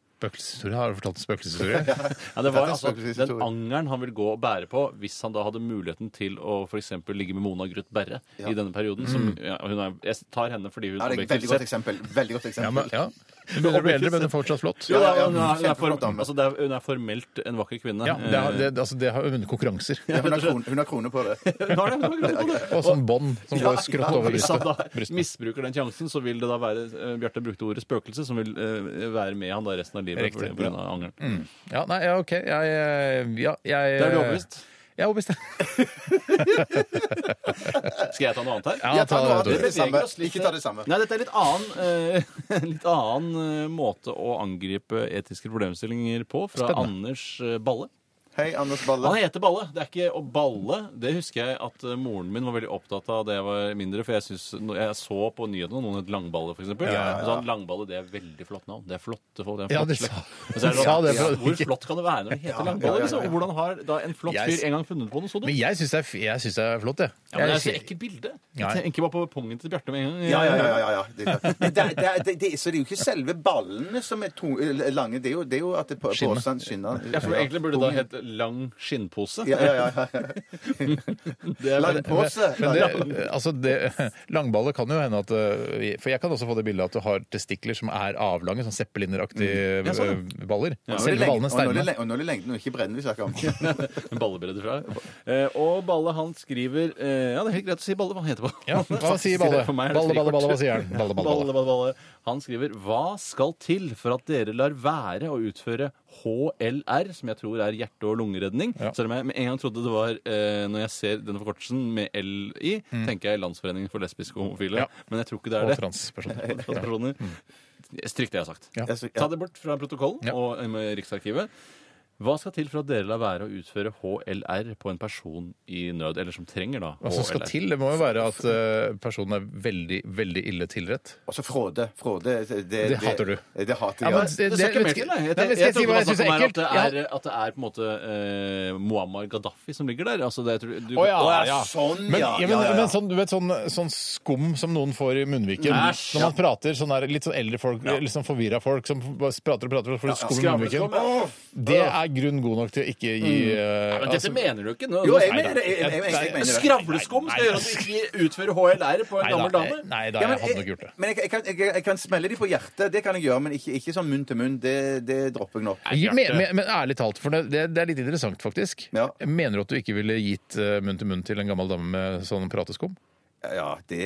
A: Spøkelseshistorie? Har du fortalt en spøkelseshistorie?
C: Ja, det
B: Dette er
C: var altså den
B: spøkelseshistorie.
C: angeren han ville gå og bære på hvis han da hadde muligheten til å for eksempel ligge med Mona Gruth Berre i denne perioden. Som,
A: Mm.
C: ja, hun er, jeg tar henne fordi hun
B: Ja, det er et
C: objektivt
B: veldig godt
C: sett
B: eksempel. Veldig godt eksempel.
A: Ja, men, ja. Hun begynner å bli eldre, men hun er fortsatt flott.
C: Jo, da,
B: Ja, ja,
C: hun, er, hun, er
B: kjempeflott
C: for,
B: dame.
C: altså, det er, hun er formelt en vakker kvinne.
A: Ja, det har, det, altså, det har vunnet konkurranser.
B: Ja, hun, har krone, hun har krone på det.
C: Eh, nå er det- nå er det greit på det.
A: Og sånn bånd som
C: Ja,
A: går skrått
C: ja,
A: over
C: hvis han da
A: brystet. brystet.
C: misbruker den sjansen, så vil det da være eh, Bjarte brukte ordet spøkelse, som vil eh, være med han da resten av livet
A: Riktig. Mm.
C: pga. angeren.
A: Ja, nei, ja, OK. Jeg, eh, ja, jeg eh,
C: Det er du overbevist?
A: Jeg er overbevist.
C: Skal jeg ta noe annet her?
A: Ja, ta det,
B: noe annet.
A: Tore.
B: Det
C: beveger
B: samme.
C: oss litt-
B: Ikke ta det samme.
C: Nei, dette er litt annen, eh, litt annen eh, måte å angripe etiske problemstillinger på fra
A: Spennende.
C: Anders eh, Balle.
B: Hei, Anders
C: Han
B: Balle.
C: heter Balle. Det er ikke å balle. Det husker jeg at eh, moren min var veldig opptatt av da jeg var mindre. For jeg, synes, når jeg så på nyhetene noen het Langballe, f.eks. eksempel Og så han Langballe, det er et veldig flott navn. Det er flotte folk. Det er
A: Ja,
C: en flott
A: de sa-
C: slekt. Og så er
A: de sa
C: det
A: det
C: sånn,
A: for-
C: Hvor flott kan det være når det heter Langballe? Liksom? Og Hvordan har da en flott
A: Jeg-
C: fyr en gang funnet på noe så
A: Men
C: dumt?
A: jeg syns det, er f- jeg synes det er flott, jeg.
C: Ja, men det er så
A: Jeg-
C: ekkelt bilde.
A: Nei.
C: Jeg tenker bare på pungen til Bjarte med en gang.
B: Ja, ja, ja. ja, ja. Det, er klart. Men det, er- det, er- det, det, så det er jo ikke selve ballene som er to, lange, det er jo, det er jo at det på, på
A: Skinnet.
B: skinner.
C: Jeg tror egentlig burde det da hett lang skinnpose.
B: ja, ja, ja, ja, ja.
C: Det er
B: La den på seg.
A: Men det, altså det, langballe kan jo hende at eh, For jeg kan også få det bildet at du har testikler som er avlange, sånn zeppelineraktige
C: Ja, sånn,
A: eh, baller.
B: Og nå er det
A: Selve
B: lengden-
A: ballene
B: og nå er det
A: steiner.
B: lengden- og nå er det lengden, og ikke brenner vi snakker om.
C: en ballebredde fra eh, Og Balle han skriver eh, Ja, det er helt greit å si Balle, hva han heter Balle.
A: Ja, hva sier Balle?
C: For meg er det
A: Balle, balle,
C: frikort.
A: balle, hva sier han? Balle, balle, balle.
C: Balle, balle, balle. Han skriver Hva skal til for at dere lar være å utføre HLR, som jeg tror er hjerte- og lungeredning?
A: Ja.
C: Selv om jeg med en gang trodde det var eh, Når jeg ser denne forkortelsen med L i, tenker jeg Landsforeningen for lesbiske og homofile.
A: Mm. Ja.
C: Men jeg tror ikke det
A: Og
C: er det.
A: transpersoner.
C: Transpersoner. Stryk Mm. det jeg har sagt.
A: Ja.
B: Altså,
C: Ta det bort fra protokollen
A: Ja.
C: og eh, med Riksarkivet. Hva skal til for at dere lar være å utføre HLR på en person i nød, eller som trenger da
A: Hva som skal
C: HLR?
A: til, det må jo være at eh, personen er veldig, veldig ille tilrett.
B: Og så Fråde. Fråde det,
A: Det hater du.
B: Det hater
A: Ja,
B: jeg.
A: men det-
C: Det skal ikke mer
A: vet
C: til,
A: ikke-
C: nei. Jeg,
A: Nei, men
C: jeg,
A: skal jeg si
C: trodde
A: hva jeg
C: det var
A: syns er
C: snakk om her at
A: ekkelt?
C: det
A: Ja.
C: er, at det er på en måte eh, Muammar Gaddafi som ligger der. Altså, det, jeg tror, du,
A: Å, ja.
C: Å,
B: Sånn,
A: Men,
B: ja.
A: ja, men,
B: ja, ja, ja.
A: men sånn, du vet, sånn, sånn skum som noen får i munnviken når
C: Æsj.
A: man prater sånn der, Litt sånn eldre folk, litt sånn forvirra folk som bare prater og prater og får litt skum i munnviken. Det er grunn god nok til å ikke gi eh,
C: Mm. Men dette
A: altså-
C: mener du ikke? Nå,
B: Jo, jeg
C: nå-
B: mener det. Jeg, jeg, jeg, jeg, jeg mener det.
C: Skravleskum skal gjøre at du ikke utfører HLR på en
A: Nei
C: gammel
A: da,
C: dame?
A: nei da,
B: Ja,
A: jeg
B: men
A: hadde nok gjort det.
B: men jeg, jeg, kan, jeg, jeg kan smelle de på hjertet, det kan jeg gjøre, men ikke, ikke sånn munn til munn. Det, det dropper jeg nok.
A: Men, men, men ærlig talt, for det, det, det er litt interessant, faktisk.
B: Ja.
A: Mener du at du ikke ville gitt eh, munn til munn til en gammel dame med sånn prateskum?
B: Ja, det,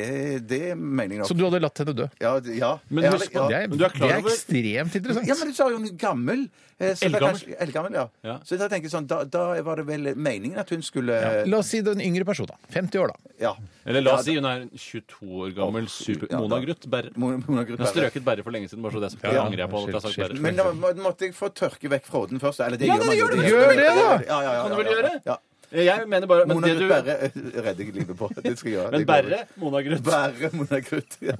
B: det er meningen.
A: Så du hadde latt henne dø?
B: Ja, det- ja.
C: Men
B: Jeg
C: husk
B: hadde-
C: på-
A: Det er,
C: Men du er klar
A: det er
C: over-
A: ekstremt interessant.
B: Ja, men du sa jo hun er gammel. eh, så da
C: Eldgammel.
B: kanskje- Eldgammel, ja.
C: Ja.
B: Så da tenker jeg sånn, da, da var det vel meningen at hun skulle
A: La oss si den yngre personen. da. 50 år, da.
B: Ja.
C: Eller la oss si hun er 22 år gammel super...
B: Ja, da-
C: Mona Gruth Berre. Hun
B: Mona- Mona Gruth
C: har
B: Berre.
C: strøket Berre for lenge siden, bare så det er så
A: Ja.
C: angrer jeg på alt jeg har sagt
A: Shit,
C: Berre.
B: Men da må, måtte jeg få tørke vekk fråden først? Eller det ja, gjør man jo.
A: Gjør det, da!
B: Ja, ja, ja,
C: Kan du
B: ja,
C: vel
B: ja.
C: gjøre?
B: Ja.
C: Jeg mener bare men
B: Mona
C: det
B: Gruth
C: du...
B: Berre eh, redder jeg livet på. Det skal jeg gjøre.
C: Men
B: Det går
C: Berre, Mona
B: vel.
C: Gruth
B: Berre Mona Gruth. Ja.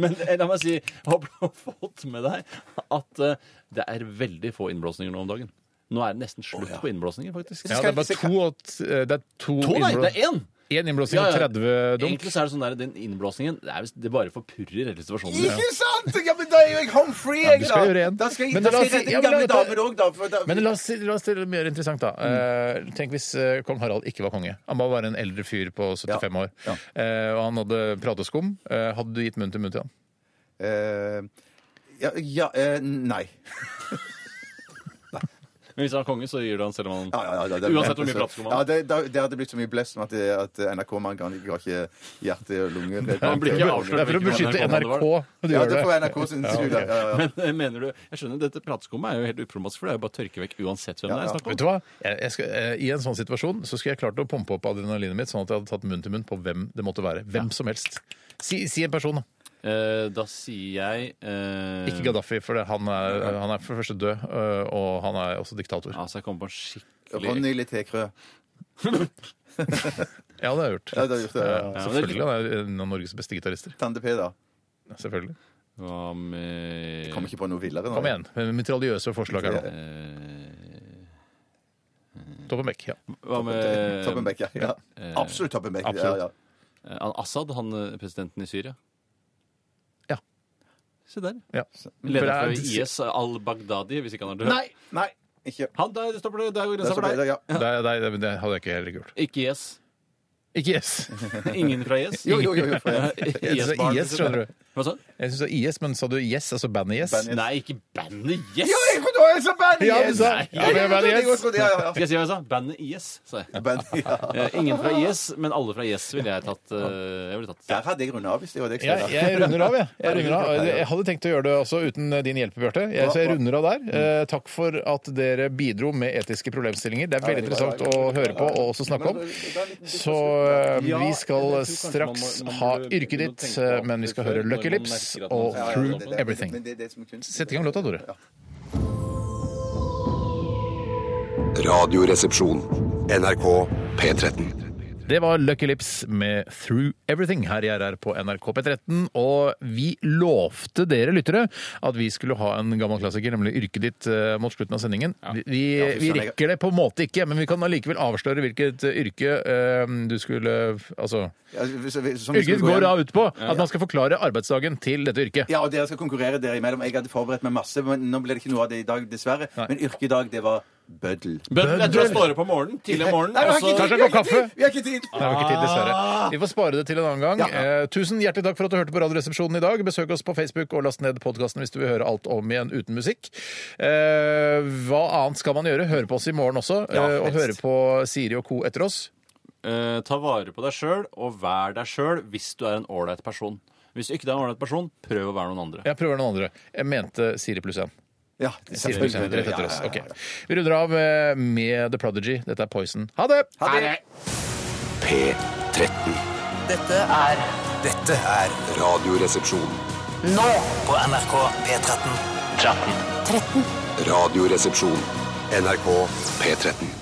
C: Men eh, la meg si, håper du har fått med deg at eh, det er veldig få innblåsninger nå om dagen. Nå er det nesten slutt på innblåsninger, faktisk.
A: Ja, det er bare to, og t- det er to,
C: To, nei,
A: innblå-
C: det er én!
A: En innblåsning og 30 dunk.
C: Egentlig så er det sånn der, den innblåsningen det, er, visst- det bare forpurrer hele situasjonen.
B: Ikke sant?! Ja, men da er jo jeg home free,
A: du
B: jeg, da!
A: skal gjøre en.
B: Da skal jeg,
A: Men
B: da
A: la
B: skal
A: oss si-
B: jeg redde
A: ja,
B: en
A: men
B: gammel
A: la-
B: dame òg, da. For da
A: Men la oss, la oss gjøre det mye interessant, da. Eh, tenk hvis eh, kong Harald ikke var konge. Han bare var en eldre fyr på 75 år. Eh, og han hadde prateskum. Eh, hadde du gitt munn til munn til han?
B: Eh, ja, ja eh, Nei.
C: Men hvis han er konge, så gir du han selv om han
B: Ja, ja, ja, det- det-
C: Uansett hvor mye platteskum han
B: ja,
C: har.
B: det, da- det hadde blitt så mye blest med at, det- at NRK-mannen ga ikke hjerte- og lunger.
C: Han blir ikke avslørt.
A: Det er for å
C: hvilken
A: beskytte
C: NRK
A: NRK.
C: det var.
A: Du
B: Ja,
A: gjør
B: det
A: det.
B: får være NRK sin skyld. Ja, ja, ja.
C: Men eh, mener du Jeg skjønner, dette prateskummet er jo helt uproblematisk, for det er jo bare å tørke vekk uansett hvem
B: Ja,
C: det er
B: ja.
C: snakk om.
A: Vet du hva? Jeg, jeg skal, eh, I en sånn situasjon så skulle jeg klart å pumpe opp adrenalinet mitt sånn at jeg hadde tatt munn til munn på hvem det måtte være. Hvem som helst. Si, si en person, da.
C: Eh, da sier jeg eh,
A: Ikke Gaddafi, for det, han, er, han er for det første død, eh, og han er også diktator.
C: Altså, jeg kommer på en skikkelig
B: Ronny Littekrø.
A: Ja, det har jeg gjort.
B: Ja, det har jeg gjort, ja, ja, ja.
A: Eh, Selvfølgelig. Han er en av Norges beste gitarister.
B: Tande P, da.
A: Selvfølgelig.
C: Hva med
B: Kom ikke på noe villere nå.
A: Kom igjen. med Mitraljøse forslag her nå. Toppen Beck. Ja.
C: eh, Hva med
B: Toppenbekk, Eh, ja. ja. Absolutt Toppenbekk. Ja,
A: absolutt.
B: ja.
C: Eh, han Assad, han eh, presidenten i Syria?
A: Ja.
C: Se der.
A: ja.
C: Leder
A: For
C: for
A: det er-
C: IS, al-Baghdadi, hvis ikke han er død.
B: Nei, ikke.
C: Han, der stopper det, der går
B: Det
C: grensa
B: er så
C: for
B: bra,
C: deg.
B: ja.
A: Nei, nei, det, det hadde jeg ikke heller gjort.
C: Ikke IS.
A: Ikke IS.
C: Ingen fra IS.
B: Jo, jo, jo. jo for jeg.
A: Jeg synes det er IS, skjønner du.
C: Hva sa du?
A: Jeg synes det er IS, men sa du Yes, altså bandet Yes?
B: Bandet.
C: Nei, ikke bandet Yes!
B: Jo, jeg trodde det var så band
A: Ja, du
B: yes!
A: sa
B: Nei.
A: ja, men bandet
B: Jeg
A: Yes.
B: trodde det, ja, ja,
C: Skal jeg si hva jeg sa? Bandet IS, sa jeg.
B: ja. Band, ja.
C: Eh, Ingen fra IS, men alle fra IS ville jeg tatt. eh, Jeg ville tatt.
B: Der hadde jeg runda av, hvis det var det jeg
A: Jeg,
B: skulle
A: jeg runder av, jeg. Jeg, runder av. jeg hadde tenkt å gjøre det også uten eh, din hjelp, Bjarte. Jeg, så jeg runder av der. Eh, takk for at dere bidro med etiske problemstillinger. Det er veldig interessant å høre på og også snakke om. Så eh,
C: Ja,
A: vi skal
C: jeg tror kanskje
A: straks
C: man må- man
A: ha
C: burde
A: yrket
C: begynne å
A: ditt,
C: tenke på
A: eh, men vi skal
C: alt
A: høre
C: før,
A: Lucky
C: når man
A: Lips
C: merker at man
A: og
C: skal
B: Ja, ja,
A: Through
B: det- det-
A: Everything.
B: Men det er det som er kunst.
A: Sett i gang låta, Tore.
D: Radioresepsjon. NRK P13.
A: Det var Lucky Lips med Through Everything her i RR på NRK P13. Og vi lovte dere lyttere at vi skulle ha en gammel klassiker, nemlig Yrket ditt, eh, mot slutten av sendingen. Vi, vi, vi rekker det på en måte ikke, men vi kan allikevel avsløre hvilket eh, yrke eh, du skulle Altså
B: Ja, hvis- hvis- som vi skulle
A: Yrket
B: gå
A: går
B: igjen.
A: da ut på at man skal forklare arbeidsdagen til dette yrket.
B: Ja, og dere skal konkurrere dere imellom. Jeg hadde forberedt meg masse, men nå ble det ikke noe av det i dag, dessverre. Men yrket i dag, det var bøddel.
C: Bøddel, jeg tror jeg står opp om morgenen, tidlig om morgenen,
B: Nei, vi har
C: og
B: ikke
C: så
A: Tar
B: tid!
A: seg
B: Vi
A: en
B: har
A: kopp
B: ikke
A: kaffe.
B: tid! Vi har ikke tid!
A: Det var ikke tid, dessverre. Vi får spare det til en annen gang. Eh, tusen hjertelig takk for at du hørte på Radioresepsjonen i dag. Besøk oss på Facebook og last ned podkasten hvis du vil høre alt om igjen uten musikk. Eh, hva annet skal man gjøre? Høre på oss i morgen også. eh, og høre på Siri og co. etter oss.
C: Eh, ta vare på deg sjøl, og vær deg sjøl hvis du er en ålreit person. Hvis du ikke er en ålreit person, prøv å være noen andre.
A: Jeg prøver noen andre. Jeg mente Siri pluss én.
B: Ja,
A: Siri pluss én, rett etter oss. Ok. Vi runder av eh, med The Prodigy. Dette er Poison. Ha det!
B: Ha det!
D: P13.
I: Dette er
D: Dette er Radioresepsjon.
I: nå på NRK P13. 13.
D: Radioresepsjon. NRK P13.